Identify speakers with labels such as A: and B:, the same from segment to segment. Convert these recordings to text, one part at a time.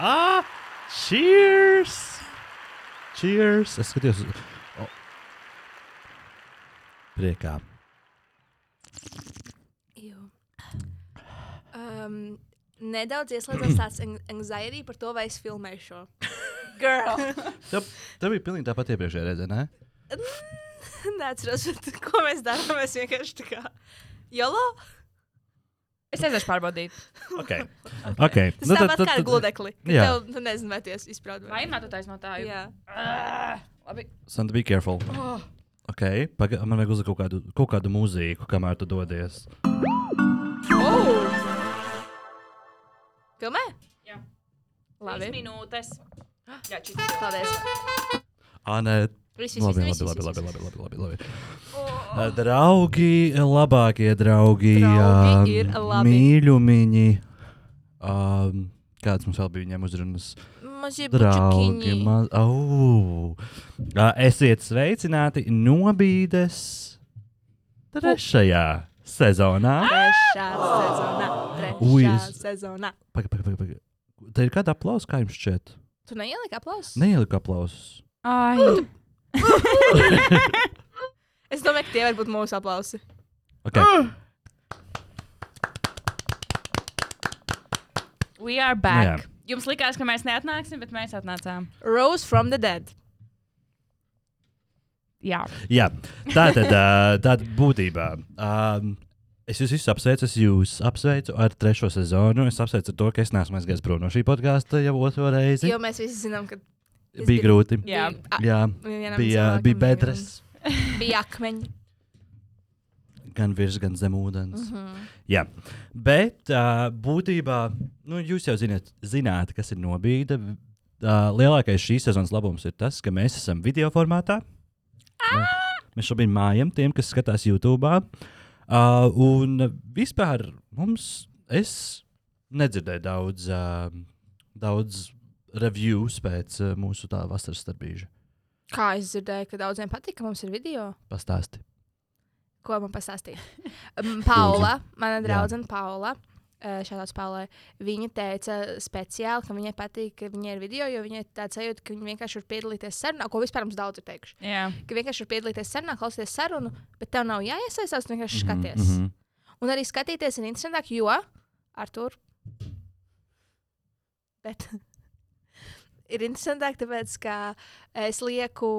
A: Ah, Cheers! Cheers! Es skatos uz o. priekā.
B: Jū. Um, nedaudz ieslēdzas tāds an- anxiety par to, vai es filmēju šo. Girl!
A: Tev, tev bija pilnīgi tāpat iepriekšējā reizē, ne?
B: Neatceros, bet ko mēs darām. Mēs vienkārši tā kā. Jolo!
C: Es aiziešu pārbaudīt.
A: Ok. okay.
B: Tas nu, tāpat kā ar gludekli. ka
A: jā.
B: Tev nu, nezinu, vai tas izprādās.
C: Vai nē, tu taisno tā jau?
B: Jā.
C: Ā, Labi.
A: Santa, be careful. Oh. Ok, paga, man vajag uzlikt kaut kādu, kaut kādu mūziku, kamēr tu dodies.
C: Oh!
B: Filmē?
C: Labi.
B: Labi.
C: minūtes. Jā, čis.
B: Paldies.
A: Ā, nē,
B: Viss, viss,
A: labi,
B: viss,
A: labi,
B: viss,
A: labi,
B: viss,
A: labi,
B: viss.
A: labi, labi, labi, labi. Oh. Draugi, labākie draugi, eh,
B: Draugi
A: ā,
B: ir labi.
A: mīļumiņi. Um, kāds mums vēl bija viņiem uzrunas?
B: Mazie
A: Draugi,
B: bučikiņi.
A: maz... oh. uh, esiet sveicināti nobīdes trešajā sezonā.
B: Trešā sezonā.
A: Ui,
B: Trešā
A: es-
B: sezonā.
A: Pagaid, pagaid, pagaid. Paga. Te ir kāda aplausa, kā jums šķiet?
B: Tu neieliki aplausus?
A: Neielika aplausus.
C: Ai.
B: Es domāju, ka tie var būt mūsu aplausi.
A: Okay.
C: We are back. Jums likās, ka mēs neatnāksim, bet mēs atnācām.
B: Rose from the dead.
C: Jā.
A: Jā, tā tad uh, būtībā. Um, es jūs visus apsveicu, es jūs apsveicu ar trešo sezonu. Es apsveicu ar to, ka es neesmu aizgājis prom no šī podkāsta jau otro reizi.
B: Jo mēs visi zinām, ka
A: Jā, bija grūti.
C: Jā.
B: A-
A: Jā,
B: vienam
A: bija,
B: cilvēkam
A: bija bedres,
B: Bija akmeņi.
A: gan virs, gan zem ūdens. Mm -hmm. Jā, bet uh, būtībā nu, jūs jau zināt, zināt kas ir nobīde. Uh, lielākais šīs sezonas labums ir tas, ka mēs esam video formātā. Mē- Mēs šobrīd mājam tiem, kas skatās YouTube. Uh, un vispār mums, es nedzirdēju daudz, uh, daudz reviews pēc uh, mūsu tā vasaras darbīža.
B: Kā es dzirdēju, ka daudziem patīk, ka mums ir video.
A: Pastāsti.
B: Ko man pastāstīja? Um, Paula, mana draudzene Paula. eh, Šādās Paulai. Viņa teica speciāli, ka viņai patīk, ka viņai ir video, jo viņai tāds sajūta, ka viņa vienkārši var piedalīties sarunā, ko vispār mums daudz ir teikuši.
C: Jā.
B: Ka vienkārši var piedalīties sarunā, klausīties sarunu, bet tev nav jāiesaistās, tu vienkārši skaties.
A: mhm.
B: Mm -hmm. Un arī skatīties ir interesantāk, jo ar to ir interesantāk, tāpēc, ka es lieku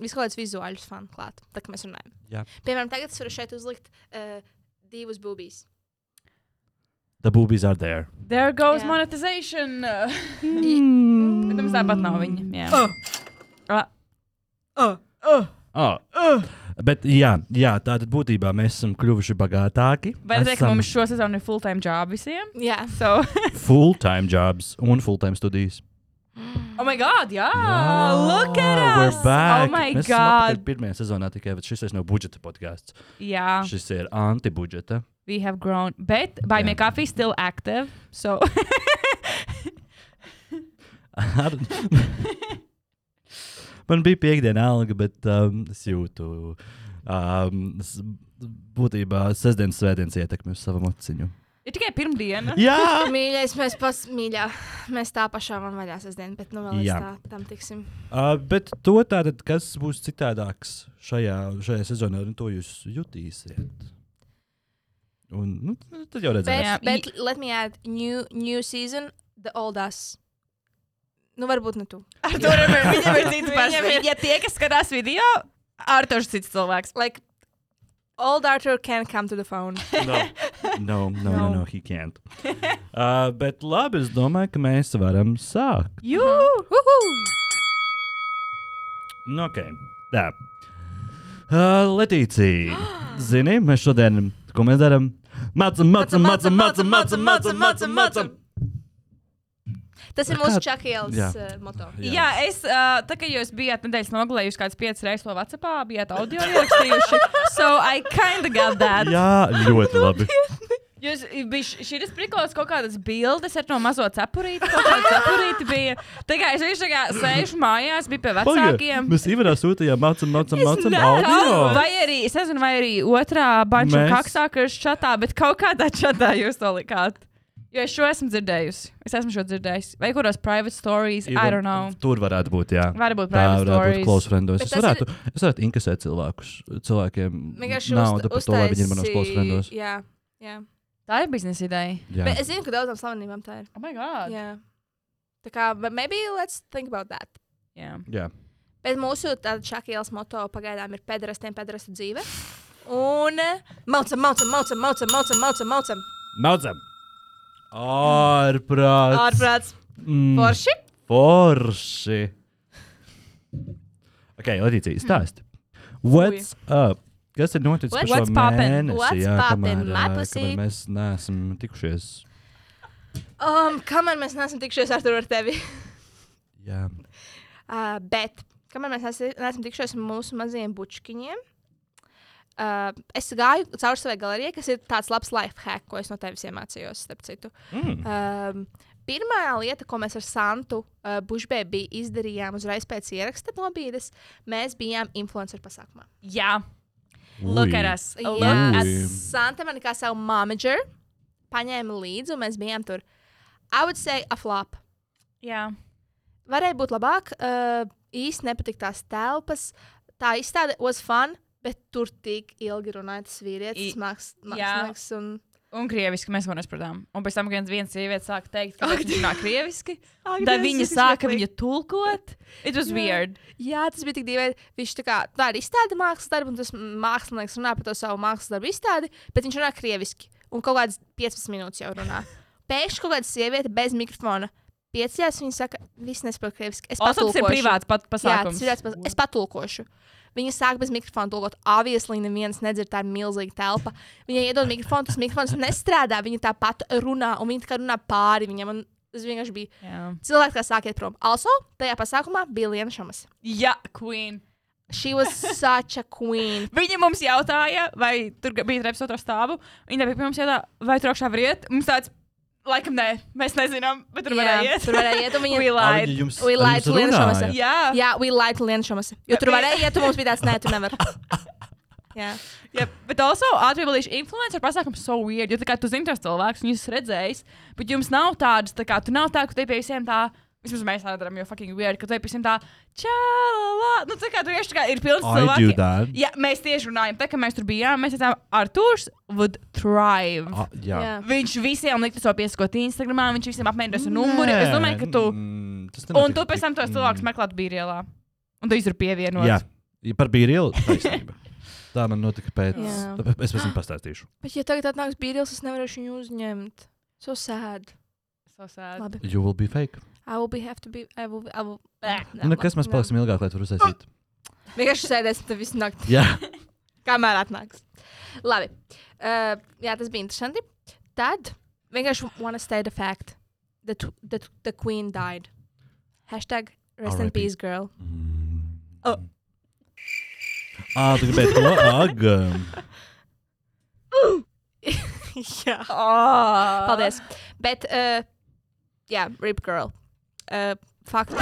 B: viskādus vizuāļus fanu klāt, tā kā mēs runājam.
A: Jā.
B: Piemēram, tagad es varu šeit uzlikt uh, divus būbīs.
A: The boobies are there.
C: There goes
B: Jā.
C: yeah. monetization.
A: Mm.
C: Bet mums tāpat nav viņa. Jā.
A: Oh. Uh. Bet, jā, jā, tātad būtībā mēs esam kļuvuši bagātāki.
C: Vai redzēt, ka
A: Esam
C: mums šo sezonu ir full-time job visiem?
B: Jā,
C: So.
A: full-time jobs un full-time studijas.
C: Oh my god, jā!
A: Jā,
C: Ah, Look at
A: we're
C: us!
A: Back.
C: Oh my
A: mēs esam atpakaļ
C: god!
A: Pirmajā sezonā tikai, bet šis vairs nav budžeta podkāsts.
C: Jā,
A: Šis ir anti-budžeta.
C: we have grown. Bet by
A: Jā.
C: yeah. McAfee still active. So.
A: Ar- Man bija piekdiena alga, bet um, es jūtu um, s- būtībā sestdienas svētdienas ietekmi uz savu mociņu.
C: ir tikai pirmdiena.
A: Jā!
B: mīļais, mēs, pas, mīļā, mēs tā pašā man vaļā sestdien, bet nu vēl
A: Jā.
B: jā. tā tam tiksim.
A: Uh, bet to tātad, kas būs citādāks šajā, šajā sezonā, nu, to jūs jutīsiet. Un, nu, tad jau
B: Bet,
A: redzēsim.
B: jā,
C: Jā,
B: bet let me add, new, new season, the old us. Nu, varbūt ne tu.
C: Viņam ir- viņam ir
B: Viņam
C: cits
B: ir-
C: personības. Ja tie, kas skatās video, Artošs ir cits cilvēks.
B: Like, old Arthur can come to the phone.
A: No, no, no, no, no he can't. Uh, bet labi, es domāju, ka mēs varam sākt.
C: Jū!
A: Nu, ok, tā. Uh, Letīcija, zini, mēs šodien, ko mēs darām? Mācam, mācam, mācam, mācam, mācam, mācam, mācam, mācam.
B: Tas ir
A: Ar
B: mūsu
A: kādu-
B: Čakielas
A: Jā.
B: uh, moto.
C: Jā, Jā es, uh, tā kā jūs bijāt nedēļas nogalē, jūs kāds piecas reizes to Whatsappā bijāt audio ierakstījuši. so I kinda got that.
A: Jā, ļoti labi.
C: Jūs bijat šis priklis, kaut kādas bildes ar no mazo cepurīti. Kaut kāda cepurīti bija. Tā kā es vienkārši tā kā sēžu mājās, biju pie
A: Pagaid,
C: vecākiem.
A: Mēs Ivarā sūtījām, mācam, mācam, mācam,
C: Kaut-
A: audio.
C: Vai arī, es nezinu, vai arī otrā banča
A: Mēs-
C: kaksākas čatā, bet kaut kādā čatā jūs to likāt. Jo es šo esmu dzirdējusi. Es esmu šo dzirdējusi. Vai kuros private stories, Even, I don't know.
A: Tur varētu būt, jā.
C: Varbūt
A: Tā varētu
C: private
A: būt
C: stories.
A: close friendos.
B: Bet
A: Es
B: tas
A: varētu, es varētu inkasēt cilvēkus, cilvēkiem
B: Vienkārši
A: naudu
B: uzt-
A: par to, lai viņi ir manos
B: uztaisī-
A: close friendos.
B: Jā, jā.
C: Tā ir biznesa ideja.
A: Jā.
B: Bet es zinu, ka daudzām slavenībām tā ir.
C: Oh my god.
B: Jā. Tā kā, but maybe let's think about that.
C: Jā.
A: jā.
B: Bet mūsu tāda šakielas moto pagaidām ir pederastiem, pederastu dzīve. Un eh, maucam, maucam, maucam, maucam, maucam, maucam, maucam.
A: Maudzam! Ārprāt!
B: Ārprāts.
A: Mm,
B: Forši.
A: Forši! Ok, Latīcija,
B: Hmm.
A: stāsti. What's up? Kas ir noticis ar šo
C: What's poppin'?
A: mēnesi?
B: What's
A: jā,
B: poppin',
A: kamēr, ā,
B: my pussy?
A: kamēr mēs neesam tikušies.
B: Um, kamēr mēs neesam tikšies ar, ar tevi.
A: Jā.
B: Uh, bet, kamēr mēs neesi- neesam tikšies ar mūsu mazajiem bučkiņiem, uh, es gāju cauri savai galerijai, kas ir tāds labs life hack, ko es no tevis iemācījos, starp citu.
A: Mm.
B: Um, pirmā lieta, ko mēs ar Santu uh, Bušbēbi izdarījām uzreiz pēc ieraksta nobīdes, mēs bijām influenceru pasākumā.
C: Jā. Look
A: Ui.
C: at us. Look
A: Jā.
C: at
A: Ui.
B: Santa man kā savu manageru paņēma līdzi, un mēs bijām tur. I would say a flop.
C: Jā.
B: Varēja būt labāk, uh, īsti nepatika tās telpas. Tā izstāde was fun, bet tur tik ilgi runāja tas
C: I-
B: vīrietis, māks-
C: jā.
B: mākslinieks. Un...
C: Un krieviski mēs to nesapratām. Un pēc tam, kad viena sieviete sāka teikt, ka viņš runā krieviski,
B: Ak,
C: tad
B: Dievs,
C: viņa
B: es
C: sāka
B: meklēju.
C: viņu tulkot. It was
B: Jā.
C: weird.
B: Jā, tas bija tik dīvaini. Viņš tā kā tā ir izstāde mākslas darbu, un tas mākslinieks runā par to savu mākslas darbu izstādi, bet viņš runā krieviski. Un kaut kādas 15 minūtes jau runā. Pēkšņi kaut kāda sieviete bez mikrofona. Piecās viņa saka, viss nesaprot krieviski. Es
C: O, tas ir
B: patulkošu."
C: privāts pat
B: Jā, tas
C: pasākums.
B: ir tāds pats. Es patulkošu. Viņa sāk bez mikrofona tulkot. Obviously, neviens nedzird, tā ir milzīga telpa. Viņa iedod mikrofonu, tas mikrofons nestrādā. Viņa tāpat runā, un viņa tā kā runā pāri viņam. un Tas vienkārši bija
C: Jā.
B: cilvēks, kas sāk iet prom. Also, tajā pasākumā bija Liena Šamas.
C: Jā, queen.
B: She was such a queen.
C: Viņi mums jautāja, vai tur ga- bija reps otrs stāvu. Viņi bija pie mums jautāja, vai tur augšā var iet. Mums tāds, laikam, nē, mēs nezinām, bet tur varēja
B: Jā,
C: iet.
B: tur varēja iet, un viņa-
C: We
A: Ā, viņi
C: lied.
A: jums,
B: We
A: ar
B: lied
A: jums
B: to Lienu
A: runāja?
B: Šamasai.
C: Jā, jā.
B: Jā, we lied to Lienu Šamas. Jo tur varēja iet, un mums bija tāds, nē, tu nevari. Jā,
C: jā. Bet also, atbildīšu, influencer pasākums so weird, jo tā kā tu zini tos cilvēkus, un jūs esat redzējis, bet jums nav tādas, tā kā tu nav tā, ka te pie visiem tā. Vismaz mēs tā darām, jo fucking weird, ka tu ej pie visiem tā, čau, nu, tā kā tur vienkārši tā kā ir pilns
A: I do
C: cilvēku.
A: that.
C: Jā, mēs tieši runājam, tā kā mēs tur bijām, mēs teicām, Arthurs would thrive.
A: Ah, jā.
B: jā.
C: Viņš visiem likte to pieskot Instagram, viņš visiem apmainīja to
A: Nē,
C: numuru. Es domāju, ka tu.
A: mm, tas
C: Un
A: nenotika
C: tu pēc
A: tik-
C: tam tos cilvēkus
A: mm,
C: meklētu bīrielā. Un tu izur pievienot.
A: Jā, Ja par bīrielu taisnība. Tā man notika pēc.
B: Jā.
A: tāpēc Es pēc tam pastāstīšu.
B: Bet, ja tagad atnāks bīrils, es nevarēšu viņu uzņemt. So sad.
C: So sad.
B: Labi.
A: You will be fake.
B: I will be have to be. I will. I will... Ah,
C: Nē.
A: Nu, kas mēs paliksim ilgāk, lai tur uzsākt?
B: Vienkārši sēdēsim te visu nakti,
A: Jā,
B: kamēr atnāks. Labi. Uh, jā, tas bija interesanti. Tad vienkārši wanna state a fact that, that the queen died. Hashtag rest in
A: R.I.P..
B: peace, girl.
A: Ah,
B: Oh.
A: tu gribēji to? Ag.
B: jā.
C: Oh.
B: Paldies. Bet, uh, jā, rip girl. Uh, Fakt.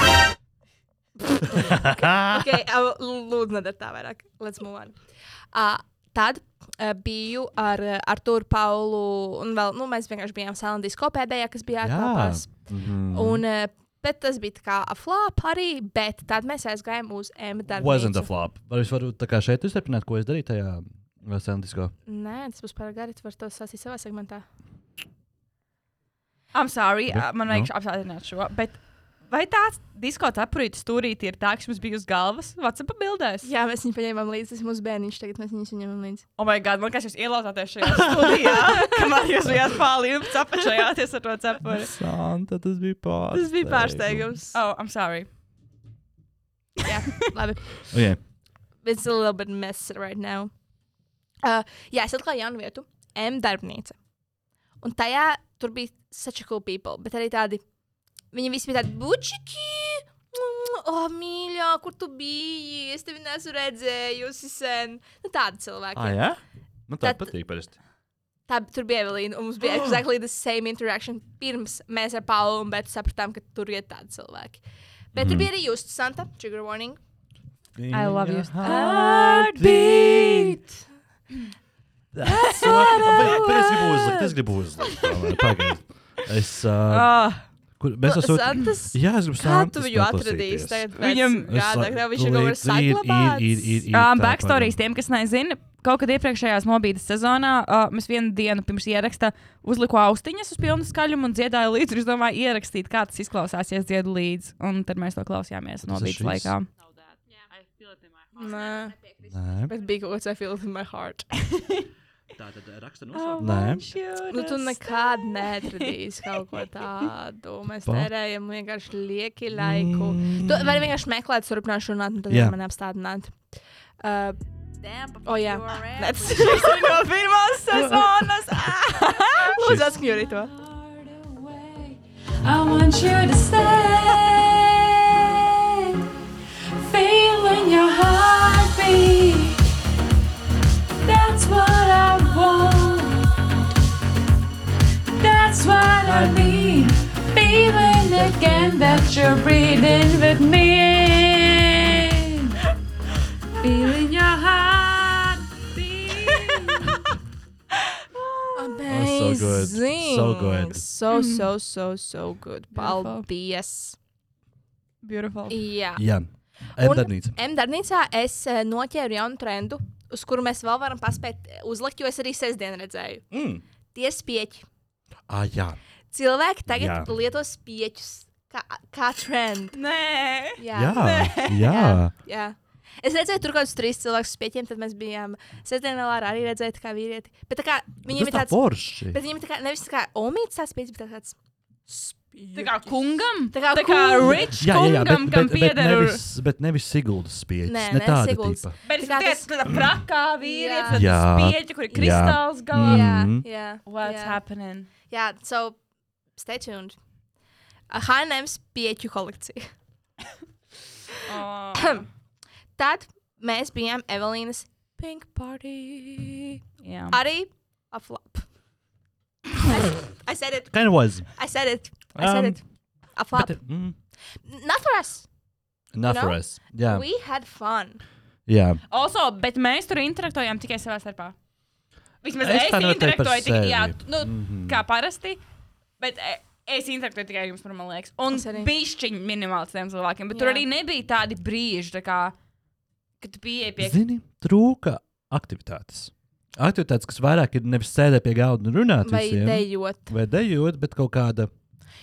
B: okay, uh, lūdzu, nedara tā vairāk. Let's move on. Uh, tad uh, biju ar uh, Arturu Paulu, un vēl, nu, mēs vienkārši bijām Sēlandijas kopēdējā, kas bija ārtelpās.
A: Mhm.
B: Un, uh, bet tas bija tā kā aflāp arī, bet tad mēs aizgājām uz M
A: Wasn't a
B: darbu.
A: flop. Vai es varu tā kā šeit uzturpināt, ko es darīju tajā uh, Sandisko?
B: Nē, tas būs par gari, tu vari to sasīt savā segmentā.
C: I'm sorry,
A: Bet,
C: ā, man
A: nu.
C: vajag apstādināt šo. Bet vai tāds disko cepurītis turīti ir tā, kas mums bija uz galvas? Vatsapa bildēs.
B: Jā, mēs viņu paņēmām līdzi, tas ir mūsu bērniņš, tagad mēs viņus viņam līdzi.
C: O, oh my god, man kas jūs ielauzāties šajā studijā, kamēr jūs bijāt pāri jums apačajāties ar to cepuri.
A: Santa, tas bija pārsteigums.
B: Tas bija pārsteigums.
C: Oh, I'm sorry.
B: Jā, labi.
A: Okay.
B: It's a little bit mess right now. Uh, jā, es atklāju jaunu vietu, M darbnīca. Un tajā tur bija such a cool people, bet arī tādi. Viņi visi bija tādi bučiki. mm, Oh, mīļā, kur tu biji? Es tevi nesu redzējusi sen. Nu, tādi cilvēki.
A: Ah, jā? Man tā
B: Tad-
A: patīk parasti.
B: Tā tur bija Evelīna, un mums bija exactly the same interaction. Pirms mēs ar Paulu un Bētu sapratām, ka tur ir tādi cilvēki. Bet mm -hmm. tur
A: Mhm.
B: bija arī Justus Santa, Trigger Warning.
C: I love you.
A: Heartbeat. That's what I want. Es gribu uzlikt, es gribu uzlikt. tomēr, pagaid. Oh, Es, uh,
C: Ah,
A: kur, mēs esam.
B: Santas?
A: Jā, es gribu
B: Kā
A: sākt.
B: tu viņu atradīsi? tagad pēc
C: Viņam-
B: gada, kad viņš ir kaut saglabāts.
A: uh, Ir, ir, ir, ir
C: um,
A: tā
C: Backstorijas
A: paņem.
C: tiem, kas nezina, kaut kad iepriekšējās nobīdes sezonā uh, mēs vienu dienu pirms ieraksta uzliku austiņas uz pilnu skaļumu un dziedāju līdzi. un Es domāju, ierakstīt, kā tas izklausās, ja es dziedu līdzi. Un tad mēs to klausījāmies
A: Tas ir
C: nobīdes
A: šis?
C: laikā.
B: Nē,
A: Nē.
B: bet bija kaut kas, I feel it in my heart.
A: Ah, Nē.
B: Nu, tu nekad neatradīsi kaut ko tādu. Mēs
A: Pa. Mm.
B: tērējam vienkārši lieki laiku. Tu vari vienkārši meklēt, turpināt runāt, un tad
A: Jā.
B: yeah. man apstādināt. Uh,
D: Oh, jā.
B: Nec.
D: That's
C: no pirmās sezonas!
B: Lūdzu, atskaņo arī to.
D: I want you to stay, feeling your heartbeat. That's what I want. That's what I need. Feeling again that you're breathing with me. Feeling your heartbeat.
A: Oh, so good. So good.
B: So, so, so, so good.
C: Beautiful.
B: Paldies.
C: Beautiful.
B: Jā.
A: Jā,
B: Un-
A: Edgars.
B: M-darbnīcā es eh, noķēru jaunu trendu, uz kuru mēs vēl varam paspēt eh, uzlikt, jo es arī sestdien redzēju.
A: Mm.
B: Tie spieķi.
A: Ah, jā.
B: Cilvēki tagad
A: Jā.
B: Jā. lieto spieķus kā, kā trendu.
C: Nē!
A: Jā. jā.
B: Jā. Es redzēju, tur kaut kādus trīs cilvēkus spieķiem, tad mēs bijām sestdienā ar arī redzēt, kā vīrieti. Bet tā kā
A: Tas
B: viņiem ir
A: tā
B: tāds,
A: forši.
B: bet viņiem ir tā kā nevis tā kā omīts tās spieķis, bet tā tāds
C: Tā
B: spieķis.
C: kā kungam?
B: Tā kā
C: tā kā
B: kungam.
C: rich kungam,
A: bet,
C: kam pieder.
A: nevis, bet nevis Siguldas pieejas.
B: Nē,
A: ne
B: nē,
A: tāda
B: Siguldas.
A: tipa.
C: Bet es
B: Tā kā
C: tikai
B: tas-
C: tādu prakā vīrieti,
A: Jā.
C: tad spieķi, kur ir
A: Jā.
C: kristāls galā.
B: Jā,
A: Mhm.
B: jā.
C: What's
B: jā.
C: happening?
B: Jā, so stay tuned. Hanems pieķu kolekcija.
C: Oh.
B: Tad mēs bijām Evelīnas Pink Party.
C: Jā.
B: Arī a flop. I- I said it.
A: Kind of was.
B: I said it. I said
A: Um,
B: it. A flop.
A: Bet, mm,
B: Not for us.
A: not
B: No?
A: for us. Jā.
B: We had fun.
A: jā.
C: Also, bet mēs tur interaktojām tikai savā starpā. Vismaz
A: Es
C: es,
A: tā
C: es
A: noteikti par
C: interaktoju tikai, jā,
A: sevi.
C: nu, mm
B: Mm-hmm.
C: -hmm. kā parasti, bet e, es interaktoju tikai ar jums, par, man liekas. Un
B: Es arī.
C: bišķiņ minimāli tiem cilvēkiem, bet tur
B: Jā.
C: arī nebija tādi brīži, tā kā, kad tu pieeji pie
A: Zini, trūka aktivitātes. Aktivitātes, kas vairāk ir nevis sēdēt pie galda un runāt
B: Vai
A: visiem,
B: dejot.
A: vai dejot, bet kaut kāda.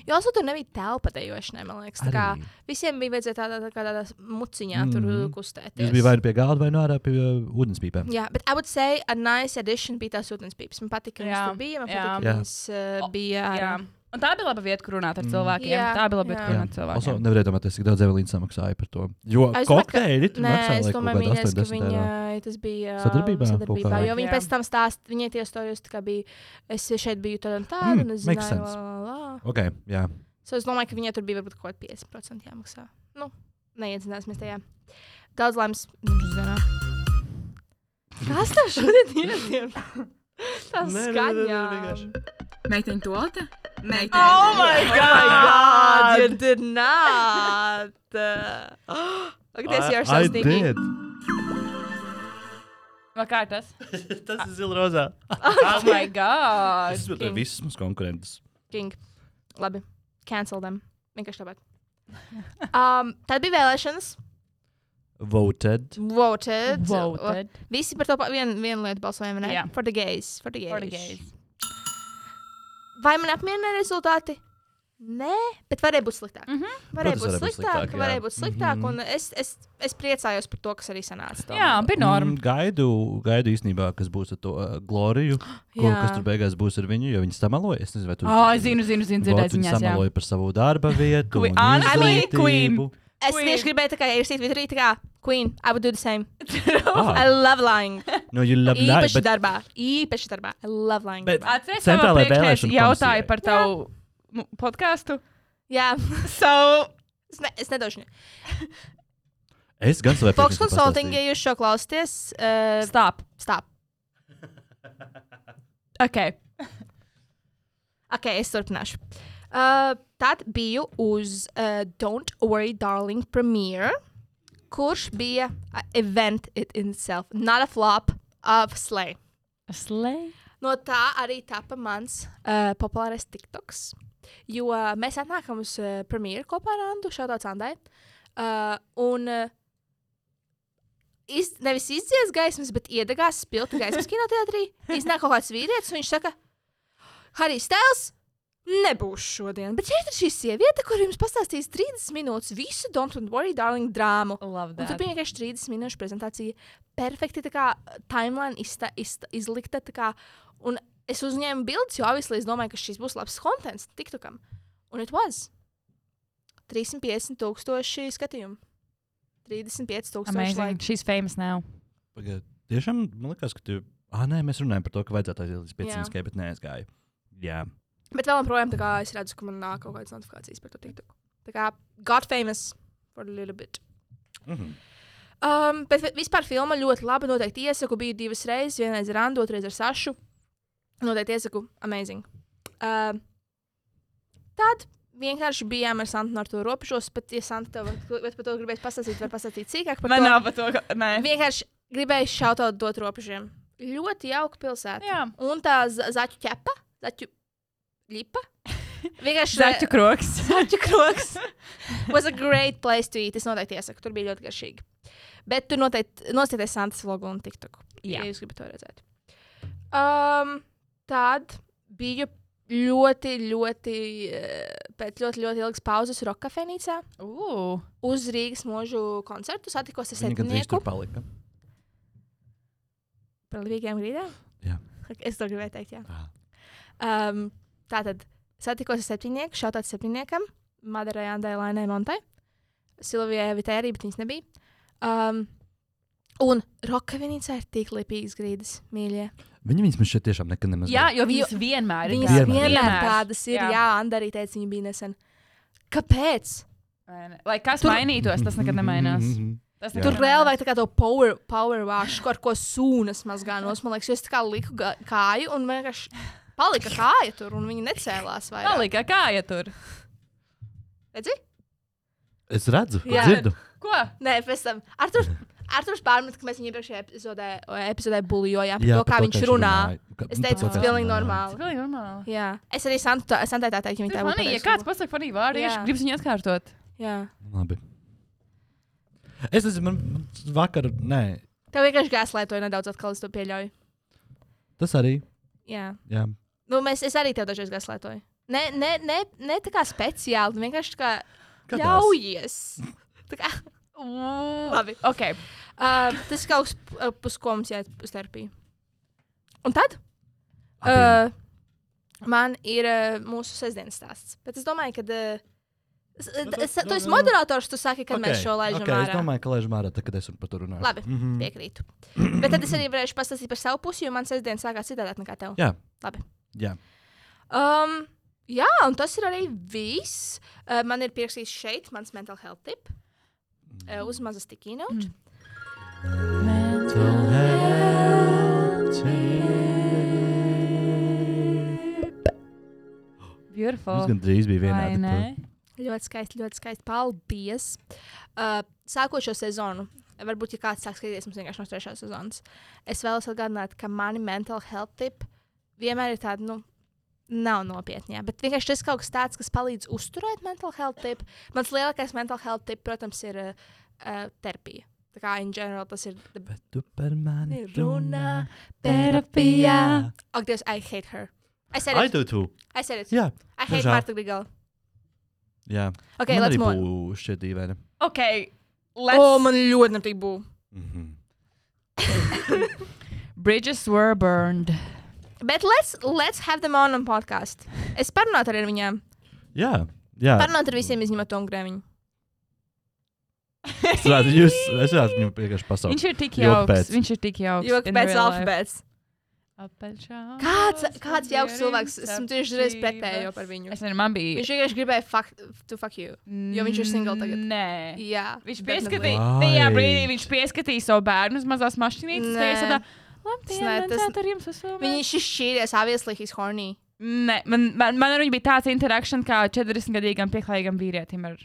B: Jo also tur nebija telpa dejošanai, man liekas. Tā kā
A: Arī.
B: visiem bija vajadzēja tādā, tā kā tādā muciņā tur
A: Mhm.
B: kustēties.
A: Jūs bijāt vai nu pie galda, vai nu ārā pie uh, ūdenspīpēm.
B: Jā, bet I would say a nice addition bija tās ūdenspīpes. Man patika, ka viņas
C: Jā,
B: tur bija. Man
C: jā.
B: patika,
A: Jā.
B: ka viņas uh,
C: O,
B: bija.
C: Jā. Un tā bija laba vieta, kur runāt ar
A: Mm.
C: cilvēkiem.
B: Jā,
C: Jā, tā bija laba vieta,
B: jā.
C: kur runāt ar
A: Also,
C: cilvēkiem.
A: nevar iedomāties, cik daudz Evelīna samaksāja par to. Jo
B: Es domāju, ka-
A: kokteili tur
B: Nē,
A: maksāja
B: es
A: laikam
B: domāju,
A: kaut kādu
B: mīļais, ka
A: 80 eiro.
B: viņa tas bija uh,
A: Sadarbībā kaut
B: sadarbībā
A: kādā.
B: jo viņa
C: Jā.
B: pēc tam stāsta, viņai tie stāstījis, ka bija, es šeit biju tāda un tāda,
A: Mm,
B: mm, un es
A: makes
B: zināju,
A: sense.
B: lā, lā, lā.
A: Ok, jā.
B: So es domāju, ka viņai tur bija varbūt kaut kādi 50% jāmaksā. Nu, neiedzināsimies tajā. Daudz laimes dzimšanas dienā. Kas tev šodien ir? Diem? Tas
A: Nē, nē, nē, nē,
B: skaņā.
A: vienkārši.
D: Meiteņu toalte? Meiteņu.
B: Oh my god! You did not! Look at this, you're so
A: I
B: sneaky.
A: did.
C: Vai kā ir tas?
A: Tas ir zilrozā.
C: Oh my god!
A: Es domāju, ka visas mums konkurences.
B: King. Labi, cancel them. Vienkārši tāpat. Um, tad bija vēlēšanas.
A: Voted.
B: Voted.
C: Voted
B: Visi par to pa- vien, vienu lietu balsojām. vai Ne?
C: Jā.
B: For the gays. For the gays.
C: for the gays.
B: Vai man apmierina rezultāti? Nē, bet varēja būt sliktāk.
C: Mhm.
B: Mm -hmm. Varēja
A: Protams,
B: būt
A: varēja būt
B: sliktāk,
A: sliktāk, jā.
B: varēja būt sliktāk. Mm
A: Mhm.
B: -hmm. Un es, es, es priecājos par to, kas arī sanāca. tomēr.
C: Jā, bija norma.
A: Mm, Gaidu, gaidu īstenībā, kas būs ar to uh, Gloriju. Ko,
B: Jā.
A: kas tur beigās būs ar viņu, jo viņi samaloja. Es nezinu, vai tu
C: Ah, zinu, zinu, zinu,
A: Votu
C: dzirdēju
A: viņi
C: ziņās. jā.
A: samaloja par savu darba vietu.
C: Queen-
A: un
C: I
B: mean,
A: izglītību.
C: Queen.
B: Es
C: Queen.
B: tieši gribēju tā kā ierasīt vidū, tā kā Queen, I would do the same. I
A: Ah,
B: love lying.
A: no, you love life.
B: Īpaši darbā. Īpaši darbā. I love lying.
A: Bet,
C: Atcerieties, kā
A: Centrālajai
C: priekšnieks
A: vēlēšanu
C: jautāja
A: komisijai.
C: par tavu nu, podkāstu.
B: Jā.
C: So,
B: Es, ne, es nedošu.
A: es gan savu
B: Fox Consulting, ja jūs šo klausāties, uh,
C: stop.
B: stāv.
C: Okay.
B: Ok, es turpināšu. Uh, tad biju uz uh, Don't Worry, Darling premiere, kurš bija uh, event it itself, not a flop of slay.
C: Slay.
B: No tā arī tapa mans uh, populārais eh, TikToks. Jo uh, mēs atnākam uz uh, premjeru kopā ar Andu, šādot Andai. Uh, un uh, iz, nevis izdzies gaismas, bet iedegās spilti gaismas kinoteātrī. Iznāk kaut kāds vīrietis, un viņš saka, Harry Stēls! Nebūs šodien, bet šeit ir šī sieviete, kur jums pastāstīs 30 minūtes visu Don't Worry, Darling drāmu. Un
C: Love
B: tur
C: that.
B: bija vienkārši 30 minūšu prezentācija. Perfekti tā kā timeline izta, izta, izlikta. tā Kā, un es uzņēmu bildes, jo obviously es domāju, ka šis būs labs kontents TikTokam. Un it was 350 tūkstoši skatījumu. 35 tūkstoši
C: Amazing.
B: laiku.
C: She's famous now.
A: Pagaid, tiešām man liekas, ka tu. Ah, nē, mēs runājam par to, ka vajadzētu aiziet līdz
B: Jā.
A: 500 gai, bet neaizgāju. Jā,
B: Bet vēl joprojām tā kā es redzu, ka man nāk kaut kādas notifikācijas par to TikToku. Tā kā got famous for a little bit.
A: Mhm.
B: Um, bet vi- vispār filma ļoti laba. Noteikti iesaku. Biju divas reizes, vienreiz ar Randu, otrreiz ar Sašu. Noteikti iesaku. Amazing. Um, tad vienkārši bijām ar Santu Nortu robežos. Pat, ja Santa tev vēl par to gribēs pastāstīt, var pastāstīt cīkāk par
C: Man
B: to.
C: nav par to, ka. Nē.
B: Vienkārši gribēju šautot dot robežiem. Ļoti jauka pilsēta.
C: Jā.
B: Un tā za- zaķu ķepa, zaķu lipa. Vienkārši
C: Zaķu kroks.
B: Zaķu kroks. was a great place to eat. Es noteikti iesaku, tur bija ļoti garšīgi. Bet tur noteikti nostieties Santas vlogu un TikToku.
C: Jā.
B: Ja jūs gribat to redzēt. Um, tad biju ļoti, ļoti, eh, pēc ļoti, ļoti ilgas pauzes Rokafenīcā
C: Ooh.
B: uz Rīgas mūžu koncertu satikos ar
A: viņa gandrīz tur
B: Sēdinieku
A: palika.
B: par Ligiem Grīdēm.
A: Jā.
B: Es to gribēju teikt, jā.
A: Ah.
B: Um, tātad satikos ar septiņnieku, šautāt septiņniekam, Madarai, Andai, Lainai, Montai, Silvijai, Vitai arī, bet viņas nebija. Um, un Rokavinīcā ir tik lipīgas grīdas, mīļie.
A: Viņi viņas man šeit tiešām nekad nemaz.
C: Jā, jo
B: Jo-
C: viņas vienmēr ir.
B: Viņas
A: tādas.
B: vienmēr, vienmēr
C: Vienmēr.
B: tādas ir, jā,
C: Jā.
B: jā Anda arī teica, viņa bija nesen. Kāpēc?
C: Vai ne? Lai kas
B: Tur-
C: mainītos, tas nekad nemainās. Tas
A: Mhm. Jā.
C: nekad
B: Tur vēl
C: nemainās.
B: vajag tā kā to power, power wash, ko ar ko sūnas mazgā nos. Man liekas, jo es tā kā liku ga- kāju un vienkārši palika kāja tur un viņa necēlās vairs.
C: Palika kāja tur.
B: Redzi?
A: Es redzu,
B: Jā.
A: jā. dzirdu.
C: Ko?
B: Nē, pēc tam. Artur, Artur pārmet, ka mēs viņu iepriekšējā epizodē, epizodē buļojām par
A: Jā,
B: to, kā
A: par
B: viņš runā.
A: Ka-
B: Es
A: nu, par
B: teicu,
A: to,
B: tas
A: kā
B: ir
A: viņš
B: pilnīgi
A: runā.
C: Tas
B: normāli.
C: bija normāli.
B: Jā. Es arī Santu- Santai tā teiktu, viņa
C: Tas
B: tā
C: ir
B: būtu.
C: Manī, ja
B: pateicis
C: kāds
B: labu.
C: pasaka funny vārdu,
B: Jā.
C: ja gribas viņu atkārtot.
B: Jā.
A: Labi. Es nezinu, man man vakar, nē,
B: Tev vienkārši gāzlaitoja nedaudz atkal, es to pieļauju.
A: tas arī.
B: Jā.
A: Jā.
B: Nu, mēs, es arī tev dažreiz gāzlaitoju. Ne, ne, ne, ne tā kā speciāli, nu vienkārši tā kā
A: Kādās?
B: ļaujies. Tā kā,
C: Labi. Ok.
B: uh, tas ir kaut kas, p- pus ko mums jāiet uz terapiju. Un tad?
A: Abiem.
B: Uh, man ir uh, mūsu sestdienas stāsts. Bet es domāju, ka. Uh, es,
A: Nu,
B: es,
A: tu-
B: tu esi
A: nu, nu.
B: moderators, tu saki, kad okay. mēs
A: Ok,
B: šo laižam
A: ok,
B: okay,
A: Es
B: ārā.
A: domāju, ka laižam ārā, tad, kad es par to runāju.
B: Labi,
A: Mhm.
B: piekrītu. Bet tad es arī varēšu pastāstīt par savu pusi, jo man sestdiena sākās citādi nekā tev.
A: Jā.
B: Labi.
A: Jā.
B: Um, jā, un tas ir arī viss. Uh, man ir pierakstīts šeit mans mental health tip uh, uz mazas tikīnu. Mm.
A: Mums
C: Beautiful.
A: gan drīz bija
C: Vai
A: vienādi.
C: ne?
B: Ļoti skaisti, ļoti skaisti. Paldies! Uh, sākot šo sezonu, varbūt, ja kāds sāk skatīties mums vienkārši no trešās sezonas, es vēlos atgādināt, ka mani mental health tip vienmēr ir tāda, nu, nav nopietni. jā, Bet vienkārši tas kaut kas tāds, kas palīdz uzturēt mental health tip. Mans lielākais mental health tip, protams, ir uh, uh, terapija. Tā kā in general tas ir. the-
A: Bet tu par mani
B: Runā
A: runā.
C: Ah.
D: terapijā.
B: Ak, Dievs, I hate her. I said
A: Ai,
B: it.
A: tu tu.
B: I said it.
A: Jā.
B: I hate
A: žēl.
B: Marta Grigala.
A: Jā.
B: Okay,
A: man
B: let's
A: arī
B: move.
A: būs šie dīvaini.
C: Ok.
B: O, oh,
C: Let's.
B: man ļoti nepatīk būvēt.
A: Mhm.
C: Bridges were burned.
B: Bet let's, let's have them on on podkāstu. Es parunāju ar viņiem.
A: Jā. Jā.
B: Parunāju ar visiem, izņemot to grēmiņu.
A: Es redzu, jūs esat viņu vienkārši pasaules.
C: Viņš ir tik
A: Joki pēc.
C: jauks. Viņš ir tik jauks.
B: Jo pēc alfabēta. Kāds,
C: Kāds,
B: kāds jauks cilvēks, esmu tieši reiz pretējo par viņu.
C: Es nezinu, man bija.
B: Viņš vienkārši gribēja fuck, to fuck you. jo viņš ir single tagad.
C: Nē.
B: Jā.
C: Viņš
B: definitely.
C: pieskatīja,
A: Vai.
C: tajā brīdī viņš pieskatīja savu bērnu uz mazās mašīnītes.
B: Nē.
C: Nē, tā
B: Tas ne-
C: ir
B: tas-
C: tā līnija.
B: Viņš ir šķīries, obviously, he's horny.
C: Nē, man, man, man ar viņu bija tāds interakcija, kā 40-gadīgam pieklājīgam vīrietim ar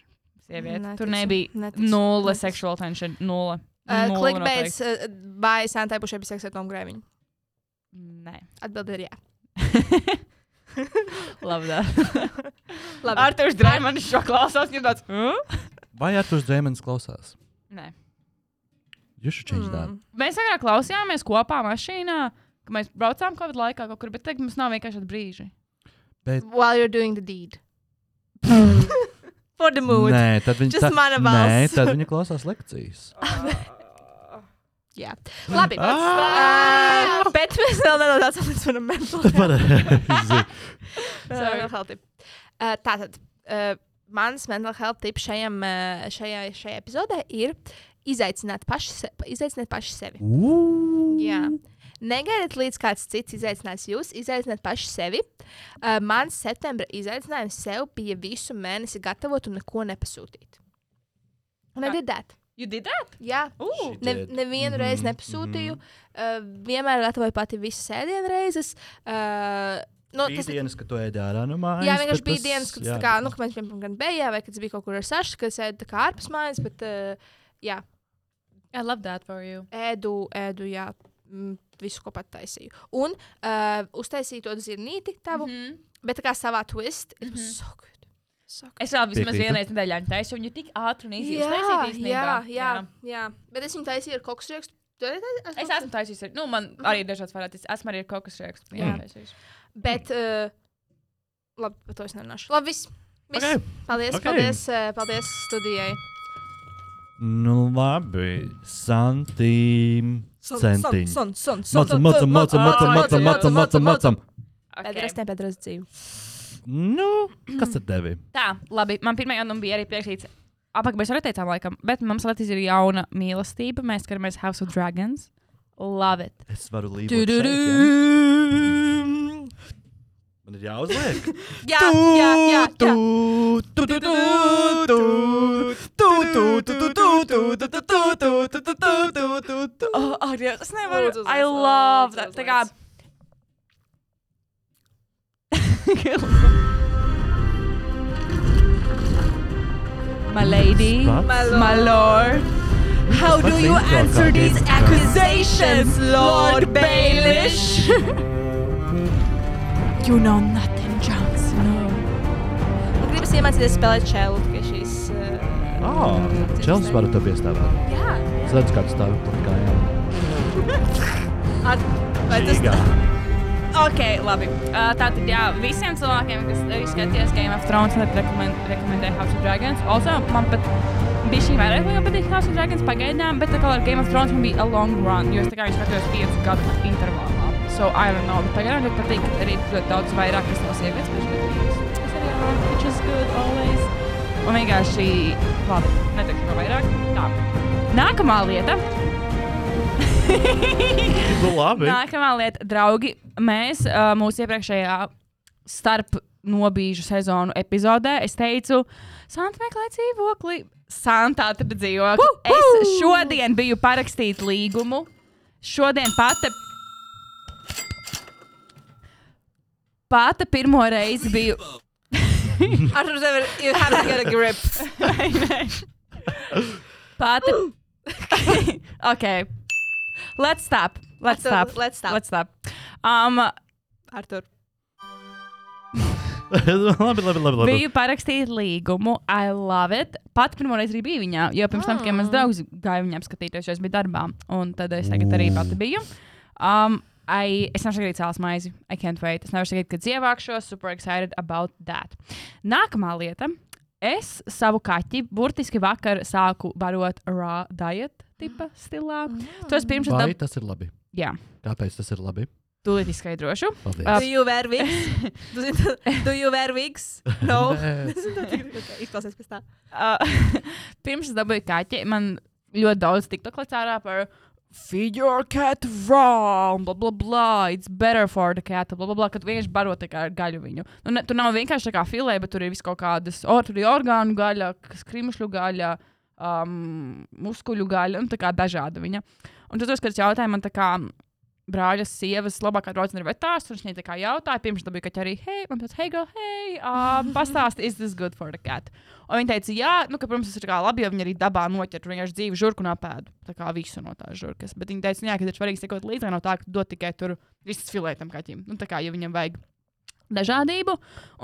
C: sievieti.
B: Neticu,
C: Tur nebija
B: neticu,
C: nulle
B: neticu.
C: seksuāla tension. Nulle.
B: Uh,
C: Nulle
B: Clickbaits uh, vai Santai Bušai bija seks ar Tomu Grēviņu?
C: noteikti. Nē.
B: Atbildi ir jā.
C: Labi, tā.
B: Labi.
C: Ar tevi drāmas šo klausās, jau tāds. "Huh?"
A: Vai Arthurs Dreimans klausās?
C: Nē.
A: You should
C: Mm.
A: change that.
B: Mm.
C: Mēs agrāk klausījāmies kopā mašīnā, kad mēs braucām Covid laikā kaut kur, bet tagad mums nav vienkārši tādi brīži.
B: While you're doing the deed. For the mood.
A: Nē, tad viņi,
B: Just mana
A: nē,
B: balss.
A: tad viņi klausās lekcijas.
B: Jā. Labi. Uh, bet mēs vēl nedaudz atcaucamies par mentālo.
A: Pareizi.
C: Sorry.
B: Mental health tip. Uh, Tātad, uh, mans mental health tips šajam, uh, šajā, šajā epizodē ir izaicināt paši, se, izaicināt paši sevi.
A: Ū.
B: Jā. Negaidiet, līdz kāds cits izaicinās jūs, izaiciniet paši sevi. Uh, mans septembra izaicinājums sev bija visu mēnesi gatavot un neko nepasūtīt. Un
C: Kā-
B: I did that.
C: You did that?
B: Jā,
C: Ooh.
A: Shit.
B: Ne,
A: Did. Mm-hmm.
B: nevienu
A: Mhm,
B: reizi nepasūtīju. Uh, vienmēr gatavoju pati visas sēdienu reizes. Uh, nu,
A: Bija
B: tas,
A: dienas, kad tu ēdi ārā no mājas.
B: Jā, vienkārši
A: bet
B: bija
A: tas-
B: dienas, kad,
A: jā.
B: jā, kā, nu, kad mēs bijām gan bejā, vai kad es biju kaut kur ar Sašu, kas ēda tā kā ārpus mājas, bet uh, jā,
C: I love that for you.
B: ēdu, ēdu, jā, mm, visu ko pat taisīju. Un uh, uztaisīju to zirnīti tavu, mm
C: -hmm.
B: -hmm. bet tā kā savā twist, it was
C: Mhm.
B: so good. So good.
C: Es vēl vismaz
A: Piekrītu.
C: vienreiz nedēļā viņu taisu, un viņi tik ātri un īsi
B: jā,
C: iztaisīja.
B: jā, jā, jā, bet es viņu taisīju ar kokus riekstu. Tu arī taisīji ar
C: Es
B: kokosriekstu?
C: esmu taisījis, ar- nu, man arī ir dažādas variācijas. Esmu arī ar kaut kas riekstu.
B: Jā. Bet, uh, labi, par to es nerunāšu. Labi, viss. viss.
A: Ok.
B: Okay. Paldies,
A: Ok.
B: okay. paldies, uh, paldies studijai.
A: Nu, labi. Santīm. Centiņi.
B: Son, son, son,
A: Macam, macam, macam, macam, macam, macam, macam, macam.
B: Pēdējais,
C: Okay.
B: ne pēdējais dzīve.
A: Nu, kas tad tevi?
C: Tā, labi. Man pirmā jau bija arī priekšsīts. Apakā mēs arī teicām, laikam, bet mums Latvijas ir jauna mīlestība. Mēs skatāmies House of Dragons. Love it.
A: Es varu līdzekļus.
B: Du-du-du.
A: Man ir jāuzliek.
B: Jā, jā, jā, jā.
C: Oh, oh, Dievs, es nevaru.
B: Lūdzu, uzliec,
C: I
B: lūdzu,
C: love that.
B: uzliec.
C: Tā kā. My lady,
A: Pats?
C: my lord, how do
A: Pats
C: you
A: intro
C: answer
A: kā
C: these
A: diezgan.
C: accusations, Lord Baelish? you know nothing, Johnson. No.
B: Man gribas iemācīties spēlēt čēlu, ka šīs... Uh,
A: Ā, Čels varu tev piestāvēt.
B: jā.
A: Es redzu, kā tu stāvi pat kājām.
B: At, vai tas...
A: Žīgā.
C: Ok, labi. Uh, tātad, jā, visiem cilvēkiem, kas uh, skaties Game of Thrones, tad rekomend, rekomendēju House of Dragons. Also, man pat bija šī vairāk, man patīk House of Dragons pagaidām, bet tā kā ar Game of Thrones man bija a long run, jo es tā kā viņus skatos 5 gadu intervālā. So, I don't know, bet pagaidām ļoti patīk arī ļoti daudz vairāk, kas no sievietes perspektīvas. Es arī varu, which is good always. Un vienkārši, labi, neteikšu ko vairāk. Tā. Nākamā lieta.
A: Nu, labi.
C: Nākamā lieta, draugi, mēs uh, mūsu iepriekšējā starp nobīžu sezonu epizodē es teicu, Santa meklē dzīvokli. Santa atrada dzīvokli. Es šodien biju parakstīt līgumu. Šodien pati. Pāta pirmo reizi biju.
B: Ar tevi ir... You have to get a grip.
C: Pāta. ok. Let's stop. Let's stop.
B: Let's stop.
C: Let's stop. Um,
B: Artur.
A: Labi, labi, labi. labi.
C: Biju parakstījis līgumu, I love it. Pat pirmoreiz arī biju viņā, jo pirms tam tikai
A: Ah.
C: mans draugs gāja viņam skatīties, jo es biju darbā. Un tad es tagad arī pati biju. Um, I, es nevaru sagaidīt sāls maizi. I can't wait. Es nevaru sagaidīt, kad ievākšos. Super excited about that. Nākamā lieta. Es savu kaķi burtiski vakar sāku barot raw diet tipa stilā. Tos pirms
A: Mm. Vai
C: tam.
A: tas ir labi?
C: Jā,
A: Kāpēc tas ir labi?
C: tūlīt izskaidrošu.
A: Paldies.
C: Ap-
B: Do you wear wigs? Do you, do you wear wigs? No.
A: Nē.
B: Izklausies pēc tā.
C: Uh, pirms es dabūju kaķi, man ļoti daudz tiktu klāstā par feed your cat raw, un bla bla bla, it's better for the cat, bla bla bla, kad vienkārši baro tā kā ar gaļu viņu. Nu, ne, tur nav vienkārši tā kā filē, bet tur ir vis kaut kādas, or, tur ir orgānu gaļa, skrimšļu gaļa, um, muskuļu gaļa, un tā kā dažāda viņa. Un tad, kad es jautāju, man tā kā brāļa sievas labākā draudzene ir vetārs, un viņa tā kā jautāja, pirms tam bija kaķa arī, hei, man teica, hei, girl, hei, um, pastāsti, is this good for the cat? Un viņa teica, jā, nu, ka, protams, tas ir kā labi, jo viņa arī dabā noķer, tur vienkārši dzīvi žurku un apēdu, tā kā visu no tās žurkas. Bet viņa Nu, teica, jā, ka ir svarīgi sekot līdzi, lai nav tā, ka dod tikai tur visas filētam kaķim, nu, tā kā, jo viņam vajag dažādību.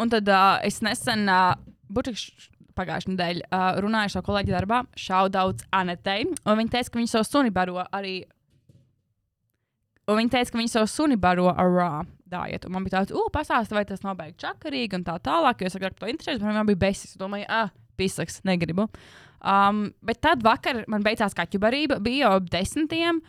C: Un tad uh, es nesen, uh, burtiski pagājušā nedēļa, uh, runāju ar savu kolēģi darbā, šaudauts Anetei. Un viņa teica, ka viņa savu suni baro arī. Un viņa teica, ka viņa savu suni baro ar rā. Diet. Un man bija tāds, ugh, pasāstiet, vai tas nav beigas čakarīgi un tā tālāk. Jo es agrāk par to interesējos, bet man bija besis. Es domāju, ah, pisaks, negribu. Um, bet tad vakar man beidzās kaķu barība, bija jau ap desmitiem.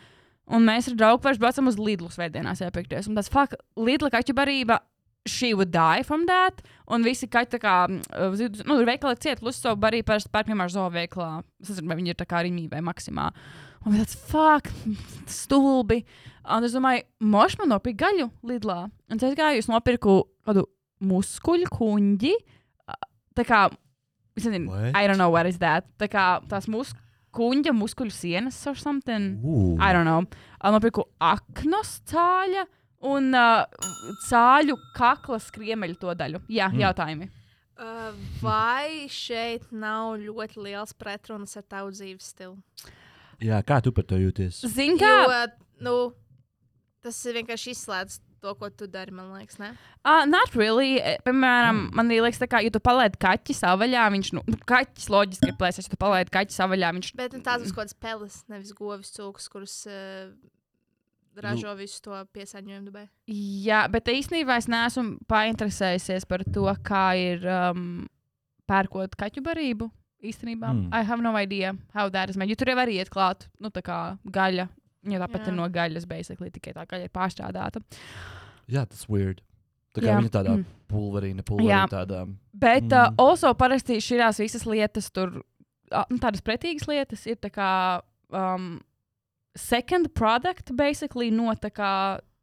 C: Un mēs ar draugu vairs braucam uz Lidlu svētdienās, iepirkties. Un tas fakts, Lidla kaķu barība, she would die from that. Un visi kaķi, tā kā, uh, zid- nu, ir veikali ciet, plus savu barību parasti pērk vienmēr zooveiklā. Es nezinu, vai viņi ir tā kā rīmī vai maksimā. Un bija tāds fuck, stulbi. Un es domāju, moš man nopirkt gaļu Lidlā. Un tad es gāju, es nopirku kādu muskuļu kuņģi. uh, Tā kā, es nezinu,
A: What?
C: I don't know what is that. Tā kā tās mus kuņģa muskuļu sienas or something.
A: Ooh.
C: I don't know. Uh, nopirku aknos cāļa un uh, cāļu kakla skriemeļu to daļu. Jā, mm. jautājumi.
B: Uh, vai šeit nav ļoti liels pretruns ar tavu dzīves stilu?
A: Jā, kā tu par to jūties?
C: Zini, kā?
B: Jo, nu, tas ir vienkārši izslēdz to, ko tu dari, man liekas. Ne?
C: Uh, not really. Eh, Piemēram, mm. man liekas, tā kā, ja tu palaidi kaķi savaļā, viņš, nu, nu, kaķis loģiski ir plēsēs, ja tu palaidi kaķi savaļā, viņš.
B: Bet nu, tās būs kaut kādas peles, nevis govis cūkas, kurus uh, ražo nu. visu to piesaņojumu dabai.
C: Jā, bet īstenībā es neesmu painteresējusies par to, kā ir um, pērkot kaķu barību. Īstenībā, mm.
A: Mm.
C: I have no idea how that is made. Jo tur jau var iet klāt, nu, tā kā gaļa. Jo tāpat
B: Jā.
C: ir no gaļas, basically, tikai tā gaļa ir pārstrādāta.
A: Jā, tas ir weird. Tā kā
C: Jā.
A: viņa tādā
C: Mm.
A: pulverīna,
C: Jā.
A: pulverīna tādā.
C: Bet mm. uh,
A: Mm.
C: also parasti šīs visas lietas, tur, uh, nu, tādas pretīgas lietas, ir tā kā um, second product basically no tā kā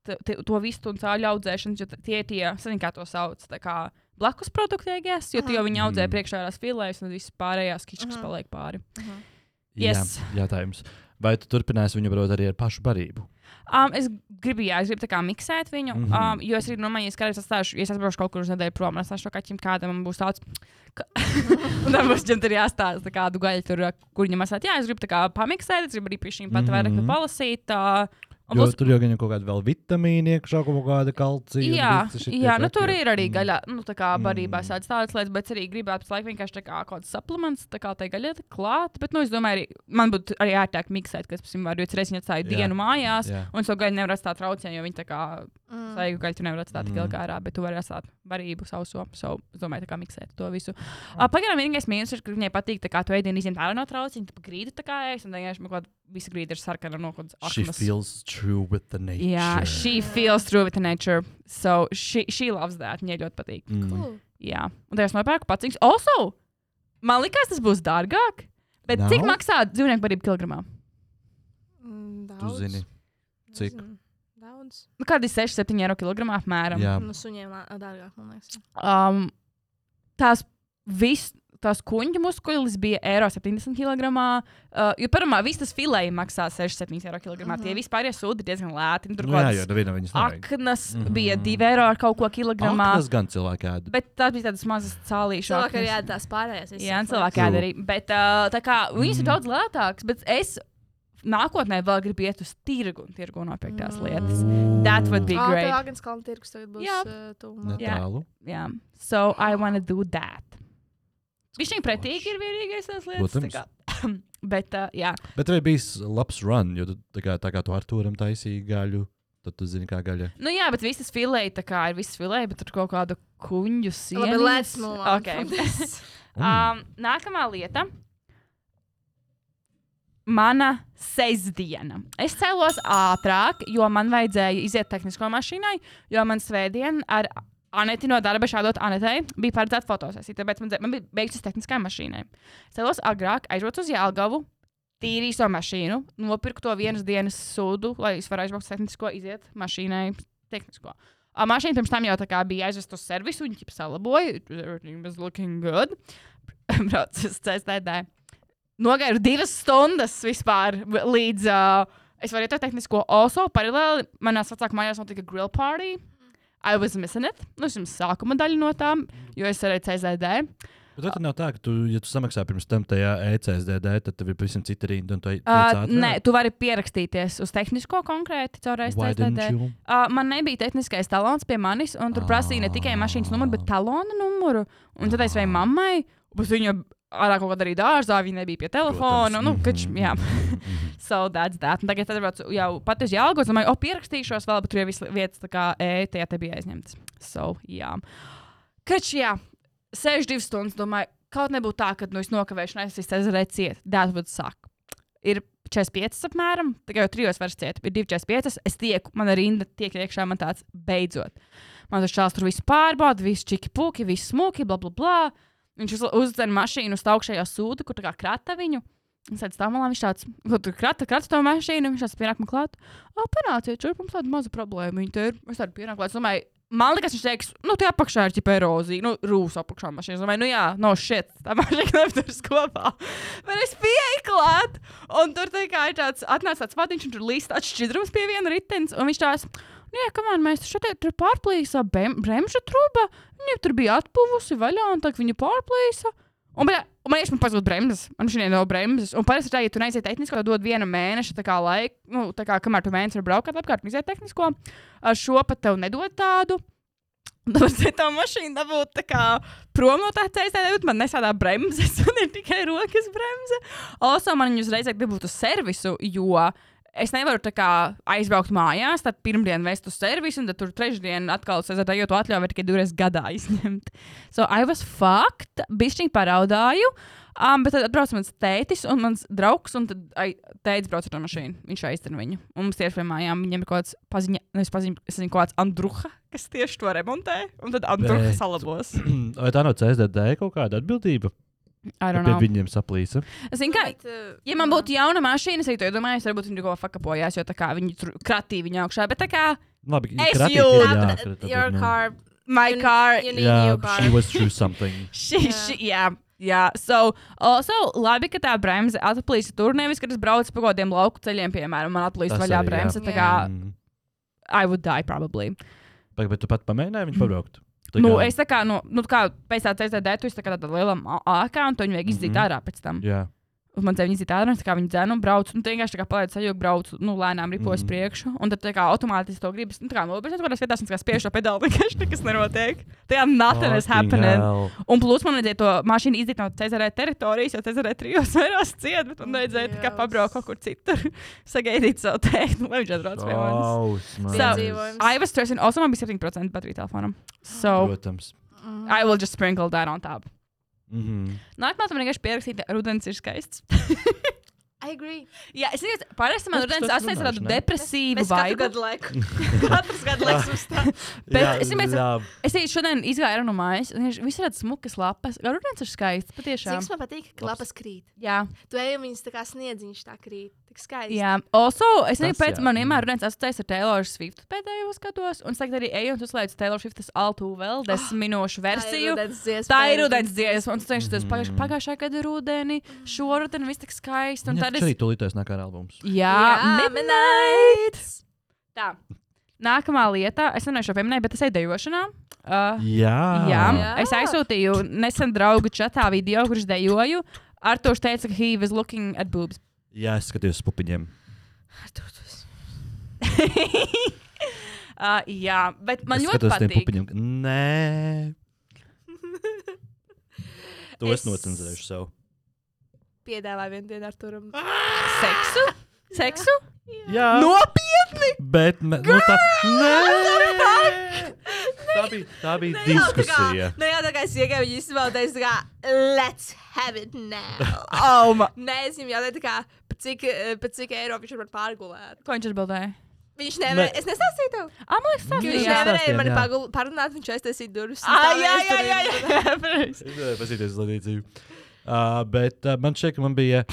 C: t- t- to vistu un cāļu audzēšanas, jo t- tie ir tie, zini, kā to sauc. tā kā Blakus produkti, gēs, jo tu jau viņi audzē
A: Mm.
C: priekšējās filēs, un visas pārējās kišķis
B: Mhm.
C: paliek pāri. Yes.
A: Jā, jautājums. Vai tu turpināsi viņu barot arī ar pašu barību?
C: Um, es gribu, jā, es gribu tā kā miksēt viņu. Mm
A: Mhm.
C: -hmm. um, jo es arī domāju, ka, ja es atstāšu, ja es aizbraucu kaut kur uz nedēļu prom, es atstāšu to kaķim kādam, man būs tāds, ka tam būs ģimenē arī jāstāsta, kādu gaļu tur, uh, kur viņam asāt. Jā, es gribu tā kā pamiksēt, es gribu arī pie šīm pat
A: Mhm.
C: vairāk palasīt. Uh, un
A: Jo
C: plus-
A: tur jau gan ir kaut kāda vēl vitamīna iekšā, kaut kāda kalcija. un
C: Jā,
A: visas šitie
C: jā nu,
A: traki.
C: tur ir arī
A: Mm.
C: gaļa, nu, tā kā barībā
A: Mm.
C: tādas tādas lietas, bet es arī gribētu pēc laika vienkārši tā kā kaut kāds supplements, tā kā tā gaļa klāt. Bet, nu, es domāju, arī man būtu arī ērtāk miksēt, kas, piemēram, jo es reiz atstāju
A: Jā.
C: dienu mājās.
A: Jā.
C: Un to gaļu nevar atstāt traucē, jo viņi tā kā
B: Mm.
C: Svaigu gaļu tu nevar atstāt tik
A: Mm.
C: ilgā ārā, bet tu vari atstāt varību sauso. So, es domāju, tā kā miksēt to visu. Uh, Pagaidām vienīgais mīnus ir, ka viņai patīk, tā kā tu ēdienu izņemt ārā no trauciņa, tu pa grīdu tā kā ēst, un vienkārši man kaut kāda visa grīda ir sarkana no kaut
A: She
C: aknas.
A: feels true with the nature.
C: Jā, she feels true with the nature. So, she, she loves that. Viņai ļoti patīk.
A: Mm.
B: Cool.
C: Jā. Un tā es nopērku pats. Also, man likās, tas būs dārgāk. Bet no? cik
A: Nav?
C: maksā dzīvnieku barību kilogramā?
B: Mm,
A: Tu
B: daudz.
A: zini, cik?
B: Nezinu. Daudz.
C: Nu, kādi 6-7 eiro kilogramā apmēram?
A: jā.
B: Nu, suņiem lā- dārgāk, man liekas.
C: um, tās visas. Tās kuģa muskuļus bija eiro 70 kg. Uh, jo parāmā viss tas filē maksā 6,7 eiro kg. Uh -huh.
B: Mhm.
C: Tie vispār ir sūdi diezgan lēti. Nu, Tur
A: Nu, jā,
C: kaut
A: jo
C: kādas
A: nevienam viņas nevajag.
C: aknas mm -hmm.
A: Mhm.
C: bija 2 eiro ar kaut ko kilogramā.
A: Tas gan cilvēki ēd.
C: Bet tās bija tādas mazas cālīšas.
B: Cilvēki arī ēd tās pārējās. visas
C: Jā, un
B: lietas.
C: cilvēki
A: True.
C: ēd arī. Bet uh, tā kā viņas ir
A: Mhm.
C: daudz lētākas, bet es nākotnē vēl gribu iet uz tirgu un tirgu nopirkt tās
B: Mm.
C: lietas. That would be
B: Ā, tev
C: great.
B: Agenskalna tirgus tagad būs uh,
C: Jā.
A: Ne
B: tuvumā.
C: Jā.
A: tālu.
C: Yeah. So I want to do that. Viņš viņam pretīgi ir vienīgais tās lietas. tā
A: Protams.
C: kā. Bet, uh, jā,
A: Bet tev ir bijis labs run, jo tu, tā, kā, tā kā tu ar turam taisīji gaļu, tad tu zini, kā gaļa.
C: nu jā, bet visas filēja, tā kā ir visas filēja, bet tur kaut kādu kuņģu sienu.
B: Labi, let's move on.
C: Okay.
B: from this.
A: Mm.
C: um, nākamā lieta. Mana sestdiena. Es cēlos ātrāk, jo man vajadzēja iziet tehnisko mašīnai, jo man svētdien ar Aneti no darba šādot Anetei bija paredzēta fotosesija. Tāpēc man, dze- man bija beigts tehniskā mašīnai. Cēlos agrāk, aizbraucu uz Jālgavu, tīrīju savu mašīnu, nopirku to vienas dienas sūdu, lai es varētu aizbraukt uz tehnisko, iziet mašīnai tehnisko. A, mašīna pirms tam jau tā kā bija aizvest uz servisu, un viņi salaboja. Everything was looking good. Braucu uz CSTD. Nogairu divas stundas vispār v- līdz. Uh, es varu iet uz tehnisko oso. Paralēli manā vecākā mājās notika grill party. I was missing it. Nu, es jums sākuma daļu no tām, jo es arī CSTD.
A: Bet tad nav tā, ka tu, ja tu samaksā pirms tam tajā E ECSDD, tad tev ir pavisam cita rinda un tu ej-
C: Uh,
A: tiec ātrāk?
C: nē, tu vari pierakstīties uz tehnisko konkrēti caur
A: Why didn't
C: STD.
A: you?
C: Uh, man nebija tehniskais talons pie manis, un tur prasīja ne tikai mašīnas numuru, bet talona numuru. Un tad es vēju mammai, bet viņa ārā kaut kādā arī dārzā, viņa nebija pie telefona.
A: Protams,
C: Nu,
A: mhm,
C: kač, jā,
A: mhm.
C: so that's that. Un tagad es atbraucu jau pat uz Jālgu, domāju, o, pierakstīšos vēl, bet tur jau viss vietas tā kā E, tajā te bija aizņemts. So, jā. Kač, jā, 62 stundas, domāju, kaut nebūtu tā, ka, nu, es nokavēšu, un es izsēzerēju ciet. That would suck. ir 45 apmēram, tagad jau trijos vairs ciet, ir 2,45. Es tieku, man ir rinda, tiek iekšā, man tāds beidzot. Man tas čels tur viss pārbauda, viss čiki puki, viss smuki, bla, bla, bla. Viņš uz- uzdzen mašīnu uz tā augšējo sūdu, kur tā kā krata viņu. Un sēdz tā malā, viņš tāds, kur tur krata, krata to mašīnu, viņš tāds pienāk man klāt. O, panāciet, šurp mums tāda maza problēma, viņa te ir. Es tādu pienāku klāt, es domāju, man liekas, viņš teiks, nu, tie apakšā ir ķipa erozija, nu, rūs apakšā mašīna. Es domāju, nu jā, no šit, tā mašīna nevis kopā. Bet es pieeju klāt, un tur tā kā ir tāds, atnāca tāds vadiņš, un tur līdz tāds šķidrums pie viena ritenis, un viņš tāds. Nu, jā, kamēr mēs šeit tur pārplīsām bremžu trūku, viņa tur bija atpuvusi vaļā, un tagad viņa pārplīsa. Un, bļa, un man īstenībā pazūd bremzes. Man šī nav bremzes. Un parasti tā, ja tu neaiziet tehnisko, tad dod viena mēneša tā kā laika, nu, tā kā kamēr tu mēnesi vari braukt apkārt un iziet tehnisko. Ar šo pat tev nedod tādu. Un Tāpēc ja tā mašīna dabūt tā kā prom no tā ceļa, tad man nesādā bremzes, un ir tikai rokas bremze. Also, man viņu uzreiz gribētu uz servisu, jo es nevaru tā kā aizbraukt mājās, tad pirmdien vest uz servisu, un tad tur trešdien atkal sezonā, jo tu atļauj tikai divreiz gadā izņemt. So I was fucked, bišķiņ paraudāju. Um, bet tad atbrauc mans tētis un mans draugs, un tad ai, tētis brauc ar to mašīnu. Viņš aiztena viņu. Un mums tieši pie mājām viņam ir kaut kāds paziņa, nevis paziņa, es nezinu, kaut kāds Andruha, kas tieši to remontē, un tad Andruha
A: Bet-
C: salabos.
A: Vai tā nav CSDD kaut kāda atbildība?
C: I don't
A: Pie
C: know.
A: viņiem saplīsa.
C: Zin, kā,
B: Bet, uh,
C: Ja man būtu jauna mašīna, es arī to iedomājos, varbūt viņi kaut ko fakapojās, jo tā kā viņi tur kratīja viņu augšā. Bet tā kā
A: Labi,
C: Es
A: kratīti
C: jūtu.
A: ir
B: Not
A: jākrata,
B: that
A: bet,
B: Your
A: nu.
B: car.
C: my
B: You-
C: car
B: You need
A: Jā,
B: new car.
A: she was through something.
C: Šī,
B: Jā.
C: šī, jā, jā. So, also, labi, ka tā bremze atplīsa tur, nevis kad es braucu pa kaut kādiem lauku ceļiem, piemēram, man atplīsa
A: Tas
C: vaļā
A: arī, jā.
C: bremze. Tā
B: Jā.
C: kā
A: Mm.
C: I would die probably.
A: Pag- Bet tu pat pamēģināji viņu pabraukt? Tā
C: Nu,
A: kā-
C: es tā kā, nu, nu tā kā pēc tā CZD, tu esi tā kā tādā lielā ā- ākā, un to viņu vajag izdzīt
A: Mhm.
C: ārā pēc tam.
A: Jā,
C: Un man zina, tā ir tā, ka viņi dzēna un brauc. Un tu vienkārši tā kā paliec sajūta, brauc, nu, lēnām ripos
A: Mhm.
C: mm -hmm. priekšu. Un tad tā kā automātiski to gribas, nu, tā kā nobežas, kaut kādās vietās, un tā kā spiež šo pedāli, vienkārši nekas nenotiek. Tajā nothing is
A: Fucking
C: happening.
A: hell.
C: Un plus man vajadzēja to mašīnu izdarīt no Cezara teritorijas, jo Cezara trijos vairās ciet, bet man vajadzēja tā kā
B: Dievs.
C: pabraukt kaut kur citur, sagaidīt savu tēmu, lai viņš atbrauc pie manis.
A: Šausmas.
B: Piedzīvojums.
C: I was stressing, also man bija 7% baterija telefonam. So
A: Protams.
C: I will just sprinkle that on top.
A: Mhm.
C: Nākamā tam vienkārši pierakstīt, rudens ir skaists.
B: I agree.
C: Jā, es nezinu, parasti man
A: Nu, tas
C: rudens
A: tas
C: asociēts ar
A: runāšana.
C: tādu depresīvu
B: Mēs katru
C: vaibu.
B: gadu laiku. Katrs gadu laiks mums tā.
C: Bet
A: Jā,
C: es vienmēr-
A: labi.
C: Es arī šodien izgāju no mājas, un viņš visur redz smukas lapas. Gan rudens ir skaists, patiešām.
B: Cik man patīk, ka
A: Labs.
B: lapas krīt.
C: Jā,
B: Tu ej un viņas tā kā sniedziņš tā krīt. Tik skaisti.
C: Jā, also, es nezinu,
A: Tas
C: kāpēc
A: jā. Mm.
C: man vienmēr ir asociēts ar Taylor Swift pēdējos gados, un es tagad arī eju un uzlaidu Taylor Swift altu
B: Ah,
C: vēl desmit minūšu versiju. Tā ir rudens dziesma, un es cenšos mm
A: Mhm.
C: -hmm. pagājušā gada rudenī,
B: Mhm.
C: šoruden viss tik skaisti. Un
A: Jā,
C: tad
A: tas
C: es.
A: arī tūlītās nākā albums.
C: Jā,
B: Jā,
C: midnight! Tā. Nākamā lieta, es nezinu, šo pieminēju, bet es eju dejošanā. Uh,
A: Jā.
C: Jā,
B: Jā.
C: es aizsūtīju nesen draugu čatā video, kurš dejoju. Artošs teica, ka he was looking at boobs.
A: Jā, es skatījos uz pupiņiem.
C: uh, jā, bet man
A: es
C: ļoti
A: skatos uz tiem
C: patīk.
A: pupiņiem. Nē. To es, es
B: Es-
A: nocenzēšu sev.
B: Piedāvā vienu dienu ar turam.
C: Seksu? Seksu?
A: Jā,
C: Nopietni!
A: bet ne, nu, tā, nē. tā bija, tā bija diskusija.
B: Nē, jau Nu, tā kā es iegāju, viņi izsmalda, es tā kā, let's have it now.
C: Oh, ma...
B: Nē, es viņam jautāju, tā kā, pa cik, eh, pa cik eiro viņš var pārgulēt.
C: Ko viņš atbildēja?
B: Viņš nevar,
A: Ne.
B: ne. es nesasīju tev.
C: Ah, man liekas, tas
A: Jā.
B: Viņš
A: Jā.
C: bija.
B: nevarēja mani
A: Jā.
B: pagul- parunāt, viņš aiztaisīja durvis. un
C: Ah,
B: tā
C: jā,
B: es
C: jā,
B: tur
C: jā,
B: iet.
C: jā. pareizi.
A: Es nevarēju Pazīties uz līdzību. Uh, bet uh, man šķiet, ka man bija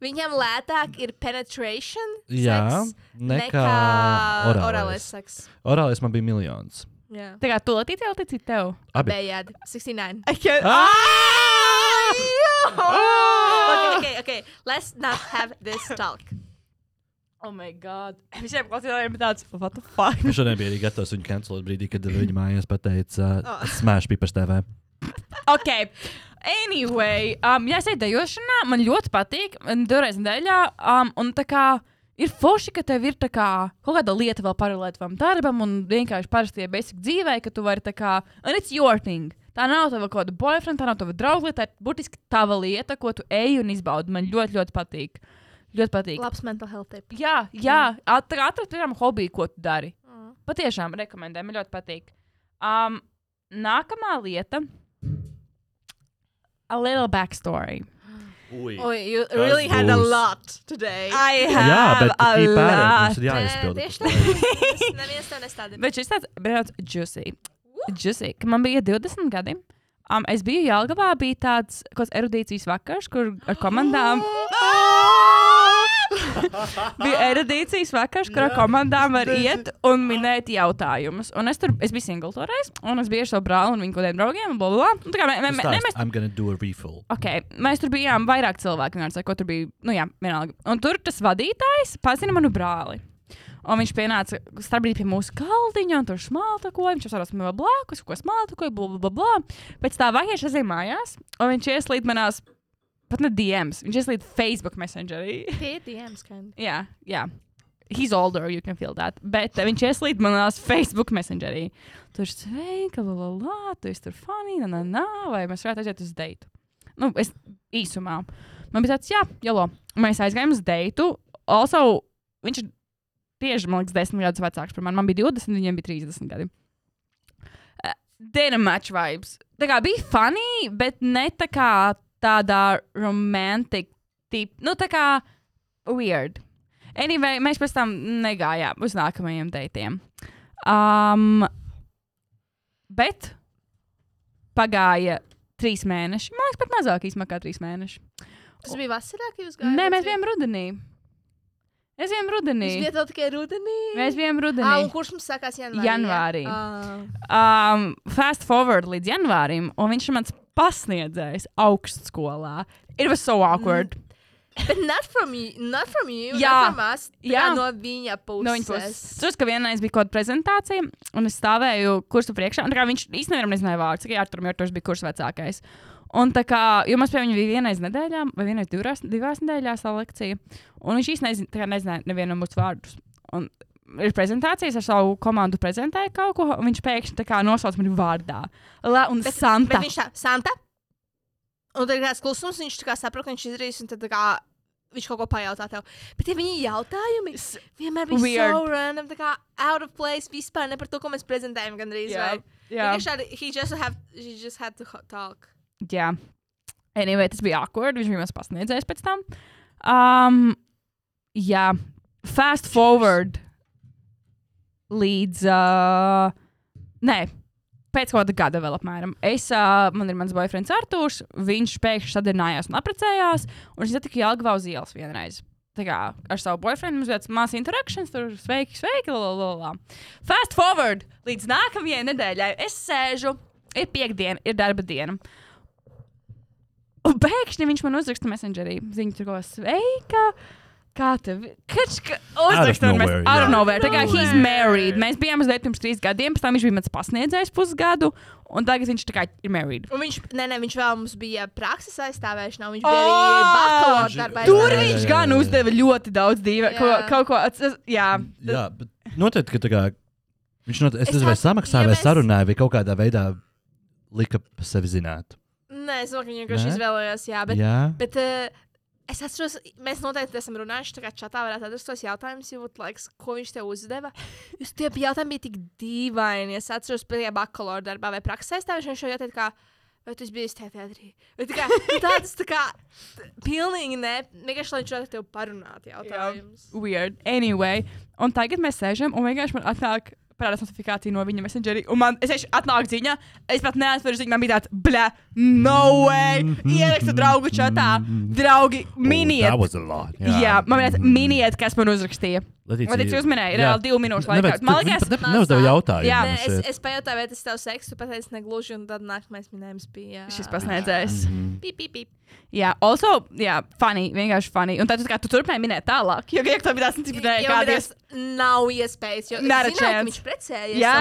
B: Viņam lētāk ir penetration
A: jā,
B: seks
A: nekā
B: orālais
A: orālais.
B: seks.
A: Orālais man bija miljons.
B: Jā.
C: Tā kā tu latīci, jau tici tev.
A: Abi.
B: Bējādi, 69.
C: I can't.
A: Ah!
B: Okay, okay, okay. Let's not have this talk.
C: Oh, my God. Visiem klausītājiem bija tāds, what the fuck?
A: Viņš šodien bija arī gatavs viņu kancelēt brīdī, kad viņa mājās pateica, uh,
B: Oh.
A: oh. Smash Pipers TV.
C: Ok. Anyway, um, jā, es eju dejošanā, man ļoti patīk. un Divreiz nedēļā. Um, un tā kā ir forši, ka tev ir tā kā, kaut kāda lieta vēl paralēli tam darbam un vienkārši parastie basic dzīvē, ka tu vari tā kā. Un it's your thing. Tā nav tava kaut kāda boyfriend, tā nav tava drauga, tā ir būtiski tava lieta, ko tu eji un izbaudi. Man ļoti, ļoti patīk. Ļoti patīk.
B: Labs mental health tip.
C: Jā, jā at, atrast vienam hobiju, ko tu dari. Patiešām rekomendēju, man ļoti patīk. Um, nākamā lieta - a little backstory.
A: Ui.
B: Oh, you
A: Kas really had a būs? lot
B: today.
C: I
A: Jā, bet
C: a
A: ir pārāk. Mums ir
B: Nē, tieši
A: jāizpild.
B: tā. Es- Neviens tev nestādīja.
C: Bet šis tāds brauc juicy. Juicy, ka man bija 20 gadi. Um, es biju Jālgavā, bija tāds kaut kāds erudīcijas vakars, kur ar komandām. bija erudīcijas vakars, kur ar komandām var iet un minēt jautājumus. Un es tur es biju singls toreiz, un es biju ar savu brāli un viņa kaut kādiem draugiem. un Bla, bla, bla. Un tā kā mē, mē, mē,
A: Stāst,
C: mēs
A: I'm gonna do a refill.
C: Okay, mēs tur bijām vairāk cilvēku. Vienkārši, tā kā tur bija, nu, jā, vienalga. Un tur tas vadītājs pazina manu brāli. Un viņš pienāca starp brīdi pie mūsu galdiņa, un tur smaltakoja. Viņš apsarās man vēl blakus, ko smaltakoja, bla, bla, bla, bla. Pēc tā vahieša aizēja mājās, un viņš ieslīd manās, pat ne DMs, viņš ieslīd Facebook Messengerī.
B: Tie DMs, kā.
C: Jā, jā. He's older, you can feel that. Bet uh, viņš ieslīd manā Facebook messengerī. Tur ir sveika, la, la, la, tu esi tur funny, na, na, na, vai mēs varētu aiziet uz deitu. Nu, es īsumā. Man bija tāds, jā, jalo. Mēs aizgājām uz deitu. Also, viņš ir tieši, man liekas, desmit gadus vecāks par mani. Man bija 20, viņiem bija 30 gadi. Uh, Dinner match vibes. Tā kā bija funny, bet ne tā kā tādā romantika tipa. Nu, tā kā weird. Anyway, mēs pēc tam negājām uz nākamajiem datiem. Um, bet pagāja trīs mēneši. Man liekas, pat mazāk īsumā kā trīs mēneši.
B: Tas bija vasarā, kad jūs gājāt.
C: Nē, mēs bijām rudenī. Mēs bijām rudenī.
B: Jūs bijat vēl tikai rudenī.
C: Mēs bijām rudenī.
B: Ah, un kurš mums sākās janvārī?
C: Janvārī.
B: Ah.
C: um, fast forward līdz janvārim, un viņš ir mans pasniedzējs augstskolā. It was so awkward. Mm.
B: Bet not from you, not from you,
C: Jā.
B: not from us. tā
C: Jā.
B: kā No viņa puses.
C: No viņas puses. Es saprotu, ka vienreiz bija kaut kāda prezentācija, un es stāvēju kursu priekšā. un tā kā Viņš īstenībā nevienam nezināja vārdu, tikai Arturam, jo Arturs bija kurs vecākais. Un tā kā, jo mums pie viņa bija vienreiz nedēļā, vai vienreiz divās, divās nedēļās tā lekcija, un viņš īstenībā nezināja nevienam mūsu vārdus. Un ir prezentācijas, ar savu komandu prezentēju kaut ko, un viņš pēkšņi tā kā nosauc mani vārdā. La un
B: Bet,
C: Santa.
B: bet viņš tā, Santa. Un tad ir tāds klusums, viņš tā kā saprot, ka viņš izdarīs, un tad tā kā viņš kaut ko pajautā tev. Bet tie viņa jautājumi vienmēr bija
C: Weird.
B: Weird. so random, tā kā out of place, vispār ne par to, ko mēs prezentējam gandrīz.
C: Jā,
B: vai?
C: jā.
B: Vienkārši tādi, he just, have, he just had to ho- talk.
C: Jā, anyway, tas bija awkward. Viņš bija mans pasniedzējs pēc tam. Um, jā, fast forward līdz. Uh, nē, pēc kāda gada vēl apmēram. Es, uh, man ir mans boyfriends Arthurs, viņš pēkšņi sadarbojās un apprecējās, un viņš tika Jālgavā uz ielas vienreiz. Tā kā ar savu boyfriendu mums bija mazs interakcijas, tur sveiki, sveiki, lalala. Fast forward līdz nākamajai nedēļai. Es sēžu, ir piekdiena, ir darba diena. Un pēkšņi viņš man uzraksta messengerī. Ziņu tur kaut ko sveika. Kā tev? Kač, ka uzraksta
A: nowhere,
C: man messengerī. Out of
A: jā.
C: nowhere. Tā kā he's
B: Nowhere.
C: married. Mēs bijām uz dēļ pirms trīs gadiem, pēc tam viņš bija mans pasniedzējs pusgadu, un tagad viņš tā kā ir married.
B: Un viņš, nē, nē, viņš vēl mums bija prakses aizstāvēšanā, un viņš
C: Ā!
B: bija arī
C: Ah!
B: bakalaura darbā.
C: Tur
A: jā,
C: viņš
A: jā,
C: gan
A: jā, jā.
C: uzdeva ļoti daudz dīva, ko,
B: Jā.
C: kaut ko. ats- ats- Jā,
A: Jā, bet noteikti, ka tā kā viņš not, es
B: Ah. Es
A: nezinu, vai
B: tā-
A: samaksāja,
B: ja
A: vai
B: mēs-
A: sarunāja, vai kaut kādā veidā lika pa sevi zināt.
B: Nē, es domāju, ka viņš vienkārši
A: Nē?
B: izvēlējās, jā, bet
A: Jā,
B: Bet uh, es atceros, mēs noteikti esam runājuši, tā kā čatā varētu atrast tos jautājumus, jo būtu laiks, ko viņš tev uzdeva. Jūs tie jautājumi bija tik dīvaini. Es atceros, ka pēdējā bakalaura darbā vai praksē stāvēju šo jautājumu. kā, Vai tu esi bijis tajā teātrī? Vai tā kā tāds tā kā t- pilnīgi ne. Vienkārši lai viņš varētu tev parunāt jautājumus.
C: weird. Anyway, un tagad mēs sēžam, un vienkārši man atnāk parādās notifikācija no viņa messengerī, un man es vienkārši atnāk ziņa, es pat neatveru ziņu, man bija tāds, blē, no way! Ierakstu draugu čatā, draugi,
A: Oh, that
C: miniet!
A: was a lot. Mm.
C: Jā, jā man bija tāds, miniet, kas man uzrakstīja.
A: Latīcija.
C: Man teica, uzmanēji, reāli divu minūšu laikā. Man liekas,
A: neuzdeva
C: Jā.
A: jautājumu.
B: Nē,
A: šeit.
B: es, es pajautāju, vai tas tev seksu pateicis negluži, un tad nākamais minējums bija.
C: šis pasniedzējs.
B: Pip, pip, pip.
C: Jā, also, jā, funny, vienkārši funny. Un tad tu, tā kā tu turpināji minēt tālāk, jo gribi tam bija tas, cik
B: Jo
C: kāda
B: tas nav iespējams. Jo
C: Not a
B: es zināju, ka
C: chance.
B: viņš precējies.
C: Jā.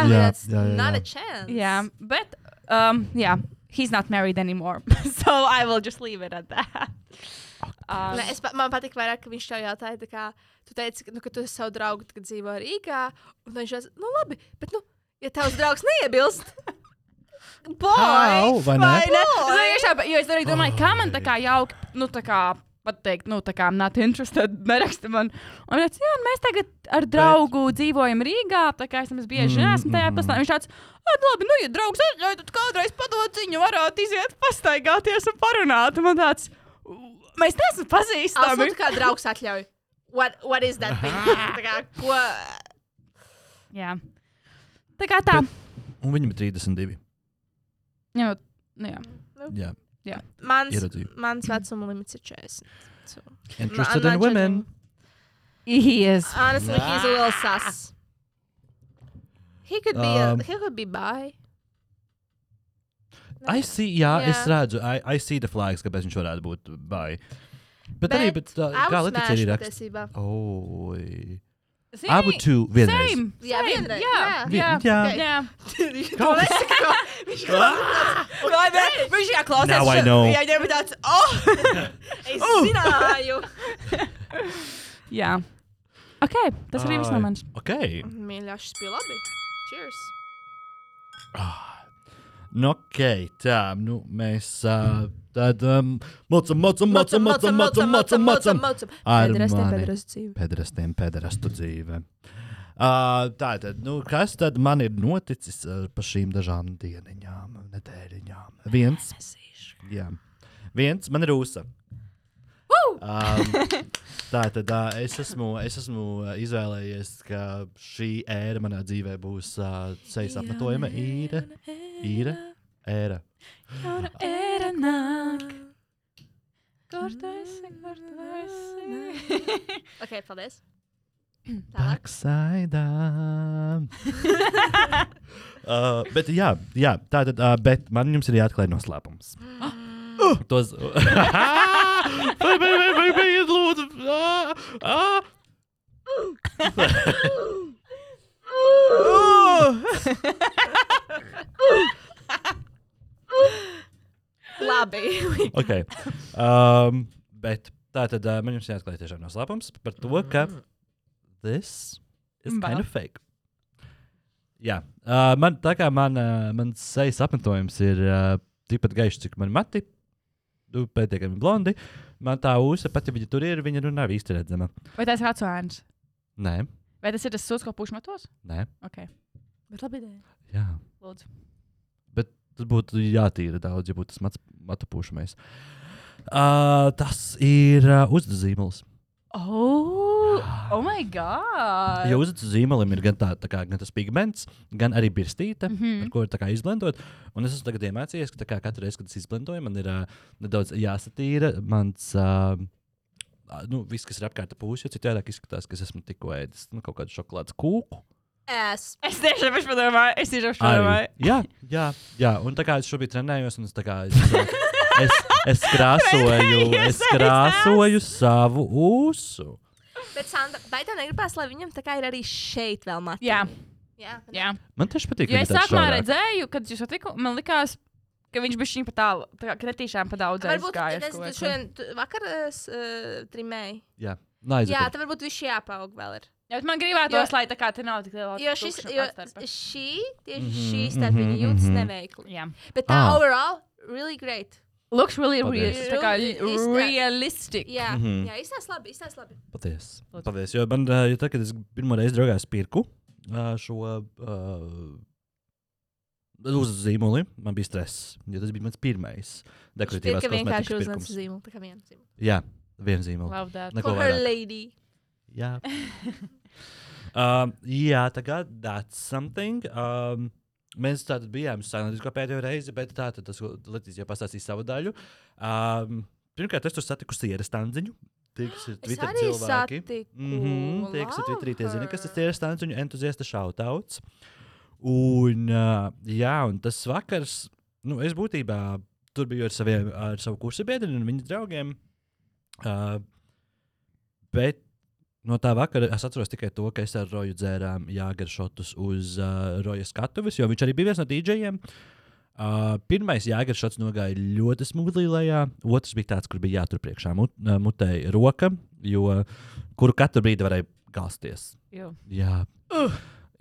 A: Jā,
B: tāpēc
A: jā, jā,
B: Not
A: jā.
B: a chance.
C: Jā, bet, um, jā, he's not married anymore. so I will just leave it at that. Um,
B: Nē, es, pa- man patīk, vairāk, ka viņš tev jautāja, tā kā tu teici, ka, nu, ka tu esi savu draugu tagad dzīvo Rīgā. Un viņš teica, nu labi, bet, nu, ja tavs draugs neiebilst, boy! Nu,
A: Au, vai ne?
C: Vai ne?
B: Boy!
C: Es vienkārši tā- Nu, jo es arī domāju, kā man tā kā jauki, nu tā kā pateikt, nu tā kā I'm not interested, neraksta man. Un viņš teica, jā, un mēs tagad ar draugu dzīvojam Rīgā, tā kā es nemaz bieži
A: Mm,
C: neesmu tajā
A: mhm.
C: pilsētā. Viņš tāds, "Ā, labi, nu, ja draugs atļauj, tad kādreiz padod ziņu, varētu iziet pastaigāties un parunāt. Un man tāds, mēs neesam
B: Absolūti,
C: pazīstami.
B: kā draugs atļauj. What, what is that thing? Tā kā, ko?
C: Jā. Tā kā tā.
A: Un viņam ir 32.
C: Jā, nu jā.
A: Jā,
B: Mans,
A: ieraudzīju.
B: mans vecuma limits ir 40. So,
A: Interested in
B: I'm not
A: women.
C: He is.
B: Honestly, he's a little sus. He could be,
A: Um,
B: a, he could be bi.
A: I see, jā,
B: Jā.
A: es redzu, I, I see the flags, kāpēc viņš varētu būt bai. Bet, arī, bet tā,
B: I
A: kā
B: would
A: Leticija
B: smash
A: arī raksta?
B: patiesībā.
A: Oi. Abu tu vienreiz.
C: Same.
B: Jā,
C: same,
B: vienreiz,
C: Jā,
A: Vi-
C: jā.
A: jā.
C: jā.
B: Kā lai es saku? Viņš
C: Vai ne? Viņš kā klausās.
A: Now I
C: šo-
A: know. Oh.
C: Jā, viņam ir tāds, oh!
B: Es zināju.
C: Jā. Ok, tas arī viss no
A: Ai,
C: manis.
A: Ok.
B: Mīļāšs bija labi. Cheers.
A: Nu, ok, tā, nu, mēs uh, tad um, mocam, mocam, mocam, mocam, mocam, mocam, mocam. Ar
B: Pēdējais,
A: mani.
B: pēdējais dzīve.
A: Pederastiem, pederastu dzīve. Uh, tā tad, nu, kas tad man ir noticis uh, pa šīm dažām dieniņām, nedēļiņām? Viens, jā, viens, man ir rūsa. Um, tā tad uh, es esmu, es esmu uh, izvēlējies, ka šī ēra manā dzīvē būs uh, ceļš apmetojuma īra. Īra? Ēra.
C: Era nāk. Kur tu esi? Kur tu esi?
B: Ok, paldies. Tālāk.
A: Backside. uh, bet, jā, jā tā tad, uh, bet man jums ir jāatklāj noslēpums. Tos. Vai, vai, vai, vai, vai, lūdzu. Ah, ah.
B: Labi.
A: Ok. Um, bet tā tad uh, man jums jāatklāj tiešām noslēpums par to, ka this is
C: Mbā.
A: kind of fake. Jā, uh, man, tā kā man, uh, mans sejas apmetojums ir uh, tikpat gaišs, cik man mati, nu, pietiekami blondi, man tā ūsa, pat ja viņa tur ir, viņa nu nav īsti redzama.
C: Vai tas ir atsvērns?
A: Nē,
C: Vai tas ir tas sūds, ko puš matos?
A: nē,
C: Ok. Bet labi ideja.
A: jā.
C: Lūdzu.
A: Tas būtu jātīra daudz, ja būtu tas mats, matu pūšamais. Uh, tas ir uh, uzzīmils.
C: Oh, oh my god.
A: Jo uz zīmolim ir gan, tā, tā kā, gan tas pigments, gan arī birstīte, mm -hmm. ar ko ir tā kā izblendot. Un es esmu tagad iemācījies, ka tā kā katru reizi, kad es izblendoju, man ir uh, nedaudz jāsatīra mans. Uh, Nu, viss, kas ir apkārt pūsē, jo citādi izskatās, ka es esmu tikko ēdis nu, kaut kādu šokolādes kūku.
B: Es.
C: Es tiešām padomāju, es tiešām
A: Arī.
C: padomāju.
A: Jā, jā, jā, un tā kā es šobrīd trenējos, un es, tā kā, es, es, es krāsoju, es krāsoju savu ūsu.
B: Bet, Sandra, vai tev negribas, lai viņam tā kā ir arī šeit vēl matra?
C: Jā,
B: Jā. vai ne?
C: jā.
A: Man tieši patīk,
C: Jo
A: ka
C: es
A: viņš ir
C: sākumā
A: tāds
C: redzēju, kad jūs satiku, man likās, ka viņš bija šī pat tālu, tā kā kretīšām pa daudz
B: Varbūt
C: aizgājis.
B: tas ir šodien, tu vakar es, uh, trimēji.
A: -
B: Jā, tad varbūt viņš jāpaug vēl ir.
C: Bet man gribētos,
B: Jo-
C: lai tā kā te nav tik liela
B: Jo šis,
C: tukšuma
B: jo
C: atstarpe.
B: šī,
A: Mhm,
B: tieši šī starp
A: mhm,
B: viņu
A: mhm.
B: jūtas neveikli.
C: Jā.
B: Bet tā
A: Ah.
B: overall, really great.
C: Looks really real,
A: Paldies.
C: tā kā
B: Real-
C: realistic.
B: Jā,
A: Mhm.
B: jā, izsās labi, izsās labi.
A: Paties.
C: Lūdzu.
A: Paties. Jo man, ā, jo tā, kad es pirmo reizi draugās pirku ā, šo uh, uzzīmoli, man bija stress. Jo tas bija mans pirmais dekoratīvās
B: Pirka vienkārši
A: kosmētikas
B: uzmanības
A: pirkums.
B: zīmuli, tā kā viena zīmula.
A: Jā, viens zīmols.
C: Love that.
A: Neko
B: For her
A: vairāk.
B: lady.
A: Jā. um, jā, tagad that's something. Um, mēs tātad bijām sanādiskā pēdējo reizi, bet tātad tas Latvijas jau pastāstīja savu daļu. Um, pirmkārt, es tur satiku sieras tandziņu. Tie, kas ir
B: Es
A: Twitter
B: arī
A: cilvēki.
B: satiku.
A: Mhm, Tie, kas ir Twitterī, tie zina, kas tas
B: ir.
A: ir stāsts un entuziasta šautauts. Un, uh, jā, un tas vakars, nu, es būtībā tur biju ar, saviem, ar savu kursu biedru un viņas draugiem. Uh, bet no tā vakara es atceros tikai to, ka es ar Roju dzērām jāgaršotus uz uh, Roja skatuves, jo viņš arī bija viens no DJiem. Uh, pirmais jāgara šāds nogāja ļoti smūgi lejā. Otrs bija tāds, kur bija jātur priekšā mut, uh, mutē roka, jo kuru katru brīdi varēja gāzties.
C: Jū.
A: Jā,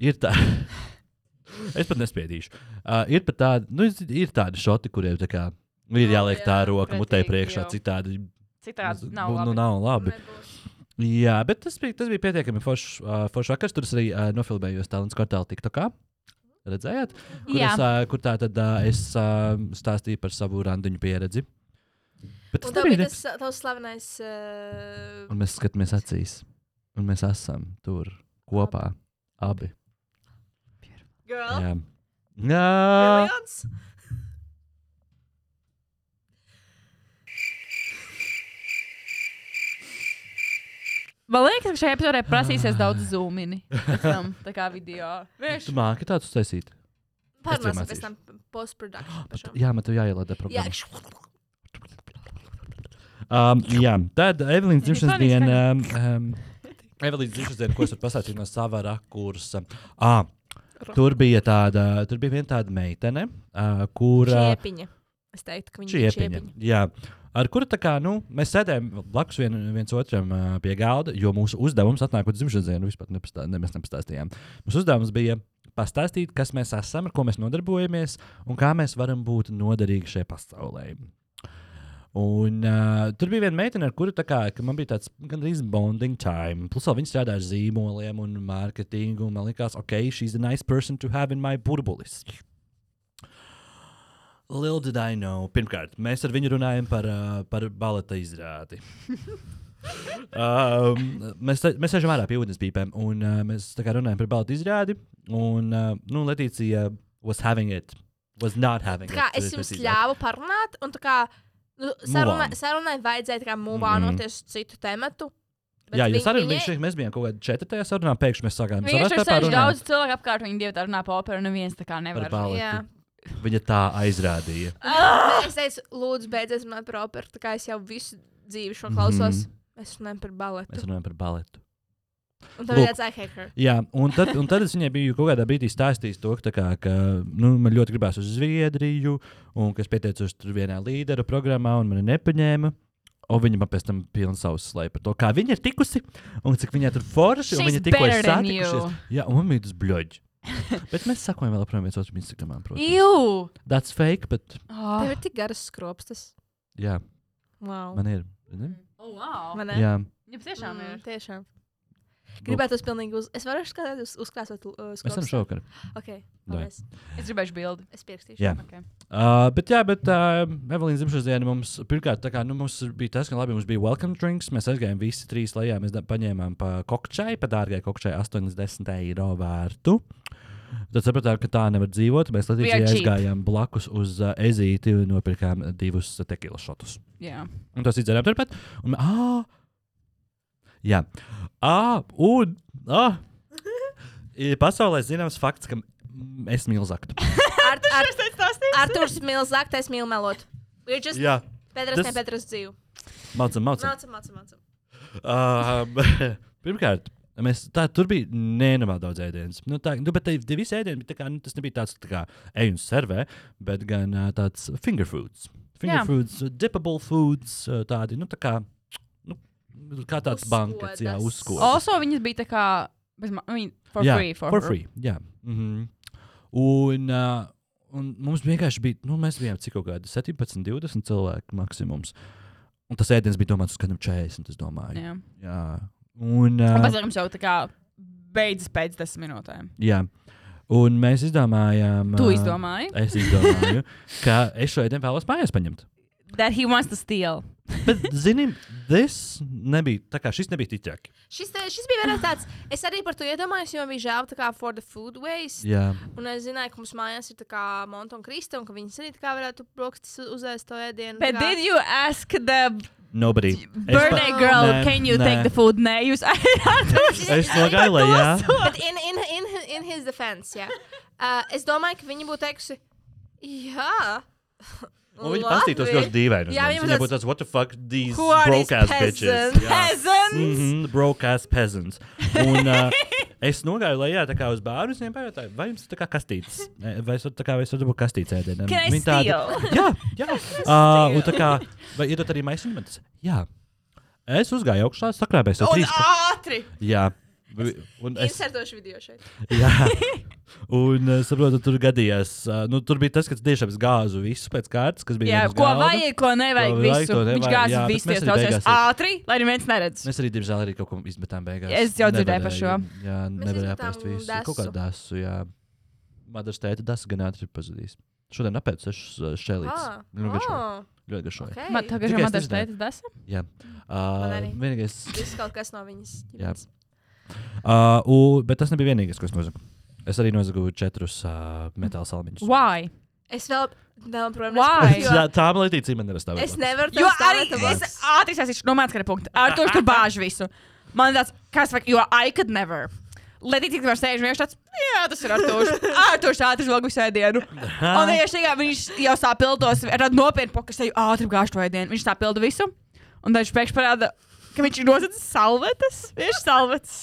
A: ir tā. es pat nespiedīšu. Uh, ir pat tādi, nu, ir- ir tādi šoti, kuriem tā kā, nu, ir
C: Jā,
A: jāliek
C: jā,
A: tā roka mutē
C: pretīgi,
A: priekšā,
C: jā.
A: citādi
C: Citādi
A: nu,
C: nav
A: nu,
C: labi.
A: nav labi. Jā, bet tas bija, tas bija pietiekami foršs uh, forš vakars. Tur es arī uh, nofilmējos Talants kvartāla TikTokā. Redzējāt? Kur,
C: Jā.
A: es, uh, kur tā tad uh, es uh, stāstīju par savu randiņu pieredzi. Bet
B: Un
A: tas
B: tev
A: nebija
B: bija
A: ne...
B: tas uh, tavs slavenais. Uh,
A: Un mēs skatāmies acīs. Un mēs esam tur kopā. Abi.
B: girl,
A: Jā. Jā.
B: Millions?
C: Man liekas, ka šajā epizodē prasīsies daudz zūmini. pēc tam, Tā kā video.
A: Ah. Tu
C: Vienkārši
A: māki tādu uztaisīt.
B: Pārnāsim
A: mācīšu.
B: pēc tam postprodukciju. par šo.
A: Jā, man te jāielādē
B: Jā,
A: problēma.
B: š-
A: Um, jā, tad Evelīnas
C: Ir
A: dzimšanas
C: fani,
A: diena. Um, um, Evelīnas dzimšanas diena, ko es varu pasakāt no sava rakursa. Ah, tur bija tāda, tur bija viena tāda meitene, uh, kur. ā,
B: Čiepiņa. Es teiktu, ka viņi ir
A: Čiepiņa.
B: čiepiņa.
A: Jā. Ar kuru tā kā nu, mēs sēdējām blakus vien, viens otram ā, pie galda, jo mūsu uzdevums, atnākot dzimšanas dienu, vispār nepastā, ne, mēs nepastāstījām. Mūsu uzdevums bija pastāstīt, kas mēs esam, ar ko mēs nodarbojamies un kā mēs varam būt noderīgi šai pasaulē. Un, uh, tur bija viena meitene, ar kuru tā kā, ka man bija tāds gandrīz bonding time. Plus, vēl viņa strādāja ar zīmoliem un mārketingu. un Man liekas, ok, she's a nice person to have in my burbulis. Little did I know. Pirmkārt, mēs ar viņu runājam par, uh, par baleta izrādi. um, mēs se- mēs sēžam ārā pie ūdens pīpēm, un uh, mēs tā kā runājam par baleta izrādi. Un, uh, nu, Letīcija was having it, was not having
B: Tā kā
A: it.
B: es jums
A: precīzāk.
B: ļāvu parunāt, un tā kā nu,
A: Move on.
B: sarunai, sarunai vajadzēja tā kā mūvānoties mm. uz citu tematu.
A: Mhm.
B: bet
A: Jā, jo
B: viņ-
A: sarunā
B: viņai-
A: bija šī, mēs bijām kaut kādā četrtajā sarunā, pēkšņi mēs sākām
C: Viņš ir
A: sarunāt par
C: sēž daudz
A: runāt
C: cilvēku apkārt, viņi divi tā runā par operu, un neviens tā
A: par
C: kā nevar.
B: Jā.
A: baletu. Viņa tā aizrādīja.
B: Bet Ah! Es teicu, lūdzu, beidziet runāt par operu, tā kā es jau visu dzīvi šo klausos.
A: Mhm.
B: Mēs runājam par
A: Mēs
B: baletu.
A: runājam par baletu.
B: Un tad
A: Lūk.
B: redzēja hacker.
A: Jā, un tad, un tad es viņai biju kaut kādā brīdī stāstījis to, ka, tā kā, ka nu, man ļoti gribās uz Zviedriju, un ka es pieteicos tur vienā līderu programmā, un mani nepaņēma. Un viņa man pēc tam pilna savas slēpjas par to, kā viņa ir tikusi, un cik viņa tur forši, un
C: She's
A: viņa tikko ir
C: better than you.
A: satikusies. Jā, un man bija tas bļoģi. Bet mēs sakojam vēl aprobiet viens otru Instagramā, protams.
C: Jū!
A: That's fake, bet
B: Tev
C: Oh,
B: ir tik garas skropstas.
A: jā,
B: Wow.
A: man ir. Ne?
C: Oh, wow.
B: Man
A: Jā.
C: Viņam tiešām ir.
B: Mm, Tiešām. Gribētu tas pilnīgi uz... Es varu skatīt, uz, uzklāsot uh,
A: Mēs esam
B: skropstas.
A: šovakar.
B: Ok,
A: Dai.
B: paldies.
C: Es gribēju bildi.
B: Es pierakstīšu.
A: Jā.
C: Okay.
A: Uh, bet, jā, bet uh, Evelīnas dzimšanas diena mums pirmkārt tā kā, nu, mums bija tas, ka labi, mums bija welcome drinks. Mēs aizgājām visi trīs lejā. Mēs da- paņēmām pa kokčai, pa dārgai kokčai 80 eiro vērtu. Tad sapratām, ka tā nevar dzīvot. Mēs
C: We
A: Latvijā
C: are cheap.
A: aizgājām blakus uz uh, ezīti un nopirkām divus uh, tekilas šotus.
C: Jā.
A: Un tas izdarām turpat. Un, ah, jā, ah, un. Ah, ir pasaulē zināms fakts, ka mm, es mīlu zaktu.
B: Ar, ar, Arthurs Milzāk, tas mīl melot. Viņš just
A: Jā,
B: Pēters
A: Tas-
B: ne Pēters dzīvu.
A: mācām, mācām.
B: Mācam, mācam, mācam.
A: Um, pirmkārt, mēs, tā, tur bija nenormāli daudz ēdienas. Nu, tā, nu, bet tie tie visi ēdieni bija tā kā, nu, tas nebija tāds tā kā ej un servē, bet gan uh, tāds finger foods. Finger
C: Jā.
A: foods, uh, dippable foods, uh, tādi, nu, tā kā, nu, kā tāds
B: Uz
A: bankets, jā,
B: sodas.
A: uzskodas.
C: Also, viņas bija tā kā. Bez, ma- I mean, for
A: jā,
C: free.
A: For free, jā. Mhm. Un, uh, un mums vienkārši bija, nu, mēs bijām cik kaut kādi 17, 20 cilvēki maksimums. Un tas ēdiens bija domāts uz kādiem 40, es domāju.
C: Jā.
A: Jā. Un, uh,
C: Tāpēc jums jau tā kā beidzas pēc desmit minūtēm.
A: Jā. Un mēs izdomājām,
C: Tu
A: ā,
C: izdomāji,
A: Es izdomāju, ka es šo ideju vēlos mājās paņemt.
C: that he wants to steal.
A: Bet, zinām, tas nebija tā kā šis nebija ticāk.
B: Šis, te- šis bija viens tāds, es arī par to iedomājos, jo man bija žēl, tā kā for the food waste.
A: Jā,
B: Un es zināju, ka mums mājās ir tā kā Monta un Krista, un ka viņas arī tā kā varētu brokastis uzēst to ēdienu.
C: But did you ask the
A: nobody. Es pa-
C: birthday girl,
A: Nē,
C: can you
A: nē.
C: take the food? Nē, jūs
A: Es nogāju lejā.
B: But in, in, in, in his defense, jā. Uh, es domāju, ka viņi būtu teikusi, jā.
A: Un Viņa paskatītos ļoti dīvaini. uz
B: Jā,
A: mums.
B: viņam
A: Viņa
B: tas-
A: būtu tāds, what the fuck, these
B: Who are these
A: broke ass bitches.
B: peasants?
A: Jā.
C: peasants.
A: Mhm, Broke ass peasants. Un, uh, Es nogāju lejā tā kā uz bāru, un pajautāju, vai jums tā kā kastītes, Eh, vai esat tā kā, vai esat dabūt kastītes ēdienam?
C: Can I
A: Viņa tāda, jā, jā. uh, un tā kā, vai iedot arī maisiņmetes? Jā. Es uzgāju augšā, sakrābēju sev
C: Un
A: trīs. ka-
C: ātri!
A: Jā. Vi- Un es,
B: Insertošu video šeit.
A: jā. Un uh, saprotu, tur gadījās, uh, nu, tur bija tas, ka es tiešām es gāzu visu pēc kārtas, kas bija.
C: Jā,
A: viens
C: ko
A: galda.
C: vajag, ko
A: Ko
C: nevajag, ko
A: vajag,
C: visu.
A: ko
C: Vajag,
A: nevajag,
C: Viņš gāja
A: jā, bet
C: visi
A: mēs arī
C: iestraucies
A: beigās ir-
C: ātri, lai neviens neredz.
A: Mēs arī, diemžēl, arī kaut ko izmetām beigās.
C: Es jau dzirdēju par šo.
A: Nevarēju, Jā,
B: Mēs
A: nevarēja
B: izmetām
A: apēst visu. Dasu. Kaut
B: dasu.
A: kā dasu, jā. Madars tēta dasu gan ātri ir pazudījis. Šodien apēc sešas uh, šēlītes.
B: Ah,
A: Ļoti garšoja.
B: ah,
A: Ļoti garšoja.
B: okay.
C: Man tā kā
A: Tikai
C: jau
A: es
C: Madaras
A: nezināju.
C: teica, desmit.
A: Jā. Uh,
B: arī.
A: vienīgais.
B: Tas kaut kas no viņas.
A: Jā.
B: ģimenes.
A: Uh, u, bet tas nebija vienīgais, ko es nozagu. Es arī nozagu četrus uh, metāla salmiņus.
C: Why?
B: Es vēl, vēl projām
C: Why?
B: nesaprotu, jo
A: Jā, tā malītīcija man nerastā.
B: Es nevaru to
C: Jo arī
B: stāvēt.
A: tavās.
C: es ātri sasīšu no mācekļa punkta. Ar to es tur bāžu visu. Man tāds, kas vajag, jo I could never. Letīts, kā sēž, viņš tāds, jā, tas ir Artošs. Artošs ātri žogu sēdienu. Un viņš tikai, viņš jau sāpildos, ar tādu nopietnu pokastēju ātri gāžu to ēdienu. Viņš sāpilda visu. Un tad viņš pēkšņi parāda, ka viņš ir nosicis salvetes. Viņš ir salvetes.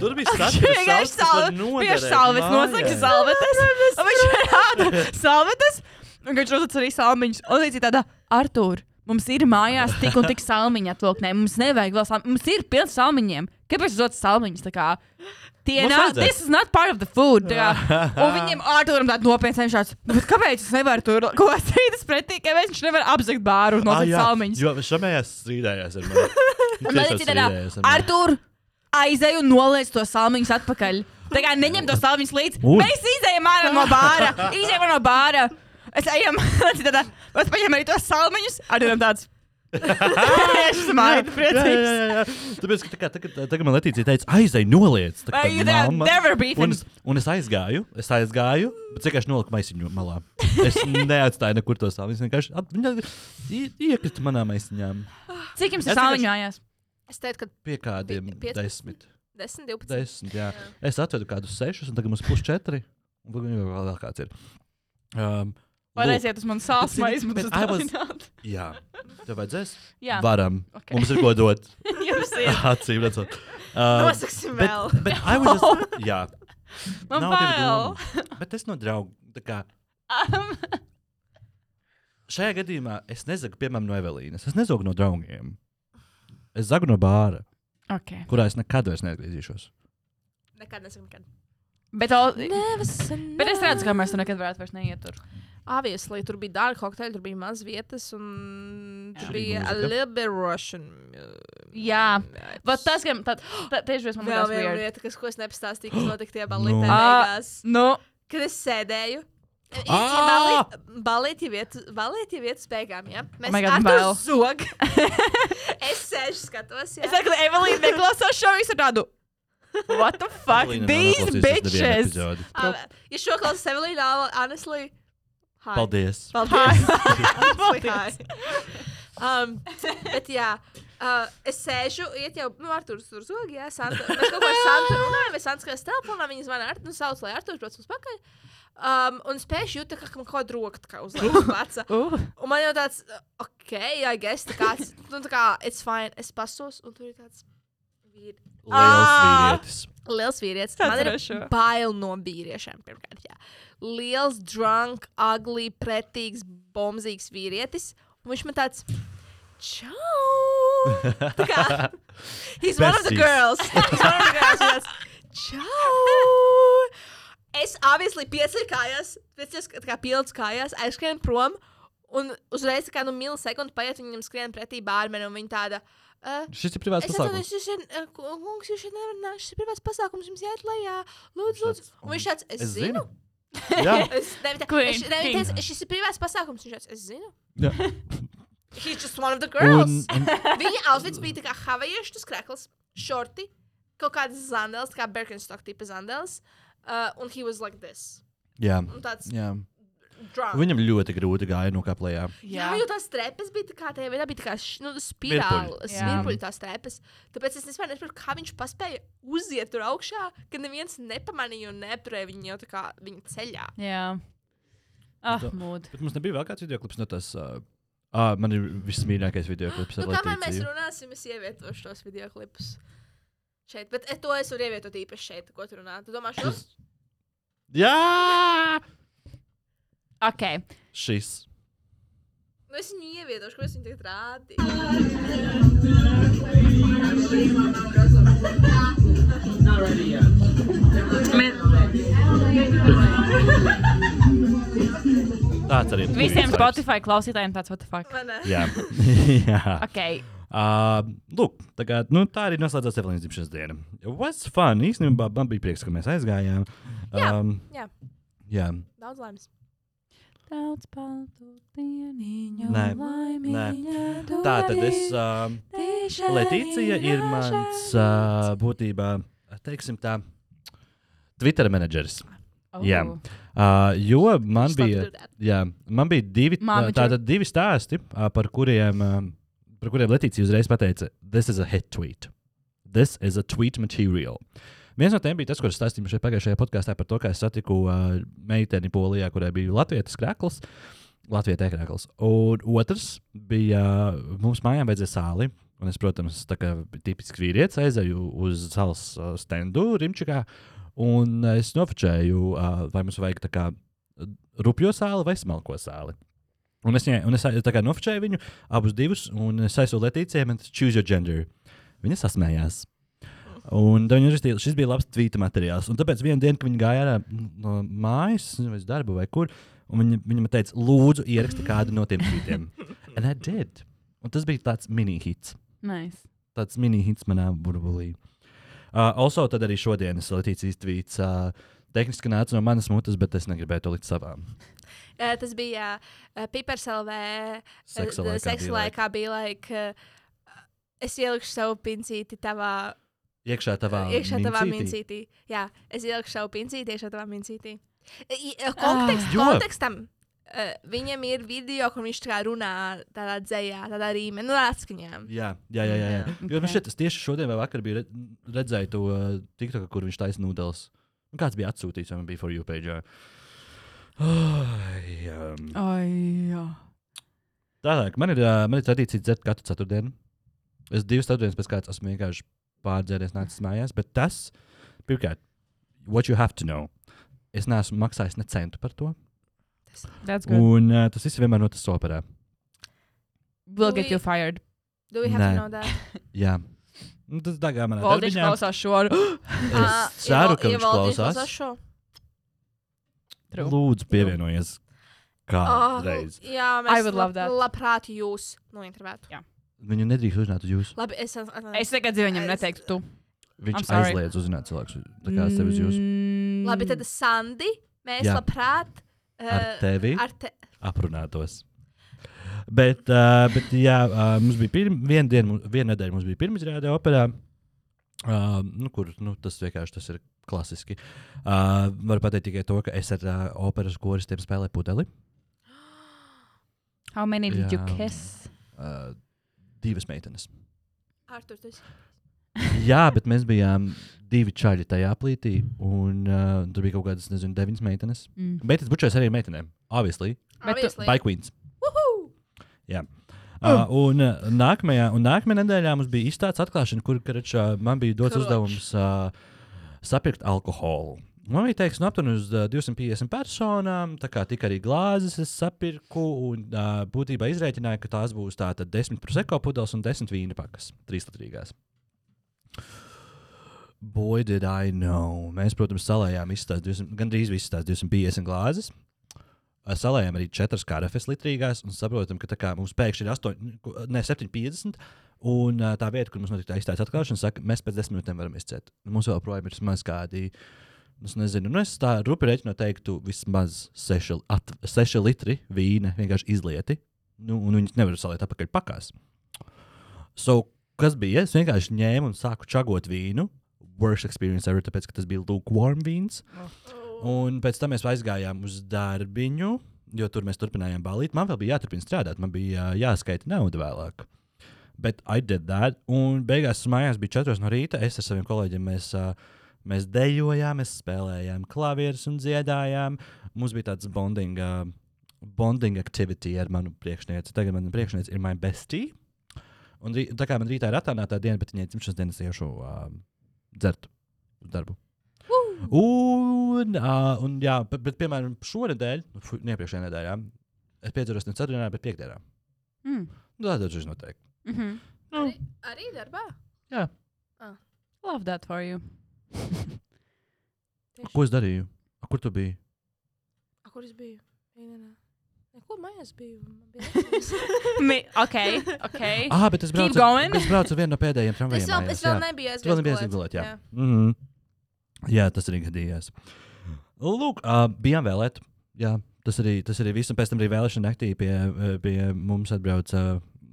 A: Tur bija
C: Viņš vienkārši salvetes. Salvetes noslēgs salvetes. Un viņš rāda salvetes. Un viņš uzlic arī salmiņus. Un līdz tādā Artur. Mums ir mājās tik un tik salmiņa atvilknē. Mums nevajag vēl salmiņu. Mums ir pilns salmiņiem. Kāpēc jūs dodat salmiņus? Tā kā Tie
A: Mums
C: nav,
A: vajadzēs.
C: this is not part of the food. tā kā. Un viņiem ārturam tāda nopietna viņš tāds, "Nu, bet kāpēc jūs nevarat tur, ko es teicu pretī, kāpēc viņš nevar apzakt
A: Ah,
C: bāru un nosaukt salmiņus?
A: Jo šamējās strīdējās ar mani. Nu, Tiešām
C: Un tad ir tādā,
A: strīdējās ar mani.
C: Nu, Artur, aizēju un nolaidu to salmiņus atpakaļ. Tā kā neņem to salmiņus līdzi.
A: Un?
C: Mēs izējām ārā no bāra. Izējām no bāra. Es ejam, tad ir tādā, es paņemu arī tos salmiņus. Arturam tāds. Es esmu mājā, priecīgs.
A: jā, jā. Tāpēc, ka, tā kā, tagad, tagad man Latīcija teica, aizej, noliec. Tā,
C: Vai
A: kā
C: you there-
A: mamma.
C: never beef
A: un,
C: him?
A: es, un es aizgāju, es aizgāju, bet vienkārši noliku maisiņu malā. Es neatstāju nekur to savu. Viņš vienkārši at- viņa ie- iekrita manā maisiņā
C: Cik jums
A: Es
C: ir
A: vienkārši-
C: salmiņu mājās?
B: Es teicu, ka
A: pie kādiem
B: Pi- 15?
A: desmit.
B: 10, 12.
A: desmit jā. Es atvedu kādus sešus, un tagad mums pusi četri. Un vēl- vēl vēl kāds ir. Um,
C: Vai
A: lūk,
C: aiziet uz manu
A: Bet,
C: sāsmu,
A: bet
C: izmantot
A: I was-
C: tādu?
A: jā, tev vajadzēs?
C: Jā,
A: Varam.
C: Ok.
A: Mums ir ko dot.
C: jums ir.
A: Acīm redzot. Um,
B: Nosaksim
A: Bet,
B: vēl.
A: bet I was just, jā,
C: Man
A: Nav tev
C: bail. Um,
A: doma. Bet es no draugu. tā Kā,
C: Am.
A: šajā gadījumā es nezagu, piemēram, no Evelīnas. Es nezagu no draugiem. Es zagu no bāra,
C: Ok.
A: kurā es nekad vairs neatgriezīšos.
B: Nekad nesaku nekad.
C: Bet, al... bet es redzu, ka mēs tur nekad varētu vairs neiet. Tur.
B: Obviously, tur bija dārgi kokteļi, tur bija maz vietas, un tur
A: Šī
B: bija a
A: mūzika.
B: little bit Russian. uh,
C: Jā.
B: vibes.
C: Bet tas, ka tā, tā, tieši tas man
B: Vēl viena
C: liekas,
B: lieta, kas, ko es nepastāstīju, kas notika tajā
A: Nu.
B: balītē.
C: Ā.
B: beigās.
C: ir. Nu,
B: Kad es sēdēju, e,
A: Ā!
B: balīti vietas beigām, ja? Mēs
C: Oh my God,
B: ar to
C: bail.
B: zog. Es sēžu, skatos,
C: es
B: ja?
C: domāju, ka Evelīna neklausās šo visu tādu. What the fuck?
A: Evelīna nav
C: These
A: noklausījusies nevienu
C: bitches!
A: epizodi.
B: Ā, Ja šo klausu Evelīna, honestly, hi.
A: Paldies.
B: Paldies!
C: Paldies.
B: um, bet jā, uh, es sēžu, iet jau, nu, Arturs tur zog, jā, Santa. Mēs kaut ko ar Santu runājam, es Santa skaties telefonā, viņas man ar, nu, sauc, lai Arturs brauc mums pakaļ. Um, un spēju jūt, tā kā ka man kaut kā drokt, kā uzliekas pleca.
C: Uh,
B: Un man jau tāds, ok, I guess, tā kā, nu, tā kā, it's fine. Es pasos, un tur ir tāds Ah! vīri-
A: Liels
C: Ā!
A: vīrietis.
B: liels vīrietis.
C: Tāds
B: Man ir
C: rašo.
B: bail no vīriešiem, pirmkārt, jā. Liels, drunk, ugly, pretīgs, bombzīgs vīrietis. Un viņš man tāds, čau! Tā kā, he's one of the
A: Besties.
B: girls. He's one of the girls. Viņš tāds, Čau! Es obviously piecēlos kājās, piecēlos kā- tā kā pildus kājās, aizskrienu prom. Un uzreiz, tā kā nu milisekundu paiet, viņam skrien pretī bārmenim, un viņa tāda. Uh,
A: Šis ir privāts
B: es
A: pasākums.
B: atvainojos, jūs šeit, eh, ku- kungs, jūs šeit nevarat nākt. Šis ir privāts pasākums, jums jāiet lejā. Lūdzu, lūdzu. Un viņš tāds, es,
A: Es
B: zinu.
A: zinu. Jā.
B: Es nevienu
C: Queen,
B: tādu
C: king.
B: lietu. Šis ir privāts pasākums, viņš tāds, es zinu.
A: Jā.
B: He's just one of the
A: Un,
B: girls.
A: un,
B: Viņa outfits bija tā kā havajiešu skrekls, šorti, kaut kādas zandeles, tā kā Birkenstock tipa zandeles. Uh, un he was like this.
A: jā.
B: Un tāds
A: jā.
B: drunk.
A: Viņam ļoti grūti gāja nokaplējā.
B: Jā,
C: jā.
B: jo tās trepes bija tā kā tajā veidā, bija tā kā š- nu, spirāli,
A: Virpuļi.
C: Jā.
B: spirāli tās trepes. Tāpēc es nesaprotu, nesaprotu, kā viņš spēja uziet tur augšā, kad neviens nepamanīja un neapturēja viņu jau tā kā viņa ceļā.
C: jā.
A: Nu.
C: Ah, mūd.
A: Bet mums nebija vēl kāds video klips no tās. Uh, ah, man ir vismīļākais video klips.
B: Nu, kamēr mēs runāsim, es ievietošu tos video klipus. šeit, bet e, to es varu ievietot īpaši šeit, ko tu runā. Tu domā, šo?
A: Šis. Jā!
C: Ok.
A: Šis.
B: Nu, es viņu ievietošu, ko es viņu tagad rādi.
A: Tāds arī ir.
C: Visiem Spotify klausītājiem tāds what the fuck.
B: Vai ne?
A: Jā. Jā.
C: Ok.
A: Uh, lūk, tā, kā, nu, tā arī noslēdzās Evelīnas dzimšanas diena. What's fun? Īstenībā man bija prieks, ka mēs aizgājām.
B: Jā,
A: um,
B: jā.
A: jā.
B: Daudz laimes.
D: Daudz baltu dieniņu,
A: Nē,
D: laimīņa tu
A: Tā tad es.
D: esi.
A: Uh,
D: Tiešām
A: Letīcija ir mans uh, būtībā, teiksim tā, Twitter menedžeris.
C: Oh.
A: Jā. Uh, jo man
B: Viņš labi
A: bija,
B: tur dara.
A: jā, man bija divi,
C: Manager.
A: tātad divi stāsti, uh, par kuriem, uh, par kuriem Letīcija uzreiz pateica, this is a hit tweet. This is a tweet material. Viens no tiem bija tas, ko es stāstīju jums šeit pagājušajā podkāstā par to, kā es satiku uh, meiteni Polijā, kurai bija latviešu krāklis. Latvijas krāklis. Un otrs bija, uh, mums mājām vajadzēja sāli. Un es, protams, tā kā tipisks vīrietis, aizēju uz salas uh, standu Rimčikā. Un uh, es nofočēju, uh, vai mums vajag tā kā uh, rupjo sāli vai smalko sāli. Un es, viņai- un es a- tā kā nofočēju viņu abus divus, un es aizsūtu Latīcijai, man tas choose your gender. Viņa sasmējās. Un tad viņi uzrakstīja, šis bija labs tvīta materiāls. Un tāpēc vienā dienā, kad viņi gāja ārā no mājas, nezinu, vai uz darbu vai kur, un viņi, viņi man teica, lūdzu, ieraksti kādu no tiem tvītiem. And I did. Un tas bija tāds mini-hits.
C: Nice.
A: Tāds mini-hits manā burbulī. Uh, also, tad arī šodienas Latīcijas tvīts. Uh, Tehniski nāca no manas mutes, bet es negribēju to līdz savām.
B: Uh, tas bija uh, Pipers LV. eh,
A: Seksa
B: d-
A: laikā
B: seksa
A: bija
B: laikā bija laika. eh, Es ielikšu savu pincīti tavā, uh,
A: Iekšā tavā
B: iekšā tavā
A: mincītī.
B: mincītī. Jā, es ielikšu savu pincīti iekšā tavā mincītī. I- i- Kontekst,
A: Ah, Jo.
B: kontekstam. Uh, viņam ir video, kur viņš tā kā runā tādā dzējā, tādā rīmenī, nu, atskaņā.
A: Jā, jā, jā. jā, jā.
C: Jā,
A: Jo,
C: ok.
A: man šķiet, es tieši šodien vai vakar biju re- redzēju to tiktu, kur viņš taisīja nūdeles. Un kāds bija atsūtījis, vai man bija for you page. jā. Ai, um,
C: Ai, jā.
A: Tālāk, man ir, ā, man ir tradīcija dzert katru ceturtdienu. Es divas ceturtdienas pēc kārtas esmu vienkārši pārdzēries, nācis mājās. Bet tas, pirmkārt, what you have to know. Es neesmu maksājis ne centu par to.
C: That's good.
A: Un uh, tas viss vienmēr notiek operā.
C: We'll get you fired.
B: Do we have
A: Nē.
B: to know that?
A: Jā, Nu, tas tā kā manā
C: Valdīši
A: darbiņā.
C: klausās šo.
B: Ā,
A: Es ceru,
B: Ival-
A: ka viņš
B: Ivaldis
A: klausās.
B: šo.
C: True.
A: Lūdzu, pievienojies.
B: Ah,
A: Kādreiz.
B: Jā,
C: I
B: mēs
C: would
B: lab,
C: love that.
B: labprāt jūs nointervētu.
A: Viņu nedrīkst uzzināt uz jums.
B: Labi, es atvainojos.
C: Es tagad dzīvoju viņam neteiktu tu. I'm
A: Viņš
C: sorry. Mm,
A: aizliedz uzzināt cilvēku. Tā kā es tevi uz jums.
B: Labi, tad Sandi, mēs
A: Jā.
B: Jā. labprāt.
A: Ar
B: eh,
A: tevi
B: Ar te...
A: aprunātos. Bet, uh, bet jā, uh, mums bija pirm, viena diena, mu- viena nedēļa mums bija pirmā izrāde operā. Uh, nu, kur nu, tas vienkārši tas ir klasiski. Uh, varu pateikt tikai to, ka es ar uh, operas koristiem spēlēju pudeli.
C: How many did you
A: Jā.
C: kiss?
A: Uh, divas meitenes.
B: Artur, tu esi-
A: Jā, bet mēs bijām divi čaļi tajā aplītī. Un uh, tur bija kaut kādas, nezinu, deviņas meitenes.
C: Mm.
A: Bet es bučos arī ar meitenēm. Obviously.
C: Bet tu-
B: Obviously.
A: Bike queens.
B: Woohoo!
A: Uh, un, uh, nākamajā, un nākamajā nedēļā mums bija izstādes atklāšana, kur karč, uh, man bija dots
B: Kroč.
A: uzdevums uh, sapirkt alkoholu. Man bija teiks, nu, aptuveni uz uh, 250 personām, tā kā tika arī glāzes, es sapirku, un uh, būtībā izrēķināju, ka tās būs tātad 10 prosecco pudeles un 10 vīna pakas, trīslatrīgās. Boy, did I know. Mēs, protams, salējām izstāst 200 gandrīz visas tās 250 glāzes. Ā, Salējām arī četras karafes litrīgās, un saprotam, ka tā kā mums pēkšņi ir 8, ne 7,50. Un ā, tā vieta, kur mums notika tā izstādes atklāšana, saka, mēs pēc desmit minūtēm varam izciet. Nu, Mums joprojām ir vismaz kādi, nu, es nezinu, nu, es tā rupi reiķinu teiktu, vismaz 6, at, 6 litri vīna vienkārši izlieti, nu, un viņas nevar saliet apakaļ pakās. So, kas bija? Es vienkārši ņēmu un sāku čagot vīnu. Worst experience ever, tāpēc, ka tas bija lukewarm vīns. Un pēc tam mēs aizgājām uz darbiņu, jo tur mēs turpinājām balīt. Man vēl bija jāturpina strādāt, man bija ā, jāskaita nauda vēlāk. Bet I did that. Un beigās mājās bija 4 no rīta. Es ar saviem kolēģiem mēs, ā, mēs dejojām, mēs spēlējām klavierus un dziedājām. Mums bija tāds bonding, ā, bonding activity ar manu priekšnieci. Tagad man priekšniece ir my bestie. Un rī- tā kā man rītā ir attālināta diena, bet viņai dzimšanas dienas iešu uh, dzert uz darbu. Un, uh, un jā, bet, bet piemēram, šonadēļ, fu- ne iepriekšējā nedēļā, es piedzeros ne ceturtdienā, bet piekdienā.
C: Mm.
A: Nu, tā dažreiz notiek.
C: Mhm.
A: Nu,
B: Arī darbā?
A: jā,
C: Love that for you.
A: ko es darīju? A, Kur tu biji?
B: A, kur es biju? Vienā. Ko mājās biju? Man bija atpakaļ.
C: Mi, ok, ok.
A: Ah, bet es
C: Keep
A: braucu,
C: going.
A: es braucu ar vienu no pēdējiem
B: es
A: tramvajiem.
B: vēl,
A: mājās,
B: es vēl
A: jā.
B: nebiju
A: Tu vēl nebija aizgulēt. Jā. Mm -hmm. jā, tas arī gadījās. Lūk, uh, bijām vēlēt. Jā, tas arī, tas arī viss. Un pēc tam arī vēlēšana naktī pie, eh, pie mums atbrauca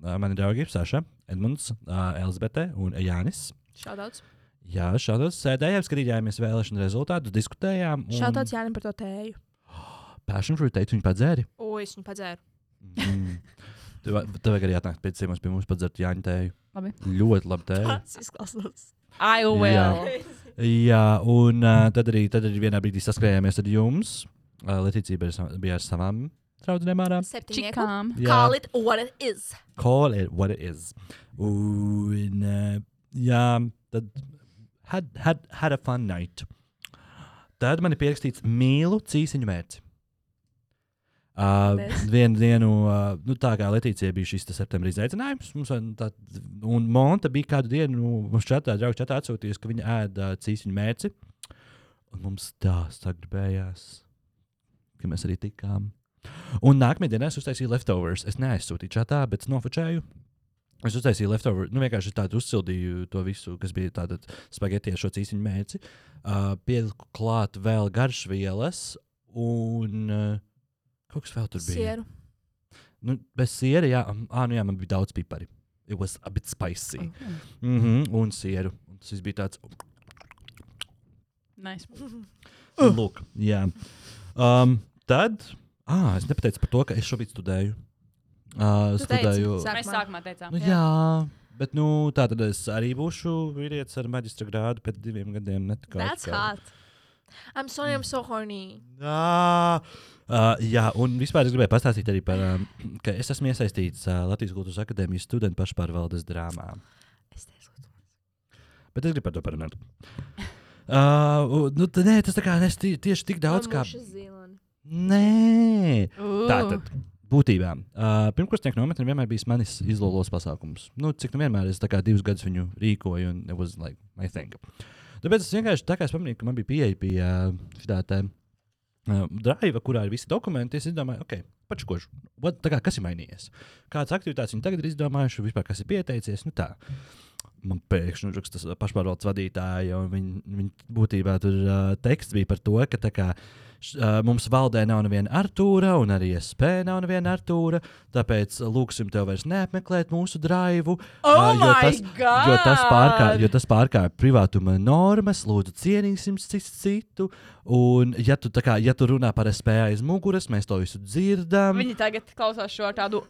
A: uh, mani draugi Saša, Edmunds, uh, Elzbete un Jānis.
B: Šādauts.
A: Jā, šādos sēdējām, skatījāmies vēlēšanu rezultātus, diskutējām.
B: Šādauts Jānim par to tēju.
A: Pēkšņi tur teica, viņa padzēri.
B: O, es viņu padzēru.
A: Mm. Tev, tev vajag arī atnākt pēc ciemos pie mums padzert Jāņa tēju.
C: Labi.
A: Ļoti labi tēju.
B: Tas izklausās.
C: I will.
A: Jā, un uh, tad, arī, tad arī vienā brīdī saskrējāmies ar jums. Uh, Letīcija bija, ar sa- bija ar savām draugiem ārā.
B: Septiņnieku.
C: Čikām.
A: Jā.
B: Call it what it is.
A: Call it what it is. Un, uh, jā, tad had, had, had a fun night. Tad man ir pierakstīts mīlu cīsiņu mērķi. Uh,
B: Paldies.
A: vienu dienu, uh, nu, tā kā Latīcija bija šis te septembrī izaicinājums, mums, vajag tā, un Monta bija kādu dienu nu, mums čatā, draugu čatā atsūtījusi, ka viņa ēda uh, cīsiņu mērķi. Un mums tā sagribējās, ka mēs arī tikām. Un nākamajā dienā es uztaisīju leftovers. Es neaizsūtīju čatā, bet es nofočēju. Es uztaisīju leftovers. Nu, vienkārši es tādu uzsildīju to visu, kas bija tāda spagetti ar šo cīsiņu mēci. Uh, pieliku klāt vēl garšvielas un uh, kaut kas vēl tur bija.
B: Sieru.
A: Nu, bez siera, jā, ah, nu jā, man bija daudz pipari. It was a bit spicy. Oh. Mm -hmm, un sieru. Un Tas viss bija tāds oh,
C: Nice.
A: Uh. Lūk, jā. Um, tad, ah, es nepateicu par to, ka es šobrīd studēju. Uh,
B: Tu teici,
A: studēju.
B: sākumā.
C: Mēs sākumā teicām.
A: nu, jā. jā, bet nu, tā tad es arī būšu vīrietis ar maģistra grādu pēc diviem gadiem. ne kaut
B: That's
A: kā.
B: hot. I'm sorry, I'm so horny.
A: Jā. Uh, jā, un vispār es gribēju pastāstīt arī par to, um, ka es esmu iesaistīts uh, Latvijas Kultūras Akadēmijas studentu pašpārvaldes drāmā.
B: Es teicu,
A: Bet es gribu par to parunāt. Uh, nu, t- nē, tas tā kā nes tie- tieši tik daudz kā.
B: Zīlani.
A: Nē,
C: Ooh.
A: Tātad, būtībā, uh, pirmkursnieku nometne vienmēr bija manis izlūkos pasākums. Nu, cik nu vienmēr es tā kā divus gadus viņu rīkoju, un it was like my thing. Tāpēc es vienkārši tā kā es pamanīju, ka man bija pieeja pie uh, šitā te uh, drive, kurā ir visi dokumenti. Es domāju, ok, pačkošu, What- tā kā, kas ir mainījies? Kādas aktivitātes viņi tagad ir izdomājuši, vispār kas ir pieteicies? Nu, tā. Man pēkšņi uzraksta tas pašpārvaldes vadītāja, un viņa, viņa būtībā tur uh, teksts bija par to, ka tā kā, š, uh, mums valdē nav neviena Artūra, un arī SP nav neviena Artūra. Tāpēc uh, lūgsim tev vairs neapmeklēt mūsu drāvu.
C: Oh
A: jo,
C: my
A: tas- jo tas pārkāpj-
C: God!
A: jo tas pārkāpj privātuma normas, lūdzu, cienīsim cis citu. Un, ja tu, tā kā, ja tu runā par SP aiz muguras, mēs to visu dzirdam.
C: Viņi tagad klausās šo ar tādu.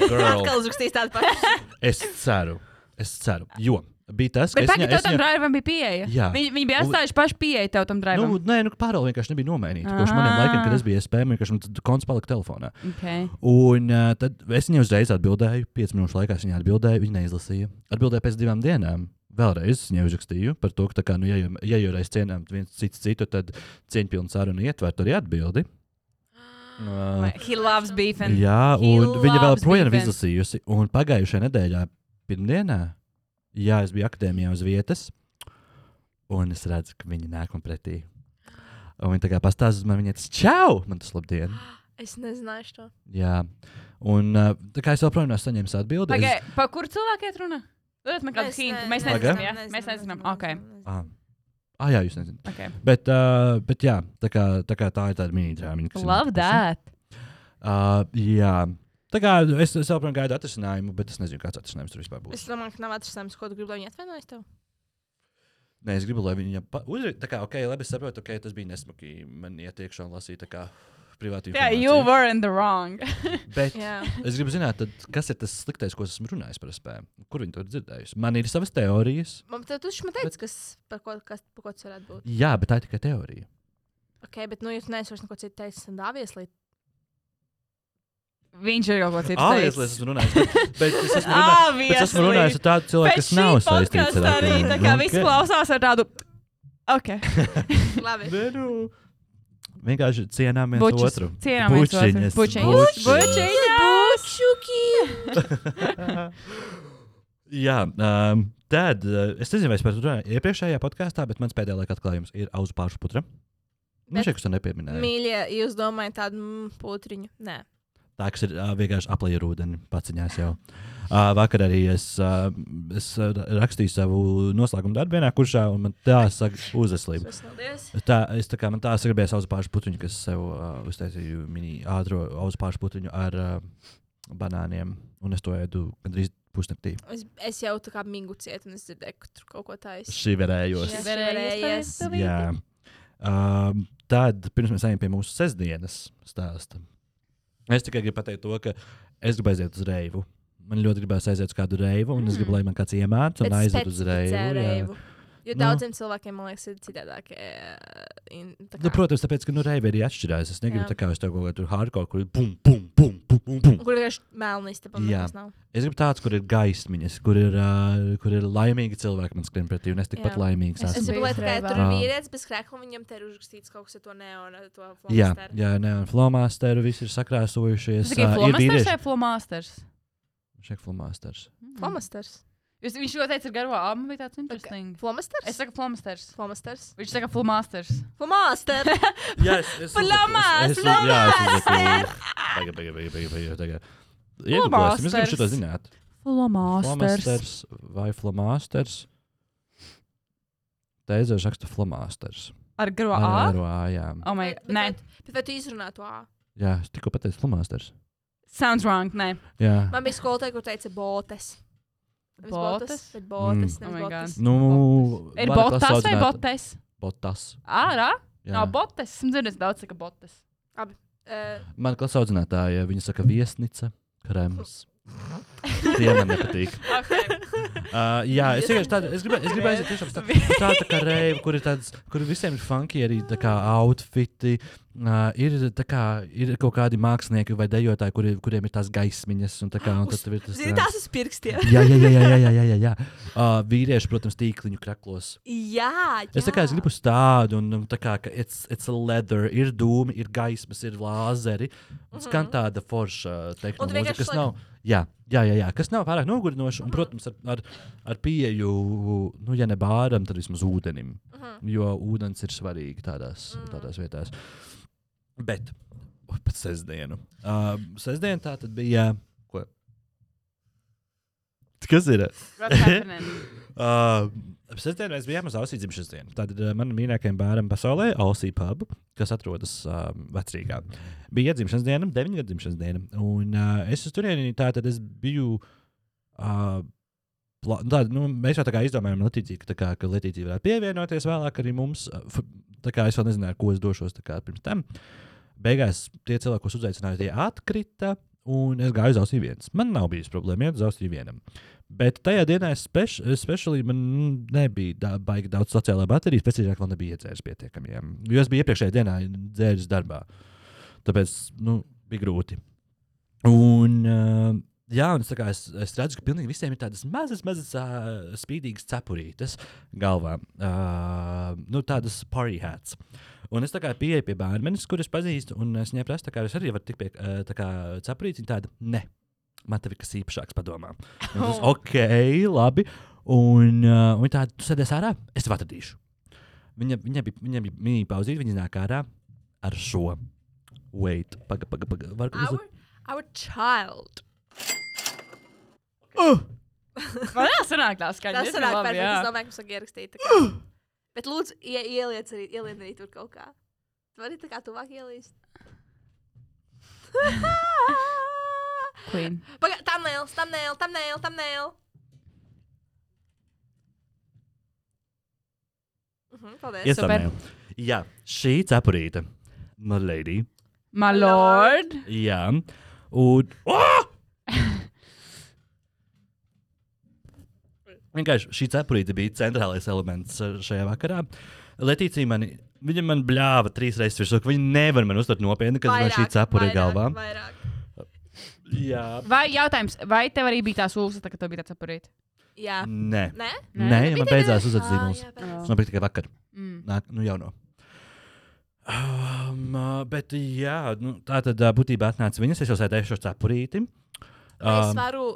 A: Girl,
B: Atkal uzrakstīs tādu pašu.
A: es ceru, es ceru, jo bija tas, ka
C: Bet
A: es,
C: tagad
A: viņai-
C: tev
A: es
C: tam
A: viņai-
C: drivam bija pieeja.
A: Jā.
C: Viņi, viņi bija
A: Un-
C: atstājuši pašu pieeju tev tam drivam.
A: Nu, nē, nu, pāri vienkārši nebija nomainīta. Kopš maniem
C: Ah.
A: laikiem, kad es biju spējams, vienkārši man tad konts palika telefonā.
C: Okay.
A: Un uh, tad es viņai uzreiz atbildēju, 5 minūšu laikā es viņai atbildēju, viņa neizlasīja. Atbildēju pēc divām dienām. Vēlreiz es viņai uzrakstīju par to, ka, tā kā, nu, ja, jau, ja jau reiz cienām viens citu, citu tad cieņpilnu sarunu ietvert arī atbildi. Uh,
C: He loves beef and
A: jā,
C: He
A: un viņa vēl
C: loves
A: projām nav
C: beef and-
A: izlasījusi. Un pagājušajā nedēļā, pirmdienā, jā, es biju akadēmijā uz vietas, un es redzu, ka viņa nāk man pretī. Un viņa tā kā pastāsta man, viņa teica, čau, man tas labdien!
B: Es nezināšu to.
A: Jā. Un uh, tā kā es joprojām nesu saņēmis atbildi.
C: Pagai,
A: Es...
C: pa kur cilvēkiem runa? Dodiet man kādu hintu. Mēs
A: ne-
C: nezinām,
A: Pagai.
C: jā. Mēs nezinām. Ok.
A: Ah. Ah, jā, jūs nezināt.
C: Ok.
A: Bet, uh, bet jā, tā, kā, tā, kā tā ir tāda mini-drāma. kas ir
C: Love
A: notikusi.
C: that.
A: Uh, jā, tā kā es, es joprojām gaidu atrisinājumu, bet es nezinu, kāds atrisinājums tur vispār būs.
B: Es domāju, ka nav atrasts, ko tu gribi, lai viņi atvainojas tev.
A: Nē, es gribu, lai viņi uzrakst, tā kā, ok, labi, es saprotu, ok, tas bija nesmuki. Man ietiekšā un lasīja tā kā privāti.
C: Yeah, you were in the wrong.
A: Bet
B: Jā.
A: es gribu zināt, tad, kas ir tas sliktais, ko es esmu runājis par spēju. Kur viņi to ir dzirdējuši? Man ir savas teorijas.
B: Man te tu šim teici, kas par ko, kas, par ko tas varētu būt.
A: Jā, bet tā ir tikai teorija.
B: Ok, bet nu jūs neesat neko citu teicis un dāvies līdz.
C: Viņš ir kaut ko citu
A: Āvies, es
C: teicis.
A: esmu runājis. Bet, bet es esmu runājis, bet es esmu
C: Obviously.
A: runājis ar tādu cilvēku,
C: Pēc
A: kas
C: šī
A: nav saistīts
C: podkasta
A: ar Nu,
C: arī tā kā viss klausās ar tādu. Ok.
B: Labi.
A: Nē, nu, Vienkārši cienām viens
C: Bučus.
A: otru.
C: Cienām viens otru.
A: Bučiņas,
C: Bučiņas.
A: bučiņas.
C: Bučiņas.
A: Jā, um, tad uh, es nezinu, vai es par to runāju iepriekšējā podkāstā, bet mans pēdējā laika atklājums ir auzu pāršu putra. Nu,
B: Bet-
A: šeit, kas to nepieminēja.
B: Mīļie, jūs domājat tādu mm, putriņu? Nē.
A: Tā kas ir ā, vienkārši aplēja rudenī, paciņās jau. Uh, vakar arī es, uh, es ā, rakstīju savu noslēgumu darbu vienā kursā, un man tā saka, uzaslība.
B: Paldies.
A: Tā, es tā kā man tā sagribēju savu pāršu putuņu, kas sev uh, uztaisīju mini ātro auzu pāršu putuņu ar uh, banāniem, un es to ēdu gandrīz pusnaktī.
B: Es, es jau tā kā mingu cietu, un es dzirdēju, ka tur kaut ko taisīs.
A: Šī varējos.
B: Jā.
A: Jā. Um, tad, pirms mēs ejam pie mūsu sestdienas stāsta, es tikai gribu pateikt to, ka es gribu aiziet uz reivu. Man ļoti gribēs aiziet uz kādu reivu, un mm.
B: Mhm.
A: es gribu, lai man kāds iemāca un aiziet uz reivu. jā.
B: Jo
A: Nu.
B: daudziem cilvēkiem, man liekas, ir citādāk. eh, in- tā
A: Nu,
B: kā-
A: protams, tāpēc, ka nu, reiba arī atšķirās. Es negribu
B: Jā.
A: tā kā uz to kaut kādu hardcore, kur ir bum, bum, bum, bum, bum, bum.
B: Kur vienkārši melnīs, tāpēc
A: Jā.
B: nekas nav.
A: Es gribu tādu, kur ir gaismiņas, kur ir, uh, kur ir laimīgi cilvēki man skrien pretī, un es tikpat
B: Jā.
A: laimīgs.
C: Es
B: Es
A: esmu.
C: biju
B: domāju, ka
C: reivā.
B: tur ir
A: Ā.
B: vīrietis bez krēkla, un viņam te ir uzrakstīts kaut kas ar to neonu, ar to
A: Jā,
B: flamasteru.
A: jā, nē, un flomāsteru visi ir sakrāsojušies.
C: Tas ir
A: ā, ir
C: flomasters
A: vīrieši.
C: vai flomasters?
A: Šeit flomāsters.
B: Flomasters.
C: Jūs- Viņš jau teica, ir garo amu, bija tāds interesants.
B: Flomasters?
C: Es saku flomasters.
B: Flomasters.
C: Viņš saka flomasters.
B: Flomasters.
A: Jā, es- es uzliku-
C: Flamās,
A: es- es- jā, es uzliku- Tagad, tagad, tagad, tagad, tagad, tagad. Iegūsim, es gribu
C: Flomasters.
A: šo zināt.
C: Flomasters.
A: Flomasters vai flomasters? Teizēž raksta flomasters.
C: Ar garo
A: Ar- ar
C: amu?
A: ā, jā.
C: Oh my, nē.
B: Bet vai tu izrunā to ā?
A: Jā, es tikko pateicu flomasters.
C: Sounds wrong, nē.
A: Jā.
B: Man bija skolotāja, kur teica botes. Nevis
C: Botes?
B: Bet botes,
A: Mm.
B: nevis
C: Oh my
B: botes.
A: Nu,
C: Oh. Ir
A: varat
C: botas vai
A: sasaucināt-
C: botes?
A: Botas.
C: Ārā?
A: Jā.
C: Nav botes. Esmu dzirdējis daudz, ka botes.
B: Eh,
A: Man klasē audzinātāja, viņa saka viesnica, krems. Tie man nepatīk. Uh, jā, es vienkārši tādu, es gribēju, es gribēju aiziet tiešām uz tā, uz tādu tā kā reivu, kur ir tāds, kur visiem ir funky arī tā kā outfiti, uh, ir tā kā, ir kaut kādi mākslinieki vai dejotāji, kuri, kuriem ir tās gaismiņas un tā kā, un tad tev ir tas. Mm. tāds-
B: Zini, tās uz pirkstiem.
A: Jā, jā, jā, jā, jā, jā, jā, jā, jā. Uh, vīrieši, protams, tīkliņu kraklos.
B: Jā, jā.
A: Es tā kā es gribu uz tādu, un um, tā kā, ka it's, it's a leather, ir dūmi, ir gaismas, ir lāzeri, un skan tāda forša
B: Mhm. Un tu
A: tehnoloģija,
B: vienkārši
A: kas
B: liek-
A: nav, jā, jā, jā, jā, kas nav pārāk nogurinoša, un, protams, ar, ar, ar pieeju, nu, ja ne bāram, tad vismaz ūdenim,
B: Mhm.
A: jo ūdens ir svarīgi tādās, tādās vietās. Bet, uh, pat sestdienu. Uh, sestdien tā tad bija, ko? Kas ir?
C: What's happening?
A: Uh, Sestdien mēs bijām uz Ausijas dzimšanas dienu. Tad uh, manam mīļākajam bērnam pasaulē, Ausija pub, kas atrodas uh, vecrīgā, bija dzimšanas diena, 9 gadu dzimšanas diena. Un uh, es uz turieni tā tad es biju. Uh, pla- Tā, nu, mēs jau tā kā izdomājām, Latīcija, ka, tā kā, ka Latīcija varētu pievienoties vēlāk arī mums. Uh, f- Tā kā es vēl nezināju, ar ko es došos tā kā pirms tam. Beigās tie cilvēki, kurus uzaicināju, tie atkrita, un es gāju uz Ausiju viens. Man nav bijis problēma iet uz Ausiju vienam. Bet tajā dienā es speš, speciāli man mm, nebija da, baigi daudz sociālā baterijas, precīzāk, man nebija iedzēris pietiekami. jā. Jo es biju iepriekšējā dienā dzēris darbā. Tāpēc nu, bija grūti. Un, uh, jā, un es, tā kā es, es redzu, ka pilnīgi visiem ir tādas mazas, mazas uh, spīdīgas cepurītes galvā. Uh, nu, tādas party hats. Un es tā kā pieeju pie bērnības, kurus pazīstu, un es viņai prasu, tā kā es arī varu tikt pie ā, tā kā cepurītes. Viņa tāda, ne, man tev ir kas īpašāks padomā. Un Tas, ok, labi. Un uh, viņa tāda, tu sēdies ārā, es tev atradīšu. Viņa, viņa bija, viņa bija mini pauzīte, viņa nāk ārā ar šo. Wait, pagaidi, pagaidi. Paga,
B: Our, our child.
C: Man jāsanāk tā skaņa.
B: Tas
C: diezgan
B: ir ļoti
C: labi,
B: perfekti.
C: jā.
B: Es domāju, ka mums vajag ierakstīt. tā kā. Bet lūdzu, ie, ieliec arī, ieliec arī tur kaut kā. Tu vari tā kā tuvāk ielīst.
C: Queen.
B: Pagaid, tam nē, tam nē, tam nē, tam nē. Mhm, Paldies.
A: Yes, Jā, šī cepurīte, my lady.
C: My lord.
A: Jā, un. Oh! Vienkārši šī cepurīte bija centrālais elements uh, šajā vakarā. Letīcija man, viņa man bļāva trīs reizes virsū, ka viņa nevar man uztvert nopietni, kad man šī cepura ir galvā.
B: Vairāk.
A: Jā.
C: Vai jautājums, vai tev arī bija tā sūkļa, tā, ka tev bija tāds apgabals?
B: Jā,
A: Nē,
B: nē,
A: nē, nē man beidzās
B: Ā,
A: uzvārds zīmols.
B: jā, pareizi.
A: Man bija tikai vakar.
C: Mm.
A: Nāk, nu jau no. Um, ā, bet, jā, nu, tā tad ā, būtībā atnāca viņas. Es jau sēdēju ar cepurīti.
B: Es
A: Ā,
B: varu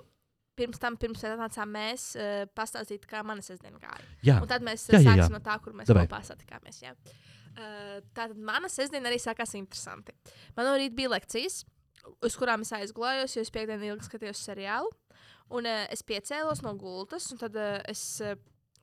B: pirms tam, pirms mēs atnācām, mēs uh, pastāstīt, kā mana sestdiena gāja.
A: jā,
B: Un tad mēs
A: Jā,
B: jā,
A: jā,
B: jā,
A: jā.
B: sāksim no tā, kur mēs
A: Davai.
B: kopā satikāmies. jā. Uh, Tātad mana sestdiena arī sākās interesanti. Man no rīta bija lekcijas, uz kurām es aizgulējos, jo es piekdienu ilgi skatījos seriālu. Un uh, es piecēlos no gultas, un tad uh, es uh,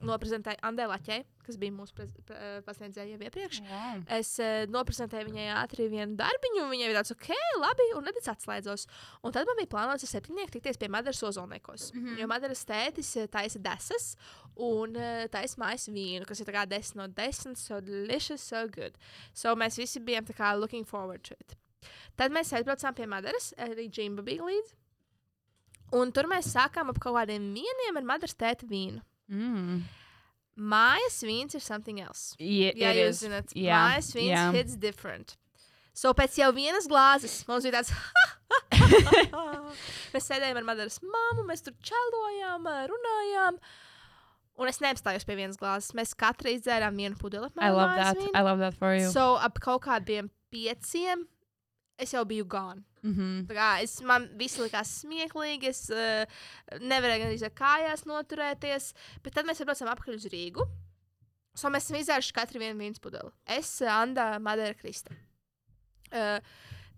B: noprezentēju Andrei Laķai, kas bija mūsu prez- pre- pasniedzēja jau iepriekš.
C: Wow.
B: Es uh, noprezentēju viņai ātri vienu darbiņu, un viņa bija tāda, ok, labi, un tad es atslēdzos. Un tad man bija plānots ar septiņiem tikties pie Madaras ozolniekos. Mm -hmm. Jo Madaras tētis eh, taisa desas un eh, taisa mājas vīnu, kas ir tā kā desmit no desmit, so delicious, so good. So mēs visi bijām tā kā looking forward to it. Tad mēs aizbraucām pie Madaras, arī Džimba bija līdzi. Un tur mēs sākām ap kaut kādiem vieniem ar Madaras tēta vīnu.
C: Mm.
B: Mājas vīns ir something else.
C: Yeah,
B: Jā,
C: it
B: jūs
C: is.
B: zināt,
C: Jā,
B: yeah. mājas vīns
C: jā.
B: yeah. hits different. So pēc jau vienas glāzes mums bija tāds. mēs sēdējām ar Madaras māmu, mēs tur čelojām, ā, runājām. Un es neapstājos pie vienas glāzes. Mēs katra izdzērām vienu pudeli.
C: I love that. I love that for you.
B: So ap kaut kādiem pieciem es jau biju gone.
C: Mhm.
B: Tā kā Es, man viss likās smieklīgi, es uh, nevarēju gandrīz ar kājās noturēties. Bet tad mēs braucām apakaļ uz Rīgu. So mēs esam izdzēruši katru vienu vīnu pudeli. Es, Anna, Madara Krista. Uh,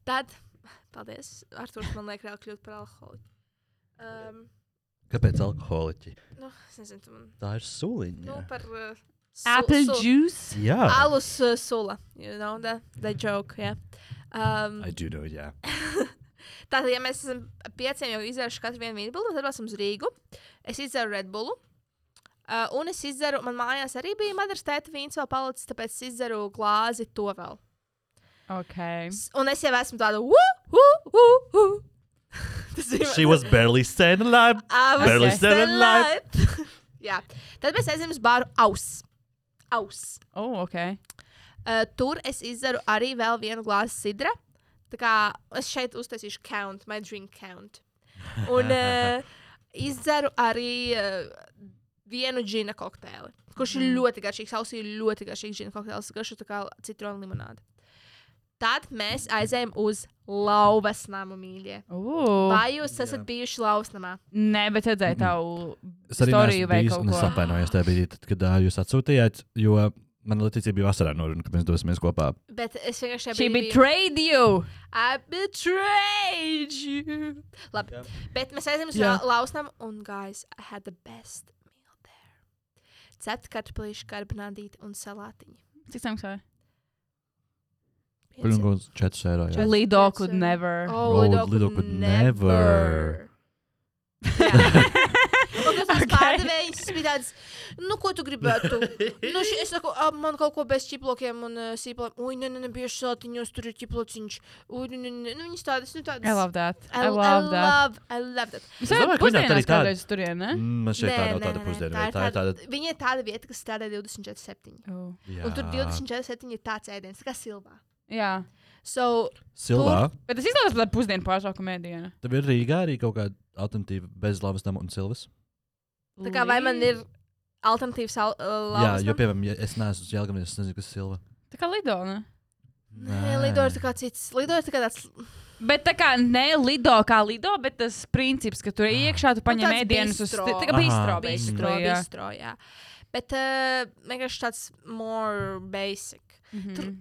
B: tad, paldies, Arthurs, man liekas, reāli kļūt par alkoholiķu. Um,
A: kāpēc alkoholiķi?
B: nu, es nezinu, tu man.
A: Tā ir suliņa.
B: Nu, par uh, su-
C: Apple
B: su-
C: juice.
A: jā,
B: Alus uh, sula. You know, that, that joke, yeah. Um,
A: I do know, jā.
B: Tātad, ja mēs esam pieciem jau izdzēruši katru vienu vīnu, tad esam uz Rīgu. Es izdzēru Red Bullu. Uh, un es izdzēru, man mājās arī bija Madaras tēta vīns vēl palicis, tāpēc es izdzēru glāzi to vēl.
C: Okay.
A: Mm.
B: S- Un es jau esmu tāda, uh, uh, uh, uh. Tas
A: She was barely standing alive.
B: I was
A: barely
B: still
A: standing alive.
B: alive. Jā. Tad mēs aizējām uz bāru Aus. Aus.
C: Oh, okay.
B: Uh, tur es izdaru arī vēl vienu glāzi sidra. Tā kā es šeit uztaisīšu count, my drink count. Un uh, izdaru arī uh, vienu džina kokteili, kurš
C: Mm.
B: ir ļoti garšīgs. Ausī ir ļoti garšīgs džina kokteils, garšo tā kā citronu limonāde. Tad mēs aizējām uz lauvas namu, mīļie.
C: Ooh. Mm-hmm.
B: Vai jūs esat bijuši lauvas namā?
C: Nē, bet redzēju tavu
A: Es arī
C: storiju vai
A: biju,
C: kaut
A: un es
C: ko.
A: apvainojos tajā brīdī, tad, kad ā, jūs atsūtījāt, jo man Leticija bija vasarā noruna, ka mēs dosimies kopā.
B: Bet es vienkārši
C: She
B: biju-
C: betrayed you.
B: I betrayed you. Labi. Yeah. Bet mēs aizējām uz
A: Jā.
B: yeah. lausnām, un, guys, I had the best meal there. Cepta kartupelīša, karbonādīte un salātiņa.
C: Cik samaksāja?
A: Pirmkārt, 4 eiro. jā.
C: Lido
B: That's
C: could
B: it.
C: never.
B: Oh,
A: Oh,
B: Lido,
A: Lido
B: could,
A: could
B: never.
A: never.
B: Jā. Un tas okay.
C: Okay.
B: pārdevējs bija tāds, nu, ko tu gribētu? nu, ši, es saku, "A, man kaut ko bez ķiplokiem un uh, sīpliem. Ui, nē, nē, nē, bieži salātiņos tur ir ķiplociņš. Ui, nē, nē, nē, nu, viņas tādas, nu, tādas.
C: I love that. I
B: I
C: love that.
B: love, I love that.
C: Jūs
A: Es
C: jau
A: domāju, ka viņam tā arī
C: pusdienās
A: tāda-
C: kādreiz turien, ne?
A: Mm, Man šeit tā nav
B: Nē,
A: tāda
B: nē, nē,
A: pusdiena.
B: tā
A: vai
B: ir
A: Tā ir tāda.
B: Viņa ir tāda vieta, kas strādā 24-7.
C: Oh.
A: Jā.
B: Un tur 24-7 ir tāds ēdiens, tā kā silvā.
C: Jā.
B: So,
A: Silvā.
C: Bet tas izklausās par pusdienu pārtraukuma mēdienu.
A: Tev ir Rīgā arī kaut kāda alternatīva bez lavas nama un silvas.
B: tā kā vai man ir alternatīvs uh, al
A: Jā,
B: lapas?
A: jo, piemēram, ja es neesmu uz Jālgam, es nezinu, kas ir silva.
C: Tā kā lido, ne?
B: Nē, Lido ir tā kā cits. Lido ir tā kā tāds.
C: Bet tā kā ne lido kā lido, bet tas princips, ka tur iekšā tu paņem
B: Ah. Nu, tāds
C: ēdienus uz
B: bistro.
C: tā kā
A: Aha.
B: Bistro,
C: bistro. basically, jā.
B: bistro, jā. Bet uh, vienkārši tāds more basic.
C: Mhm.
B: Tur-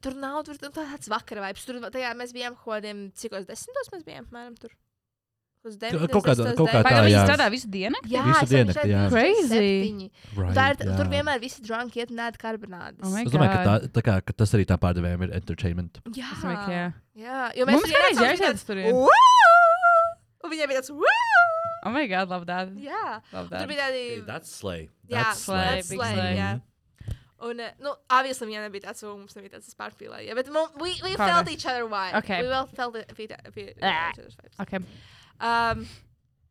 B: Tur nav tur, tur tāds vakara vibes. Tur tajā mēs bijām kaut kādiem, cik uz desmitos mēs bijām, apmēram tur. Uz deviņiem.
A: kaut kādā- kaut kā
C: Pagaidām,
A: tā,
C: viņi
A: jā.
C: strādā visu dienu?
B: Jā,
A: Visu
B: es saku,
A: diennakti,
B: šeit
A: jā.
B: 24/7.
A: Right,
B: Tā ir, tur vienmēr viss drunk iet un ēd karbonādes.
C: Oh my
A: Es domāju, ka, tā, tā kā, ka tas arī tā pārdevējiem ir entertainment.
B: jā,
C: Es domāju, ka jā.
B: jā. Jo Nu, mēs
C: Oh Mums kādreiz jāiziet tur.
B: tur. Un viņai bija tāds, "Wow!"
C: Oh my god, love that.
B: jā,
C: Love
B: tur
C: that.
B: bija tādi.
A: That's slay.
B: Jā,
C: slay,
B: that's
C: big
B: slay,
C: slay.
B: jā. Un, eh, nu, obviously, viņai nebija tāds, un mums nebija tāds pārspīlē. Jā, bet mums, we, we
C: Kāda?
B: felt each other vibe.
C: Okay.
B: We well felt it, we, we,
C: Ah.
B: each other's vibes.
C: Okay.
B: Um,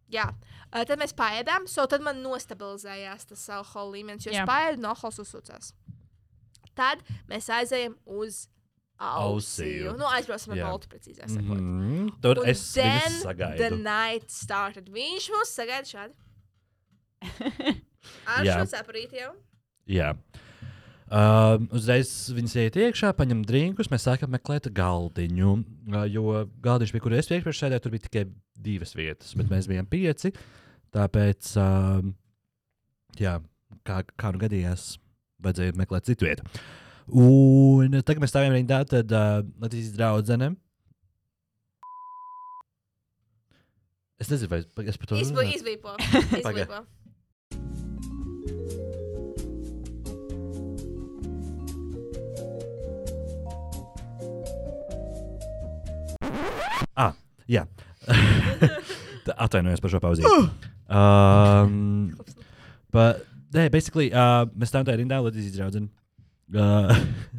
B: jā, uh, tad mēs paēdām, so tad man nostabilizējās tas alkohola līmenis, jo
C: Jā.
B: es paēdu un alkohols uzsūcās. Tad mēs aizējām uz Ausiju.
A: Ausiju.
B: Nu, aizbraucam ar
A: Jā.
B: Boltu, precīzāk sakot.
A: Mm, tur
B: Un
A: es visu
B: the
A: sagaidu.
B: night started. Viņš mūs sagaida šādi. Ar
A: Jā.
B: šo saprīti jau.
A: Jā. Uh, uzreiz viņas iet iekšā, paņem drinkus, mēs sākam meklēt galdiņu. Uh, jo galdiņš, pie kura es iepriekš sēdēju, tur bija tikai divas vietas, bet mēs bijām pieci. Tāpēc, uh, jā, kā, kā nu gadījās, vajadzēja meklēt citu vietu. Un tagad mēs stāvim rindā, tad uh, Latvijas draudzenēm. Es nezinu, vai es, es par to
B: Izbu-
A: runāju.
B: Izbīpo.
A: Pagaid.
B: Izbīpo.
A: Jā, Tā, atvainojos par šo pauzīti. Um, but, nē, basically, uh, mēs tam tādā rindā, lai izdraudzinu. Uh,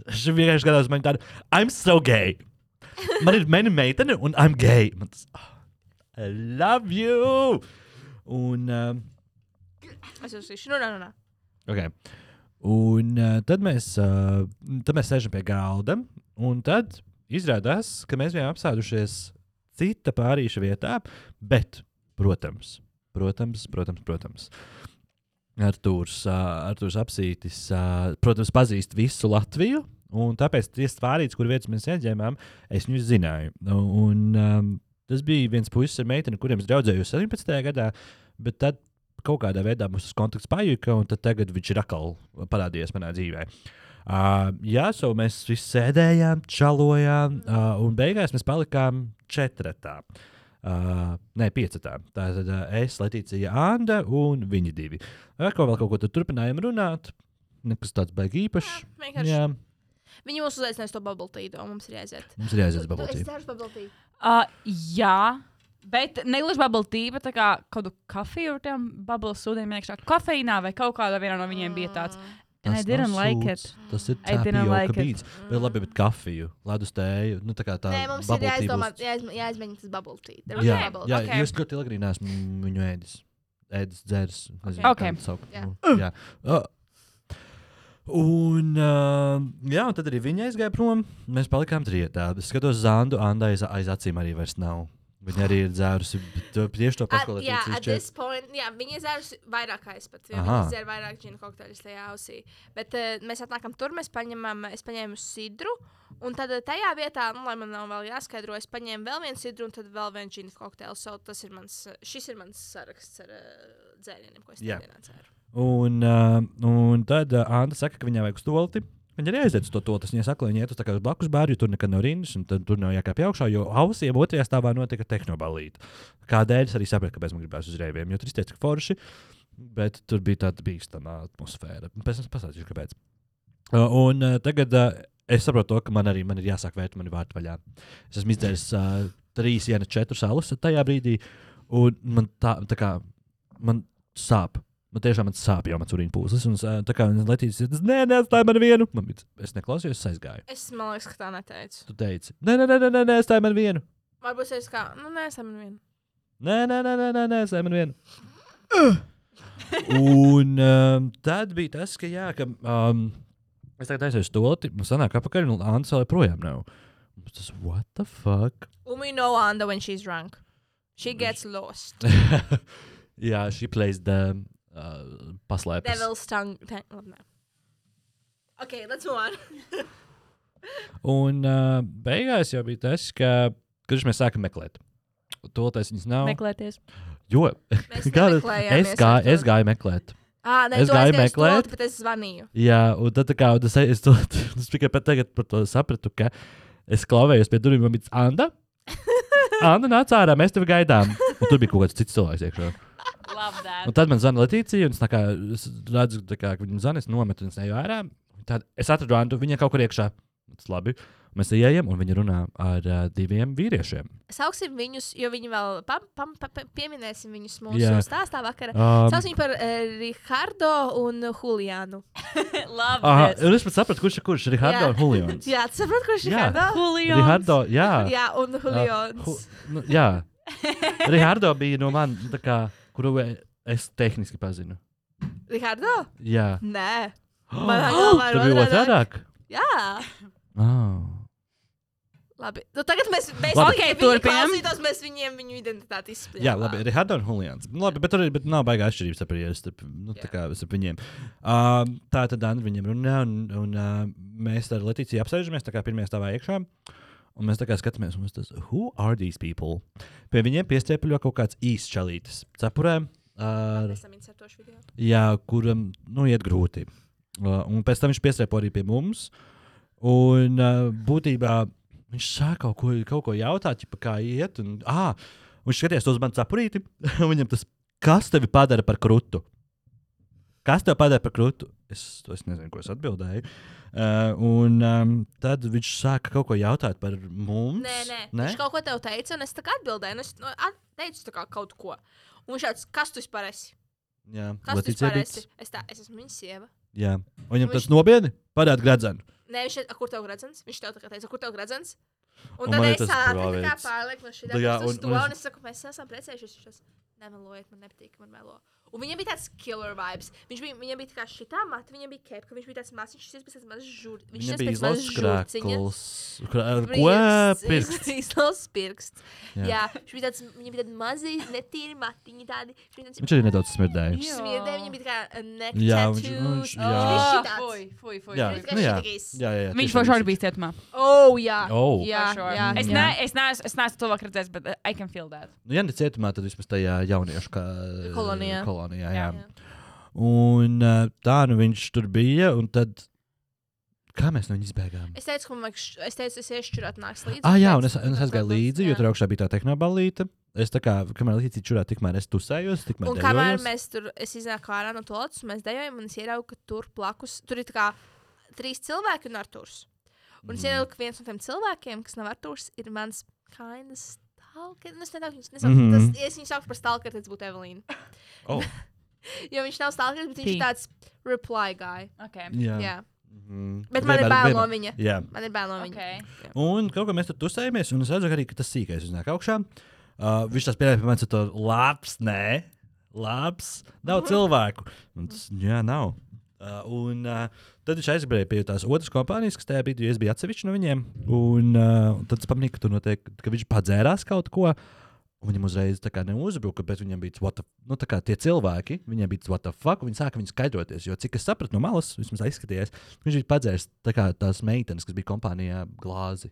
A: Šis vienkārši skatās man tādu, I'm so gay. Man ir mena meitene un I'm gay. Man tas, oh, I love you! Un, um,
B: Es jau esmu. Nu, nē, nē, nē.
A: okay. un uh, tad, mēs, uh, tad mēs sēžam pie galda, un tad izrādās, ka mēs bijām apsēdušies cita pārīša vietā, bet, protams, protams, protams, protams. Arthurs, uh, Arthurs apsītis, uh, protams, pazīst visu Latviju. Un tāpēc tie stvārītas, kur vietas mēs ieņēmām, es viņu zināju. Un, um, tas bija viens puisis ar meiteni, kuriem es draudzējos 17. gadā, bet tad kaut kādā veidā mums tas kontakts pajuka, un tad tagad viņš ir atkal parādījies manā dzīvē. Uh, jā, so mēs visi sēdējām, čalojām, uh, un beigās mēs palikām četratā. Uh, nē, piecatā. Tā tad uh, es, Latīcija, Anna un viņi divi. Ar ko vēl kaut ko tur turpinājām runāt? Nekas tāds baigi īpašs.
B: Vienkārši.
A: Jā,
B: Viņi mūs uzaicinās to bubbletīdu, un mums ir jāiziet.
A: mums ir jāiziet uz
B: Nu, Tu- Es
A: babaltību.
B: ceru, bubbletīdu.
C: Uh, jā, bet ne gluži bubble tea, bet tā kā kaut kādu kafiju ar tiem bubble sūdiem iekšā. Kafeinā vai kaut kādā vienā no viņiem bija tāds. And I didn't like it.
A: Tas ir
C: I didn't
A: tapioka
C: like
A: like
C: it.
A: bīts. Bet labi, bet kafiju, ledus tēju, nu tā kā tā.
B: Nē, mums ir
A: bubble tea
B: jāizdomā,
A: būs-
B: jāizm- jāizmēģina tas bubbletīds.
A: Jā,
B: bubble.
A: jā
B: okay.
A: jūs ļoti ilgi arī nesmu viņu ēdis. Ēdis, dzēris. nezinu,
C: Ok.
A: kā to saukt.
B: Jā.
A: Nu, Jā. Ah. Un, uh, jā, un tad arī viņa aizgāja prom. Mēs palikām trijotā. Es skatos, Zandu, Andai aiz, aiz acīm arī vairs nav. Viņa arī ir dzērusi bet, uh, tieši to
B: At,
A: pašu, ko
B: jā,
A: Latvijas
B: at this point, jā, viņi izdzēra vairāk aizpats. Viņi
A: Aha.
B: izdzēra vairāk džina kokteļus tajā ausī. Bet uh, mēs atnākam tur, mēs paņemam, es paņēmu sidru. Un tad eh, tajā vietā, nu, lai man nav vēl jāskaidro, es paņēmu vēl vienu sidru un tad vēl vienu džina kokteili. So, tas ir mans, eh, šis ir mans saraksts ar uh, dzērieniem, ko es
A: Jā.
B: yeah. dienā dzēru.
A: Un, uh, un tad uh, Anna saka, ka viņai vajag stolti. Viņa arī aiziet uz to tolti. Viņa saka, lai viņi iet uz tā kā uz blakus bērnu, jo tur nekad nav rindas, un tad tur nav jākāpj augšā, jo ausīm otrajā stāvā notika tehnobalīta. Kādēļ es arī sapratu, kāpēc man gribējās uz rēviem, jo tur izteica ka forši, bet tur bija tāda bīstama atmosfēra. Pēc tam es pasāstīšu, kāpēc. Uh, un uh, tagad uh, es saprotu, to, ka man arī man ir jāsāk vērt mani vārtu vaļā. Es esmu izdzēris uh, trīs, viena, četras alus tajā brīdī, un man tā, tā kā man sāp. Man tiešām man sāp jau mans urīna pūles. Un es, ā, tā kā Latvijas ir tas, nē, nē, atstāj man vienu. Man, bija tas, es neklausījos, es aizgāju.
B: Es man liekas, ka tā neteicu.
A: Tu teici, nē, nē, nē, nē, nē, nē atstāj man vienu.
B: Varbūt es kā, nu, nē, esam vienu.
A: Nē, nē, nē, nē, nē, nē atstāj man vienu. un um, tad bija tas, ka, jā, ka um, es tagad aizēju stulti, man sanāk apakaļ, un Ants vēl joprojām nav. Mums Tas, what the fuck?
B: Un we know Anda when she's drunk. She gets lost.
A: jā, šī plays the uh, paslēpes.
B: Devil's tongue. Ten, labi, nē. okay, let's move on.
A: Un uh, beigās jau bija tas, ka, kurš mēs sākam meklēt. Toltais viņas nav.
C: Meklēties.
A: Jo,
B: Mēs
A: Gāju-
B: nemeklējāmies
A: es, gā,
B: ar to.
A: es gāju meklēt.
B: À, ne,
A: Es
B: es
A: gāju
B: gāju meklēt,
A: meklēt.
B: bet es zvanīju.
A: Jā, un tad tā kā, un es, es, to, es tikai pat tagad par to sapratu, ka es klauvējos pie durvīm, un bija Anna. Anna nāca ārā, mēs tevi gaidām. Un tur bija kaut kāds cits cilvēks iekšā. Un
C: Labdien!
A: tad man zvanīja Latīcija, un es, tā kā, es redzu, tā kā, ka viņa zvanīja, es nometu un es eju ārā. Tad es atradu Annu, viņa kaut kur iekšā. Tas labi. Mēs ejam, un viņa runā ar uh, diviem vīriešiem.
B: Sauksim viņus, jo viņi vēl pam, pam, pa, pa, pieminēsim viņus mūsu
A: Jā.
B: yeah. stāstā vakarā.
A: Um,
B: Saucam viņu par uh, Rihardo un Julianu.
A: Aha,
C: Labdien!
A: un es pat sapratu, kurš ir kurš. Rihardo
B: Jā.
A: un Julians.
B: Jā, tu saproti, kurš ir
A: Jā.
B: Rihardo?
C: Hulijons!
A: Rihardo, jā. Uh,
B: Jā, un Julians.
A: Hu- nu, jā. Rihardo bija no manis, kuru es tehniski pazinu.
B: Rihardo?
A: Jā,
B: Nē.
A: tā
B: Manā galvā ir
A: bija otrādāk.
B: otrādāk. Jā.
A: Oh.
B: Labi. Nu, tagad mēs beigsim.
A: Labi.
C: Okei, turpinam.
B: Turpināsim. Mēs viņiem viņu identitāti izspēlējām.
A: Jā, labi, Rihards un Julians. Nu, Labi, bet tur ir- bet nav baigā atšķirības starp, ja, starp, nu, tā
B: Jā.
A: kā, starp viņiem. Um, tā tad Anna viņiem runā, un, un uh, mēs ar Latīciju apsēžamies tā kā pirmajā stāvā iekšā. Un mēs tā kā skatāmies, un mums tas, who are these people? Pie viņiem piestiepļo kaut kāds īsts čalītis. Cepurē, ar,
B: Mēs esam insertoši video.
A: jā, kuram nu, iet grūti. Uh, un pēc tam viņš piestiepo arī pie mums. Un uh, būtībā viņš sāk kaut ko, kaut ko jautāt, ķipa, kā iet. Un, ah, Viņš skatījās uz mani saprīti, un viņam tas, kas tevi padara par krūtu? Kas tev padara par krūtu? Es, to es nezinu, ko es atbildēju. Uh, un um, tad viņš sāka kaut ko jautāt par mums.
B: Nē, nē, nē. Viņš kaut ko tev teica, un es tā kā atbildēju. Nu, es nu, at- teicu tā kā kaut ko. Un viņš tāds, kas tu vispār esi?
A: Jā,
B: Kas tu
A: Latīts
B: vispār
A: iebīts.
B: esi? Es, tā, es esmu viņa sieva.
A: Jā, un viņam
B: Un
A: tas
B: viņš-
A: nobiedni parāda gradzenu.
B: Nē, viņš teica, "A, kur tev gradzens? Viņš tev tā kā teica, kur tev gradzens? Un
A: Un
B: tad
A: man ir
B: es
A: tas
B: ātri tā kā
A: brālīts.
B: pārlieku no šī
A: Nu jā,
B: dārza uz
A: un-
B: to,
A: un es-
B: un es saku, mēs esam precējušies. Viņš tāds, nemelojiet, man nepatīk, ka man melo. Un viņam bija tāds killer vibes. Viņš bija, viņam bija tā kā šitā mata, viņam bija kepka, viņš bija tāds mazs, viņš izpēc tāds mazs žur. Viņš
A: Viņam
B: izskatās
A: bija
B: pēc mazas
A: izlausts
B: žurciņas.
A: krāklis. Krā- Ko?
B: Pirksts,
A: Pirks.
B: Izlauzts pirksts.
A: Jā.
B: Jā, jā viņš bija tāds, viņam bija tāds mazi, netīri matiņi tādi. Viņš bija tāds,
A: Viņš arī nedaudz smirdēja.
C: Jā.
B: smirdēja, viņam bija tā kā nek
A: Jā,
B: tattoos.
A: viņš- nu, viņš-
B: Viņš
A: jā.
B: bija šitāds.
C: Fui, fui, fui.
A: Jā,
B: Viņš
A: nu jā.
B: bija šitīgs.
A: Jā, jā, jā,
C: Viņš
A: tiešām
C: vēl šādi
A: viņš-
C: bija cietumā.
B: Oh, jā.
A: Oh.
B: Jā, jā,
C: Es
A: jā.
C: ne- es neesmu es neesmu to vēl redzējis, bet uh, I can feel that.
A: Nu, ja ne cietumā, tad vismaz tajā jauniešu kā,
B: Kolonijā.
A: kolonijā jā. Un ā, tā nu viņš tur bija, un tad kā mēs no viņa izbēgām?
B: Es teicu, ka man vajag, š- es teicu, es iešu čurāt, nāks līdzi.
A: Ah, jā, un
B: Tāpēc-
A: es, un es aizgāju līdzi, jo tur augšā bija tā tehnobalīta. Es tā kā, kamēr līdzi čurā, tikmēr es tusējos, tikmēr
B: Un kamēr
A: dejojos.
B: mēs tur, es iznāku ārā no toaletes, un mēs dejojam, un es ieraugu, ka tur blakus, tur ir tā kā trīs cilvēki un Arturs. Un es ieraugu, ka viens no tiem cilvēkiem, kas nav Arturs, ir mans kainas stalker. Nu, es nedaudz viņus nesaucu, mm
A: Mhm.
B: -hmm. tas, ja es viņu saucu par stalker, tad tas būtu Evelīna.
A: Oh.
B: jo viņš nav stalker, bet viņš ir
C: Tī.
B: tāds reply guy.
C: Okay.
A: Jā.
B: Jā.
A: Mhm.
B: Bet man ir
A: Vienmēr-
B: bail no
A: vienmēr-
B: viņa.
A: Jā.
B: Man ir bail no viņa.
C: Okay.
A: Un kaut kā mēs tur tusējamies, un es redzu arī, ka tas sīkais uznāk augšā. Uh, viņš tās pieņēma pie manis ar to labs, nē, labs, nav cilvēku. Un tas, jā, nav. Uh, un uh, tad viņš aizbrauca pie tās otras kompānijas, kas tajā brīdī es biju atsevišķi no viņiem. Un uh, tad es pamanīju, ka tur notiek, ka viņš padzērās kaut ko. un Viņam uzreiz tā kā neuzbruka, bet viņam bija tas, nu, tā kā tie cilvēki, viņiem bija tas, what the fuck, un viņi sāka viņu skaidroties. Jo, cik es sapratu no malas, vismaz aizskatījās, viņš bija padzēris tā kā tās meitenes, kas bija kompānijā glāzi.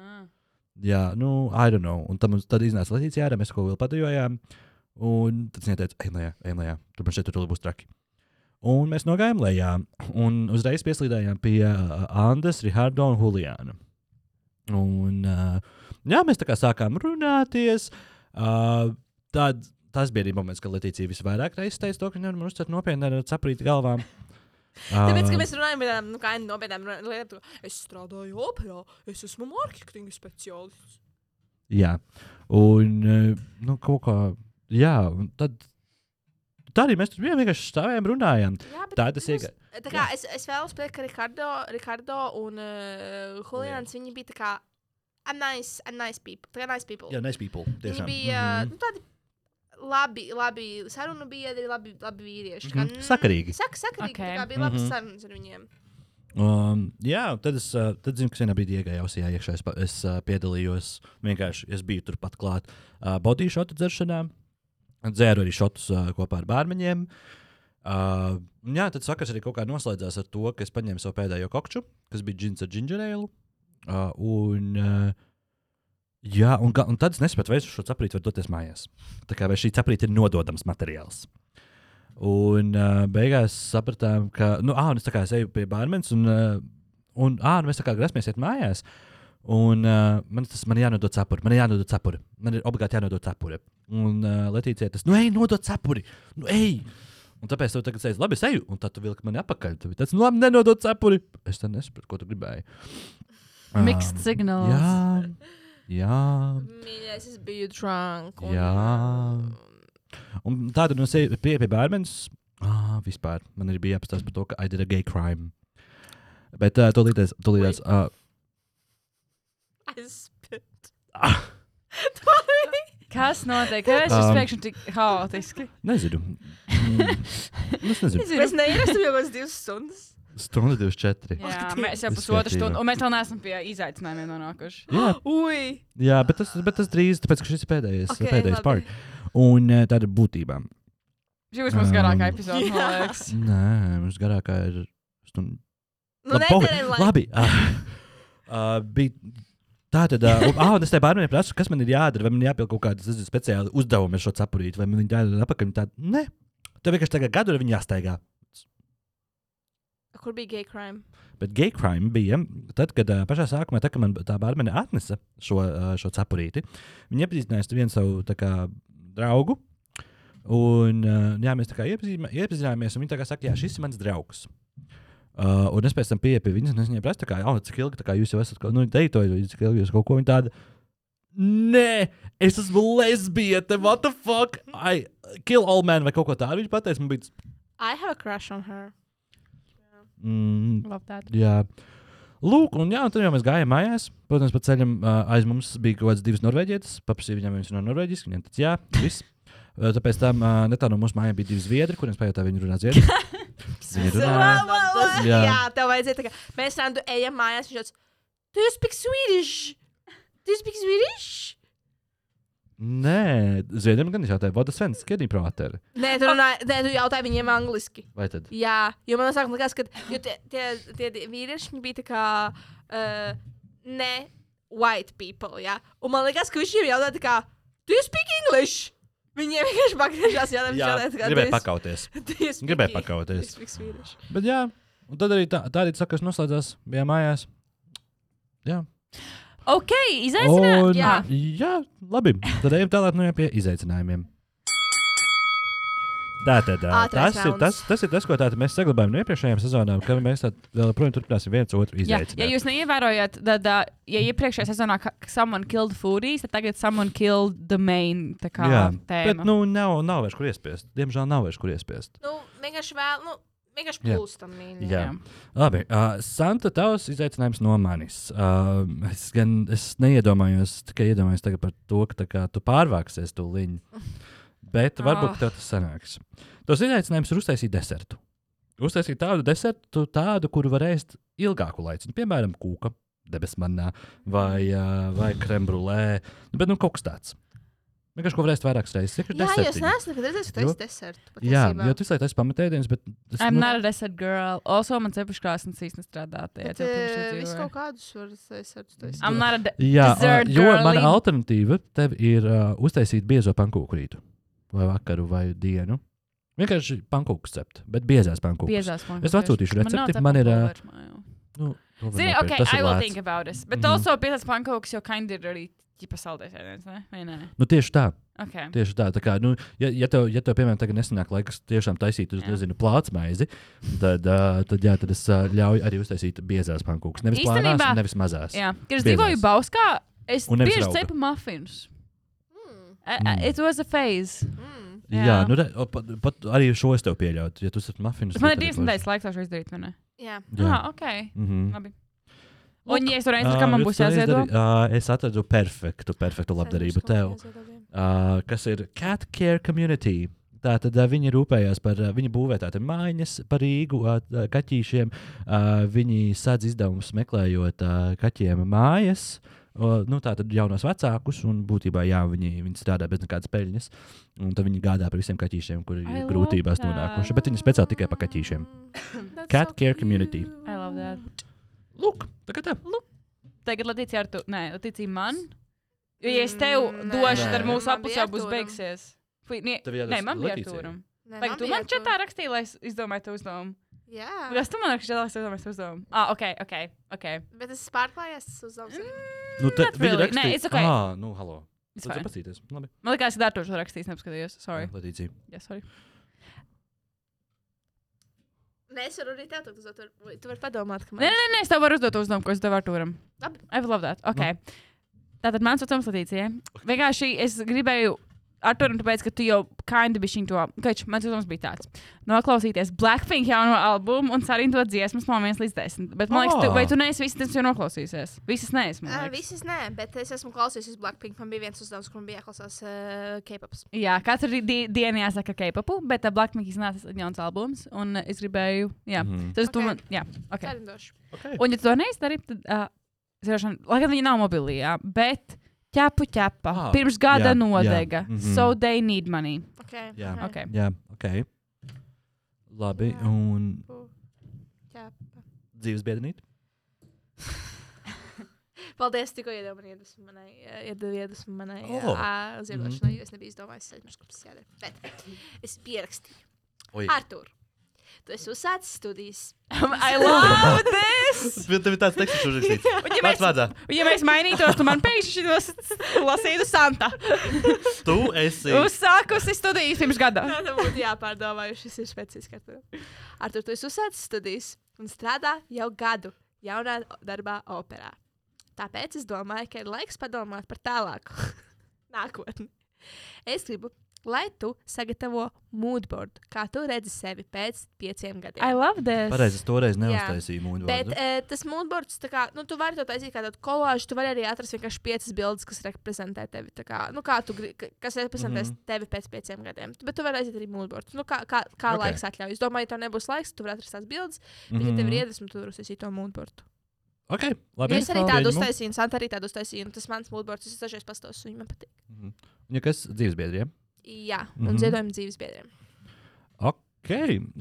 B: Ah.
A: Jā, nu, I don't know. Un tam, mums- tad iznāca Latīcija, ārā, mēs kaut ko vēl padojājām. Un tad viņa teica, ej, lejā, ej, lejā. Tur man šeit tur būs traki. Un mēs nogājām lejā. Un uzreiz pieslīdējām pie uh, Andas, Rihardo un Juliāna. Un uh, jā, mēs tā kā sākām runāties. Uh, tad, tas bija arī moments, kad Latīcija visvairāk reizes teica to, ka nevaram uztvert nopietni ar saprīti galvām.
B: Tāpēc,
A: Ah.
B: ka mēs runājam par tādām nu, kā nopietnām ru- lietām, es strādāju operā, es esmu mārketinga speciālists.
A: Jā, un eh, nu, kaut kā. Jā, un tad. Tā arī mēs tur bijām, vienkārši stāvējām, runājām.
B: Jā, bet
A: Tā tas
B: mums-
A: iegā-
B: Tā kā es, es vēlos pateikt, ka Ricardo, Ricardo un uh, Julians, viņi bija tā kā a nice, a nice people. Tā kā nice people.
A: Jā, Mhm. nice people.
B: viņi bija mm. nu, tādi labi, labi sarunu biedri, labi, labi vīrieši.
A: Mhm. Sakarīgi.
B: Sak, sakarīgi. Okay.
C: Ok.
B: Tā kā bija labas
A: Mhm.
B: mm -hmm. sarunas ar viņiem.
A: Um, jā, un tad es eh, tad zinu, ka vienā brīdī iegāju ausijā iekšā. Es, pa- es eh, piedalījos vienkārši, es biju turpat klāt uh, bodīšu atdzeršanā. Dzēru arī šotus uh, kopā ar bērniņiem. Uh, jā, tad sakars arī kaut kā noslēdzās ar to, ka es paņēmu savu pēdējo kokču, kas bija džins ar džingerēlu. Uh, un, uh, jā, un, ga- un tad es nesapratu, vai es uz šo saprītu var doties mājās. Tā kā vai šī saprīta ir nododams materiāls. Un uh, beigās sapratām, ka, nu, ah, un es tā kā es eju pie bārmenes, un, uh, un ah, nu, mēs tā kā grasamies iet mājās. Un uh, man tas man ir jānodod cepuri. Man ir jānodod cepuri. Man ir obligāti jānodod cepuri. Un uh, Latīcija tas, nu, ej, nodod cepuri. Nu, ej! Un tāpēc tev tagad teica, labi, es eju, un tad tu vilki mani apakaļ. Tad tas, nu, labi, nenodod cepuri. Es tam nesapratu, ko tu gribēji. Ā,
C: Mixed signals.
A: Jā, jā.
B: Mīļais, es biju drunk. Un, um,
A: Jā. Un tāda no sevis pie, pie bērnības. Ah, vispār man ir bija jāpastāsta par to, ka I did a gay crime. Bet uh, to līdz tam līdz. Uh,
B: Es spit.
C: Kas notiek? Es esmu
A: Um,
C: pēkšņi tik haotiski.
A: nezinu. Mm. Nu, es nezinu.
B: Mēs neierastam jau kāds divas stundas.
A: Stunda 24.
C: Jā,
B: Ak,
C: mēs jau
A: Dievs.
C: pusotru
A: Skatījumā.
C: stundu, un mēs vēl neesam pie izaicinājumiem nonākuši.
A: Jā,
B: Ui!
A: jā bet, tas, bet tas drīz, tāpēc ka šis ir pēdējais,
B: Ok,
A: okay, pēdējais
B: labi.
A: part. Un eh, tad būtībā.
C: Šī būs mūsu
A: Um,
C: garākā epizode,
B: jā.
C: man liekas.
A: Nē, mums garākā ir stunda.
B: Nu,
A: Labi,
B: nedari,
A: pagaid,
B: lai-
A: labi. Uh, bija tā tad, uh, ah, un es te bērniem prasu, kas man ir jādara, vai man jāpieliek kaut kādas nezinu, speciāli uzdevumi ar šo sapurīt, vai man ir jādara apakaļ. Tāda, nē, tev vienkārši tagad gadu ir viņa jāsteigā.
B: Kur bija gay crime?
A: Bet gay crime bija tad, kad uh, pašā sākumā, tā, kad man tā bērnam atnesa šo, uh, šo sapurīti, viņa iepazīstināja vienu savu tā kā, draugu. Un uh, jā, mēs tā kā iepazīma- iepazināmies, un viņa tā kā saka, jā, šis ir mans draugs. Uh, un es pēc tam pieeju pie viņas, un es viņai prasu, tā kā, oh, cik ilgi tā kā jūs jau esat, kaut- nu, deitojot, vai cik ilgi jūs kaut ko viņa tādu. Nē, es esmu lesbiete, what the fuck? I kill all men vai kaut ko tādu. Viņa pateica, man bija. tas,
B: I have a crush on her.
A: Mm,
C: Labdāt.
A: Jā. Lūk, un jā, un tad jau mēs gājām mājās. Protams, pa ceļam uh, aiz mums bija kaut kādas divas norvēģietes. Paprasīju viņām, vai viņas runā norvēģiski. Viņam tas jā, viss. Ā, Tāpēc tam uh, netālu no mūsu mājām bija divi zviedri, kuriem pajautā, viņi runā zviedri. Viņi runā.
B: Wow, wow, wow.
A: Jā.
B: Jā, tev vajadzēja tā kā. Mēs randu ejam mājās, viņš šāds. Do you speak Swedish? Do you speak Swedish?
A: Nē, zviedriem gan ir jātājā, Vodas Svens, Kedī Prāteri.
B: Nē, tu, runā, nē, tu jautāji viņiem angliski.
A: Vai tad?
B: Jā, jo man sākumā likās, ka jo tie, tie, tie di- vīrieši viņi bija tā kā. Uh, ne white people. Jā. Un man liekas, ka viņš viņiem jautāja, tā kā, do you speak English? Viņiem vienkārši pagriežās, jā, viņš jautāja, tā kā,
A: gribēju pakauties. Gribēju pakauties.
B: Viņš bija vīrieši.
A: Bet jā, un tad arī tā, tā arī sakas noslēdzās, bijām mājās. Jā,
C: Ok, izaicinājums.
A: Un-
C: Jā,
A: jā, labi. Tad ejam tālāk nu, jau pie izaicinājumiem. Tā tad ā,
B: Ātrais
A: tas ir
B: rauns.
A: tas, tas ir tas, ko tātad mēs saglabājam no iepriekšējām sezonām, ka mēs tad vēl projām turpināsim viens otru
C: jā. ja
A: izaicināt.
C: jūs neievērojat, tad, uh, ja iepriekšējā sezonā ka- someone killed foodies, tad tagad someone killed the main tā kā,
A: bet
C: tēma.
A: nu, nav, nav vairs kur iespiest. Diemžēl nav vairs kur iespiest.
B: Nu, vienkārši vēl, nu, vienkārši
A: Jā.
B: plūstam. mīļie.
A: Jā. Labi, uh, Santa, tavs izaicinājums no manis. Uh, es gan es neiedomājos, tikai iedomājos tagad par to, ka tā kā, tu pārvāksies to liņu. Bet varbūt
B: Ah.
A: oh. tev tas sanāks. Tos izaicinājums ir uztaisīt desertu. Uztaisīt tādu desertu, tādu, kuru varēs ēst ilgāku laiku. Nu, Piemēram, kūka, debesmanā vai, uh, vai krembrulē. Nu, bet nu, kaut kas tāds. Vienkārši ko varēs vairākas reizes. Vienkārši
B: Jā, jo es
A: desertiņu.
B: neesmu nekad redzējis, ka
A: Jo-
B: tas ir deserts.
A: Jā, jo tu izlaiž tas pamatēdienas, bet es
C: I'm not a desert girl. Also, man cepures krāsnes īsti nestrādā. tajā
B: Bet,
C: jau pirms
B: eh,
C: es
B: Visu
C: dzīvoju.
B: kaut kādus var taisīt.
C: I'm not a de-
A: Jā, ā,
C: Dessert
A: jo mana
C: girly.
A: alternatīva tev ir uh, uztaisīt biezo pankūku rītu, vai vakaru, vai dienu. Vienkārši pankūku cept, bet biezās pankūku.
C: Piezās man.
A: Es atsūtīšu recepti, man ir, ā, Nu, to var
C: Zini,
A: nopirkt,
C: ok,
A: tas ir
C: I will
A: lēts.
C: think about this. Bet
A: Mhm.
C: also piezās pankūks jau kind ir arī ķipa saldēs ēdienas, ne? Vai nē?
A: Nu, tieši tā,
C: Ok.
A: tieši tā. tā kā, nu, ja, ja, tev, ja tev, piemēram, tagad nesanāk laikas tiešām taisīt, uz,
C: Jā.
A: nezinu, plāts maizi, tad, uh, tad, jā, tad es uh, ļauju arī uztaisīt biezās pankūkas. Nevis plānās,
C: Īstenībā-
A: un nevis mazās.
C: Jā, kad es
A: Biezās.
C: dzīvoju Bauskā, es
A: Un nevis
C: bieži
A: rauga.
C: cepu muffins.
B: Mm,
C: I- I-
A: Mm.
C: It was a phase.
B: mm.
A: jā. jā nu, re, o, pat, pat arī šo es tev pieļautu, ja tu esi mafijas.
C: Man ir divas nedēļas laiks, lai šo izdarītu, vai ne?
B: Jā.
A: Jā,
C: Ah, ok.
A: mm -hmm.
C: Labi. Un, ja es tur aizsāku, kam man būs jāziedo?
A: Uh, Ah, es atradu perfektu, perfektu labdarību tev,
B: Saņemšu kaut ko jāziedot,
A: uh, kas ir Cat Care Community. Tā tad uh, viņi rūpējās par uh, viņu būvētāju mājiņas, par Rīgu uh, t- uh, kaķīšiem. Uh, viņi sadz izdevumus meklējot uh, kaķiem mājas. Uh, nu, tā tad jaunos vecākus, un būtībā jā, viņi, viņi strādā bez nekādas peļņas. Un tad viņi gādā par visiem kaķīšiem, kuri
C: I
A: ir
C: love
A: grūtībās
C: that.
A: nonākuši. Bet viņi speciāli tikai par kaķīšiem.
B: That's
A: Cat
B: so
A: Care Community.
B: cute.
C: I love that.
A: Lūk, tagad tā.
C: Tagad Latīcija ar tu. Nē, Latīcija man. Jo, ja es tev
B: Mm,
C: došu,
A: nē.
C: tad mūsu
B: Man bija
C: apus jau būs
B: Artūram.
C: beigsies. Fui, nie-
A: Tev jādodas
C: Nē, man bija ar
A: Latīcijai.
C: tūrumu.
B: Nē,
C: Vai tu
B: bija
C: man
B: ar to.
C: čatā rakstīji, lai es izdomāju to uzdevumu?
B: Jā,
C: Kas tu man rakstīji, lai es izdomāju to uzdevumu? Ah, ok, ok. okay.
B: bet es pārklājos uz zemes.
A: Nu, te,
C: Not
A: viņi
C: really.
A: rakstīja-
C: Nē, it's okay.
A: Ā, nu, halo.
C: It's
A: Tad
C: fine.
A: tu paskatīties. Labi.
C: Man liekas, ka Dārtaurs to rakstīs, neapskatījos. Sorry.
A: Latīcija.
C: Yeah, sorry.
B: Nē, es Mm. varu arī tev to uzdot. vai Tu vari padomāt, ka
C: Nē,
B: man
C: nē, nē, es tev varu uzdot uzdevumu, ko es devu Arturam.
B: Labi.
C: I would love that. Okay. Tātad mans vecums Latīcija. Vienkārši es gribēju Ar to nu, tāpēc, ka tu jau kādi bija šī to. Kač, mans uzdevums bija tāds - noklausīties Blackpink jauno albumu un sarīnot dziesmas no 1 līdz 10. Bet, man liekas, tu,
A: Ah.
C: vai tu neesi visas dziesmas jau noklausījusies? Visas neesmu. man
B: Uh,
C: liekas.
B: visas nē, bet es esmu klausījusies Blackpink. Man bija viens uzdevums, kur man bija jāklausās uh, K-pops.
C: Jā, katru di- di- dienu jāsaka K-popu, bet uh, Blackpink iznāca jauns albums, un uh, es gribēju, jā,
A: Mhm.
C: tas tu
B: Ok.
C: man, jā, ok.
B: Cerindoši.
A: Okay.
C: Un, ja to neizdari, tad, uh, zināšana, lai gan viņi nav mobilī, jā, bet ķepu ķepa.
A: Ah,
C: Pirms gada
A: jā, jā,
C: nodega,
A: mhm.
C: so they need money.
B: Okay.
A: Jā.
B: aha.
C: Ok.
A: Jā, ok. Labi,
B: Jā.
A: un
B: Pu- ķepa.
A: dzīves biedrīt.
B: Paldies, tikko iedod man iedvesmu manai, ā, iedod iedvesmu manai
A: O.
B: oh. ziedošanai, jo es nebiju izdomājis ceļš, kas jādara. Bet es pierakstīju.
A: Oi.
B: Artur, tu esi uzsācis studijas.
C: I love this!
A: Tev ir tāds teksts uzrakstīts.
C: Un, ja
A: Vārds
C: mēs,
A: vārdā.
C: ja mēs mainītos, tad man pēkšņi šitos lasītu Santa.
A: Tu esi.
C: Uzsākusi studijas pirms gada.
B: Tā tam būtu jāpārdomā, jo šis ir specifisks katram. Artur, tu esi uzsācis studijas un strādā jau gadu jaunā darbā operā. Tāpēc es domāju, ka ir laiks padomāt par tālāku nākotni. Es gribu, lai tu sagatavo moodboard, kā tu redzi sevi pēc pieciem gadiem.
C: I love this.
A: Pareizi, es toreiz
B: Jā.
A: neuztaisīju mūžu.
B: Bet uh, tas mūžboards, kā nu, tu vari to taisīt kā tādu kolāžu, tu vari arī atrast vienkārši piecas bildes, kas reprezentē tevi. tā Kā, nu, kā tu, gri- ka- kas reprezentēs mm
A: Mhm.
B: -hmm. tevi pēc pieciem gadiem. Tu- Bet tu vari aiziet arī mūžboards. Nu, kā kā, kā
A: Ok.
B: okay. laiks atļauj. Es domāju, ja tev nebūs laiks, tu vari atrast tās bildes. Mm -hmm. Ja tev ir iedvesma, tu vari uztaisīt to mūžboardu.
A: Mhm. Ok, labi. nu,
B: Es arī tādu
A: Pieņemu.
B: uztaisīju, un Santa arī tādu uztaisīju. un Tas mans mūžboards, es dažreiz pastāstīju, viņam patīk.
A: Mhm. Un ja kas dzīves biedriem?
B: Jā, un mm
A: Mhm.
B: -hmm. ziedojumu dzīves biedriem.
A: Ok,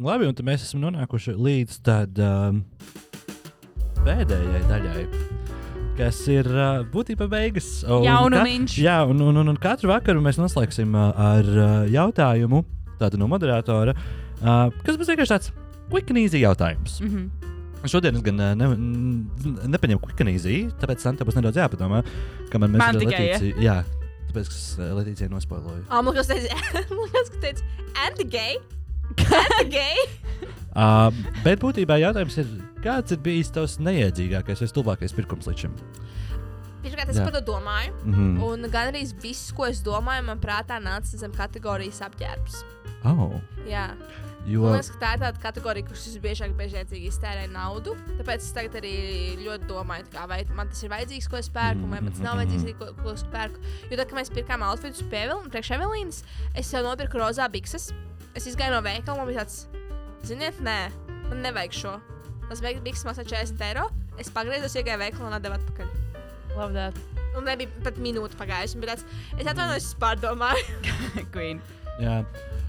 A: labi, un tad mēs esam nonākuši līdz tad, um, pēdējai daļai, kas ir uh, būtībā beigas. Un
C: Jaunumiņš.
A: Jā, un, un, un, un katru vakaru mēs noslēgsim uh, ar uh, jautājumu tādu no moderatora, uh, kas būs vienkārši tāds quick and easy jautājums.
C: Mhm.
A: Šodien es gan uh, ne, n- nepaņemu quick and easy, tāpēc Santa būs nedaudz jāpadomā, kamēr mēs
C: Man
A: ar
C: tikai, ja?
A: Letīciju- Jā, tāpēc, ka es uh, Letīcijai nospoiloju.
B: Ah, man kas teica, man kas teica, and the gay? And the gay?
A: Uh, bet būtībā jautājums ir, kāds ir bijis tavs neiedzīgākais vai stulbākais pirkums līdz šim?
B: Pirmkārt, es
A: Jā.
B: par to domāju.
A: Mhm.
B: Un gandrīz viss, ko es domāju, man prātā nāca zem kategorijas apģērbs.
A: Oh,
B: Jā,
A: jo,
B: man liekas, ka tā ir tāda kategorija, kurš visbiežāk bezjēdzīgi iztērē naudu. Tāpēc es tagad arī ļoti domāju, tā kā, vai man tas ir vajadzīgs, ko es pērku, vai man tas nav vajadzīgs, arī, ko, ko es pērku. Jo tad, kad mēs pirkām outfitus pievilnu priekš Evelīnas, es jau nopirku rozā bikses. Es izgāju no veikala, man bija tāds, ziniet, nē, man nevajag šo. Tas bija bikses maksā 40 eiro. Es pagriezos, iegāju veikalā un atdevu atpakaļ.
C: Love that.
B: Un nebija pat minūte pagājusi. bet tāds, Es atvainojos, es pārdomāju.
C: Queen.
A: jā,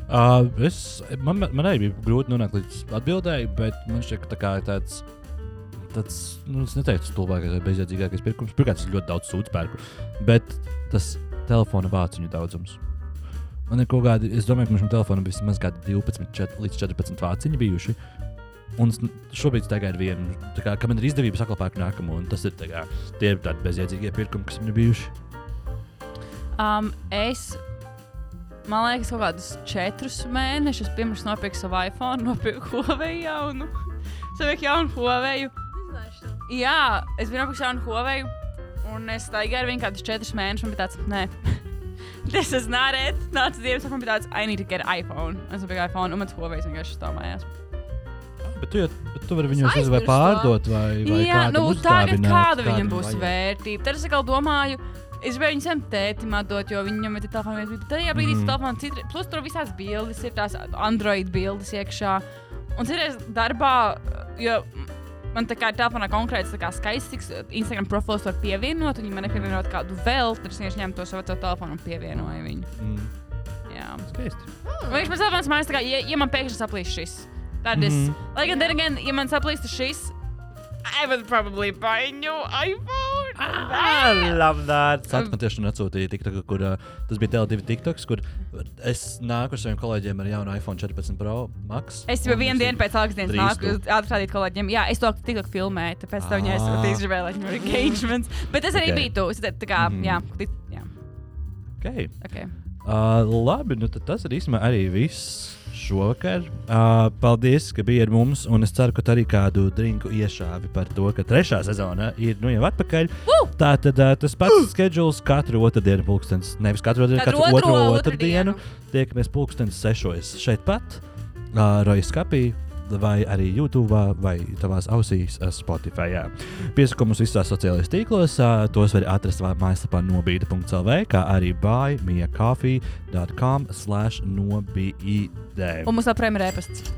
A: uh, es, man, man arī bija grūti nonākt līdz atbildēji, bet man šķiet, ka tā kā ir tāds. Tas, nu, es neteiktu, stulbākais vai bezjēdzīgākais pirkums. Pirmkārt, es ļoti daudz sūdzu pērku, bet tas telefona vāciņu daudzums. Man ir kaut kādi, es domāju, ka man šim telefonam bija vismaz kādi 12 čet- līdz 14 vāciņi bijuši. Un es n- šobrīd tā kā ir viena, tā kā, ka man ir izdevība saklabāt nākamo, un tas ir tā kā, tie ir tādi bezjēdzīgie pirkumi, kas man ir bijuši.
C: Um, es man liekas, kaut kādus četrus mēnešus pirms nopirku savu iPhone, nopirku Huawei jaunu. Savukārt, jaunu Huawei. Jā, es biju nopirkusi jaunu Huawei. Un es staigāju ar viņu kādus četrus mēnešus, un bija tāds, nē, tas ir nārēt. Nāca dienas, un man bija tāds, I need to get iPhone. Es nopirku iPhone, un mans Huawei vienkārši stāvājās.
A: Bet tu, jau- bet tu vari viņus nezinu, vai
B: aizmirstu.
A: pārdot, vai, vai
C: Jā,
A: kādam
C: nu tagad
A: uzdāvināt,
C: kāda
A: kādam
C: viņam būs
A: vajag.
C: vērtība? Tad es atkal domāju, es gribēju viņam sen tētim atdot, jo viņam ir tā telefona vieta. bet Tajā brīdī
A: Mhm.
C: mm. telefona citri, plus tur visādas bildes, ir tās Android bildes iekšā. Un citreiz darbā, jo man tā kā ir telefonā konkrēts tā kā skaists, Instagram profils var pievienot, un viņi man nepievienot kādu vēl, tad es vienkārši ņēmu to savu veco telefonu un pievienoju viņu.
A: Mm,
C: Jā.
A: skaisti.
C: Man liekas, tas manis tā kā, ja, ja man pēkšņi saplīst šis, tad es. Mm
A: Mhm.
C: -hmm. Lai gan, then again, ja man saplīst šis, I would probably buy a new iPhone.
A: Ah.
C: Ah,
A: Sākumā man tieši atsūtīja TikTok, kur uh, tas bija Dēlīds TikToks, kur es nāku ar saviem kolēģiem ar jaunu iPhone 14 Pro Max.
C: Es jau
A: un
C: vienu dienu pēc algas dienas
A: Trīs
C: nāku
A: tu.
C: atrādīt kolēģiem. Jā, es to tikko filmēju, tāpēc tā viņai
A: Ah.
C: es gribēju, lai viņam ir engagements. Bet es arī
A: Ok.
C: biju tu, es te- tā kā,
A: Mhm.
C: jā, tic- jā,
A: Okay.
C: ok.
A: Ah, Uh, labi, nu tad tas ir īstenībā arī viss šovakar. Uh, paldies, ka bijāt ar mums. Un es ceru, ka tu arī kādu drinku iešāvi par to, ka trešā sezona ir nu jau atpakaļ.
C: Woo!
A: Tā tad uh, tas pats schedules katru otrdienu, pulkstenis. Nevis katru otrdienu,
C: Katru
A: katru otro
C: otro
A: otrdienu.
C: otrdienu.
A: Tiekamies pulkstenis sešos šeit pat, uh, Rojas kapī. Vai arī YouTube, vai tavās ausīs, uh, Spotify. Piesakām mums visās sociālajās tīklos. uh, Tos var atrast vā- mājaslapā nobīde.cl, kā arī buymeacoffee.com slash nobīde.
C: Un mums joprojām ir e-pasts.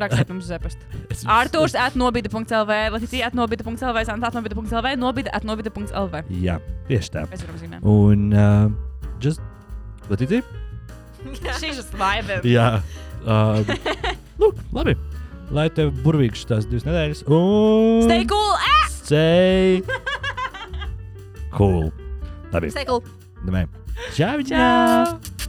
C: Rakstiet mums uz e-pastu. Arktūrs atnobīda.lv, Latīcija atnobīda.lv, Santa atnobīda.lv, nobīda atnobīda.lv.
A: Jā, tieši tā.
C: Mēs varam zināt.
A: Un uh, just. Latīcija?
C: Šis ir vibe.
A: Jā. Uh, lūk, labi. Lai tev burvīgs tās divas nedēļas. Un...
C: Stay cool! Ah!
A: Stay cool. Labi.
B: Steikl!
A: Nē. Čau, čau!
C: Čau!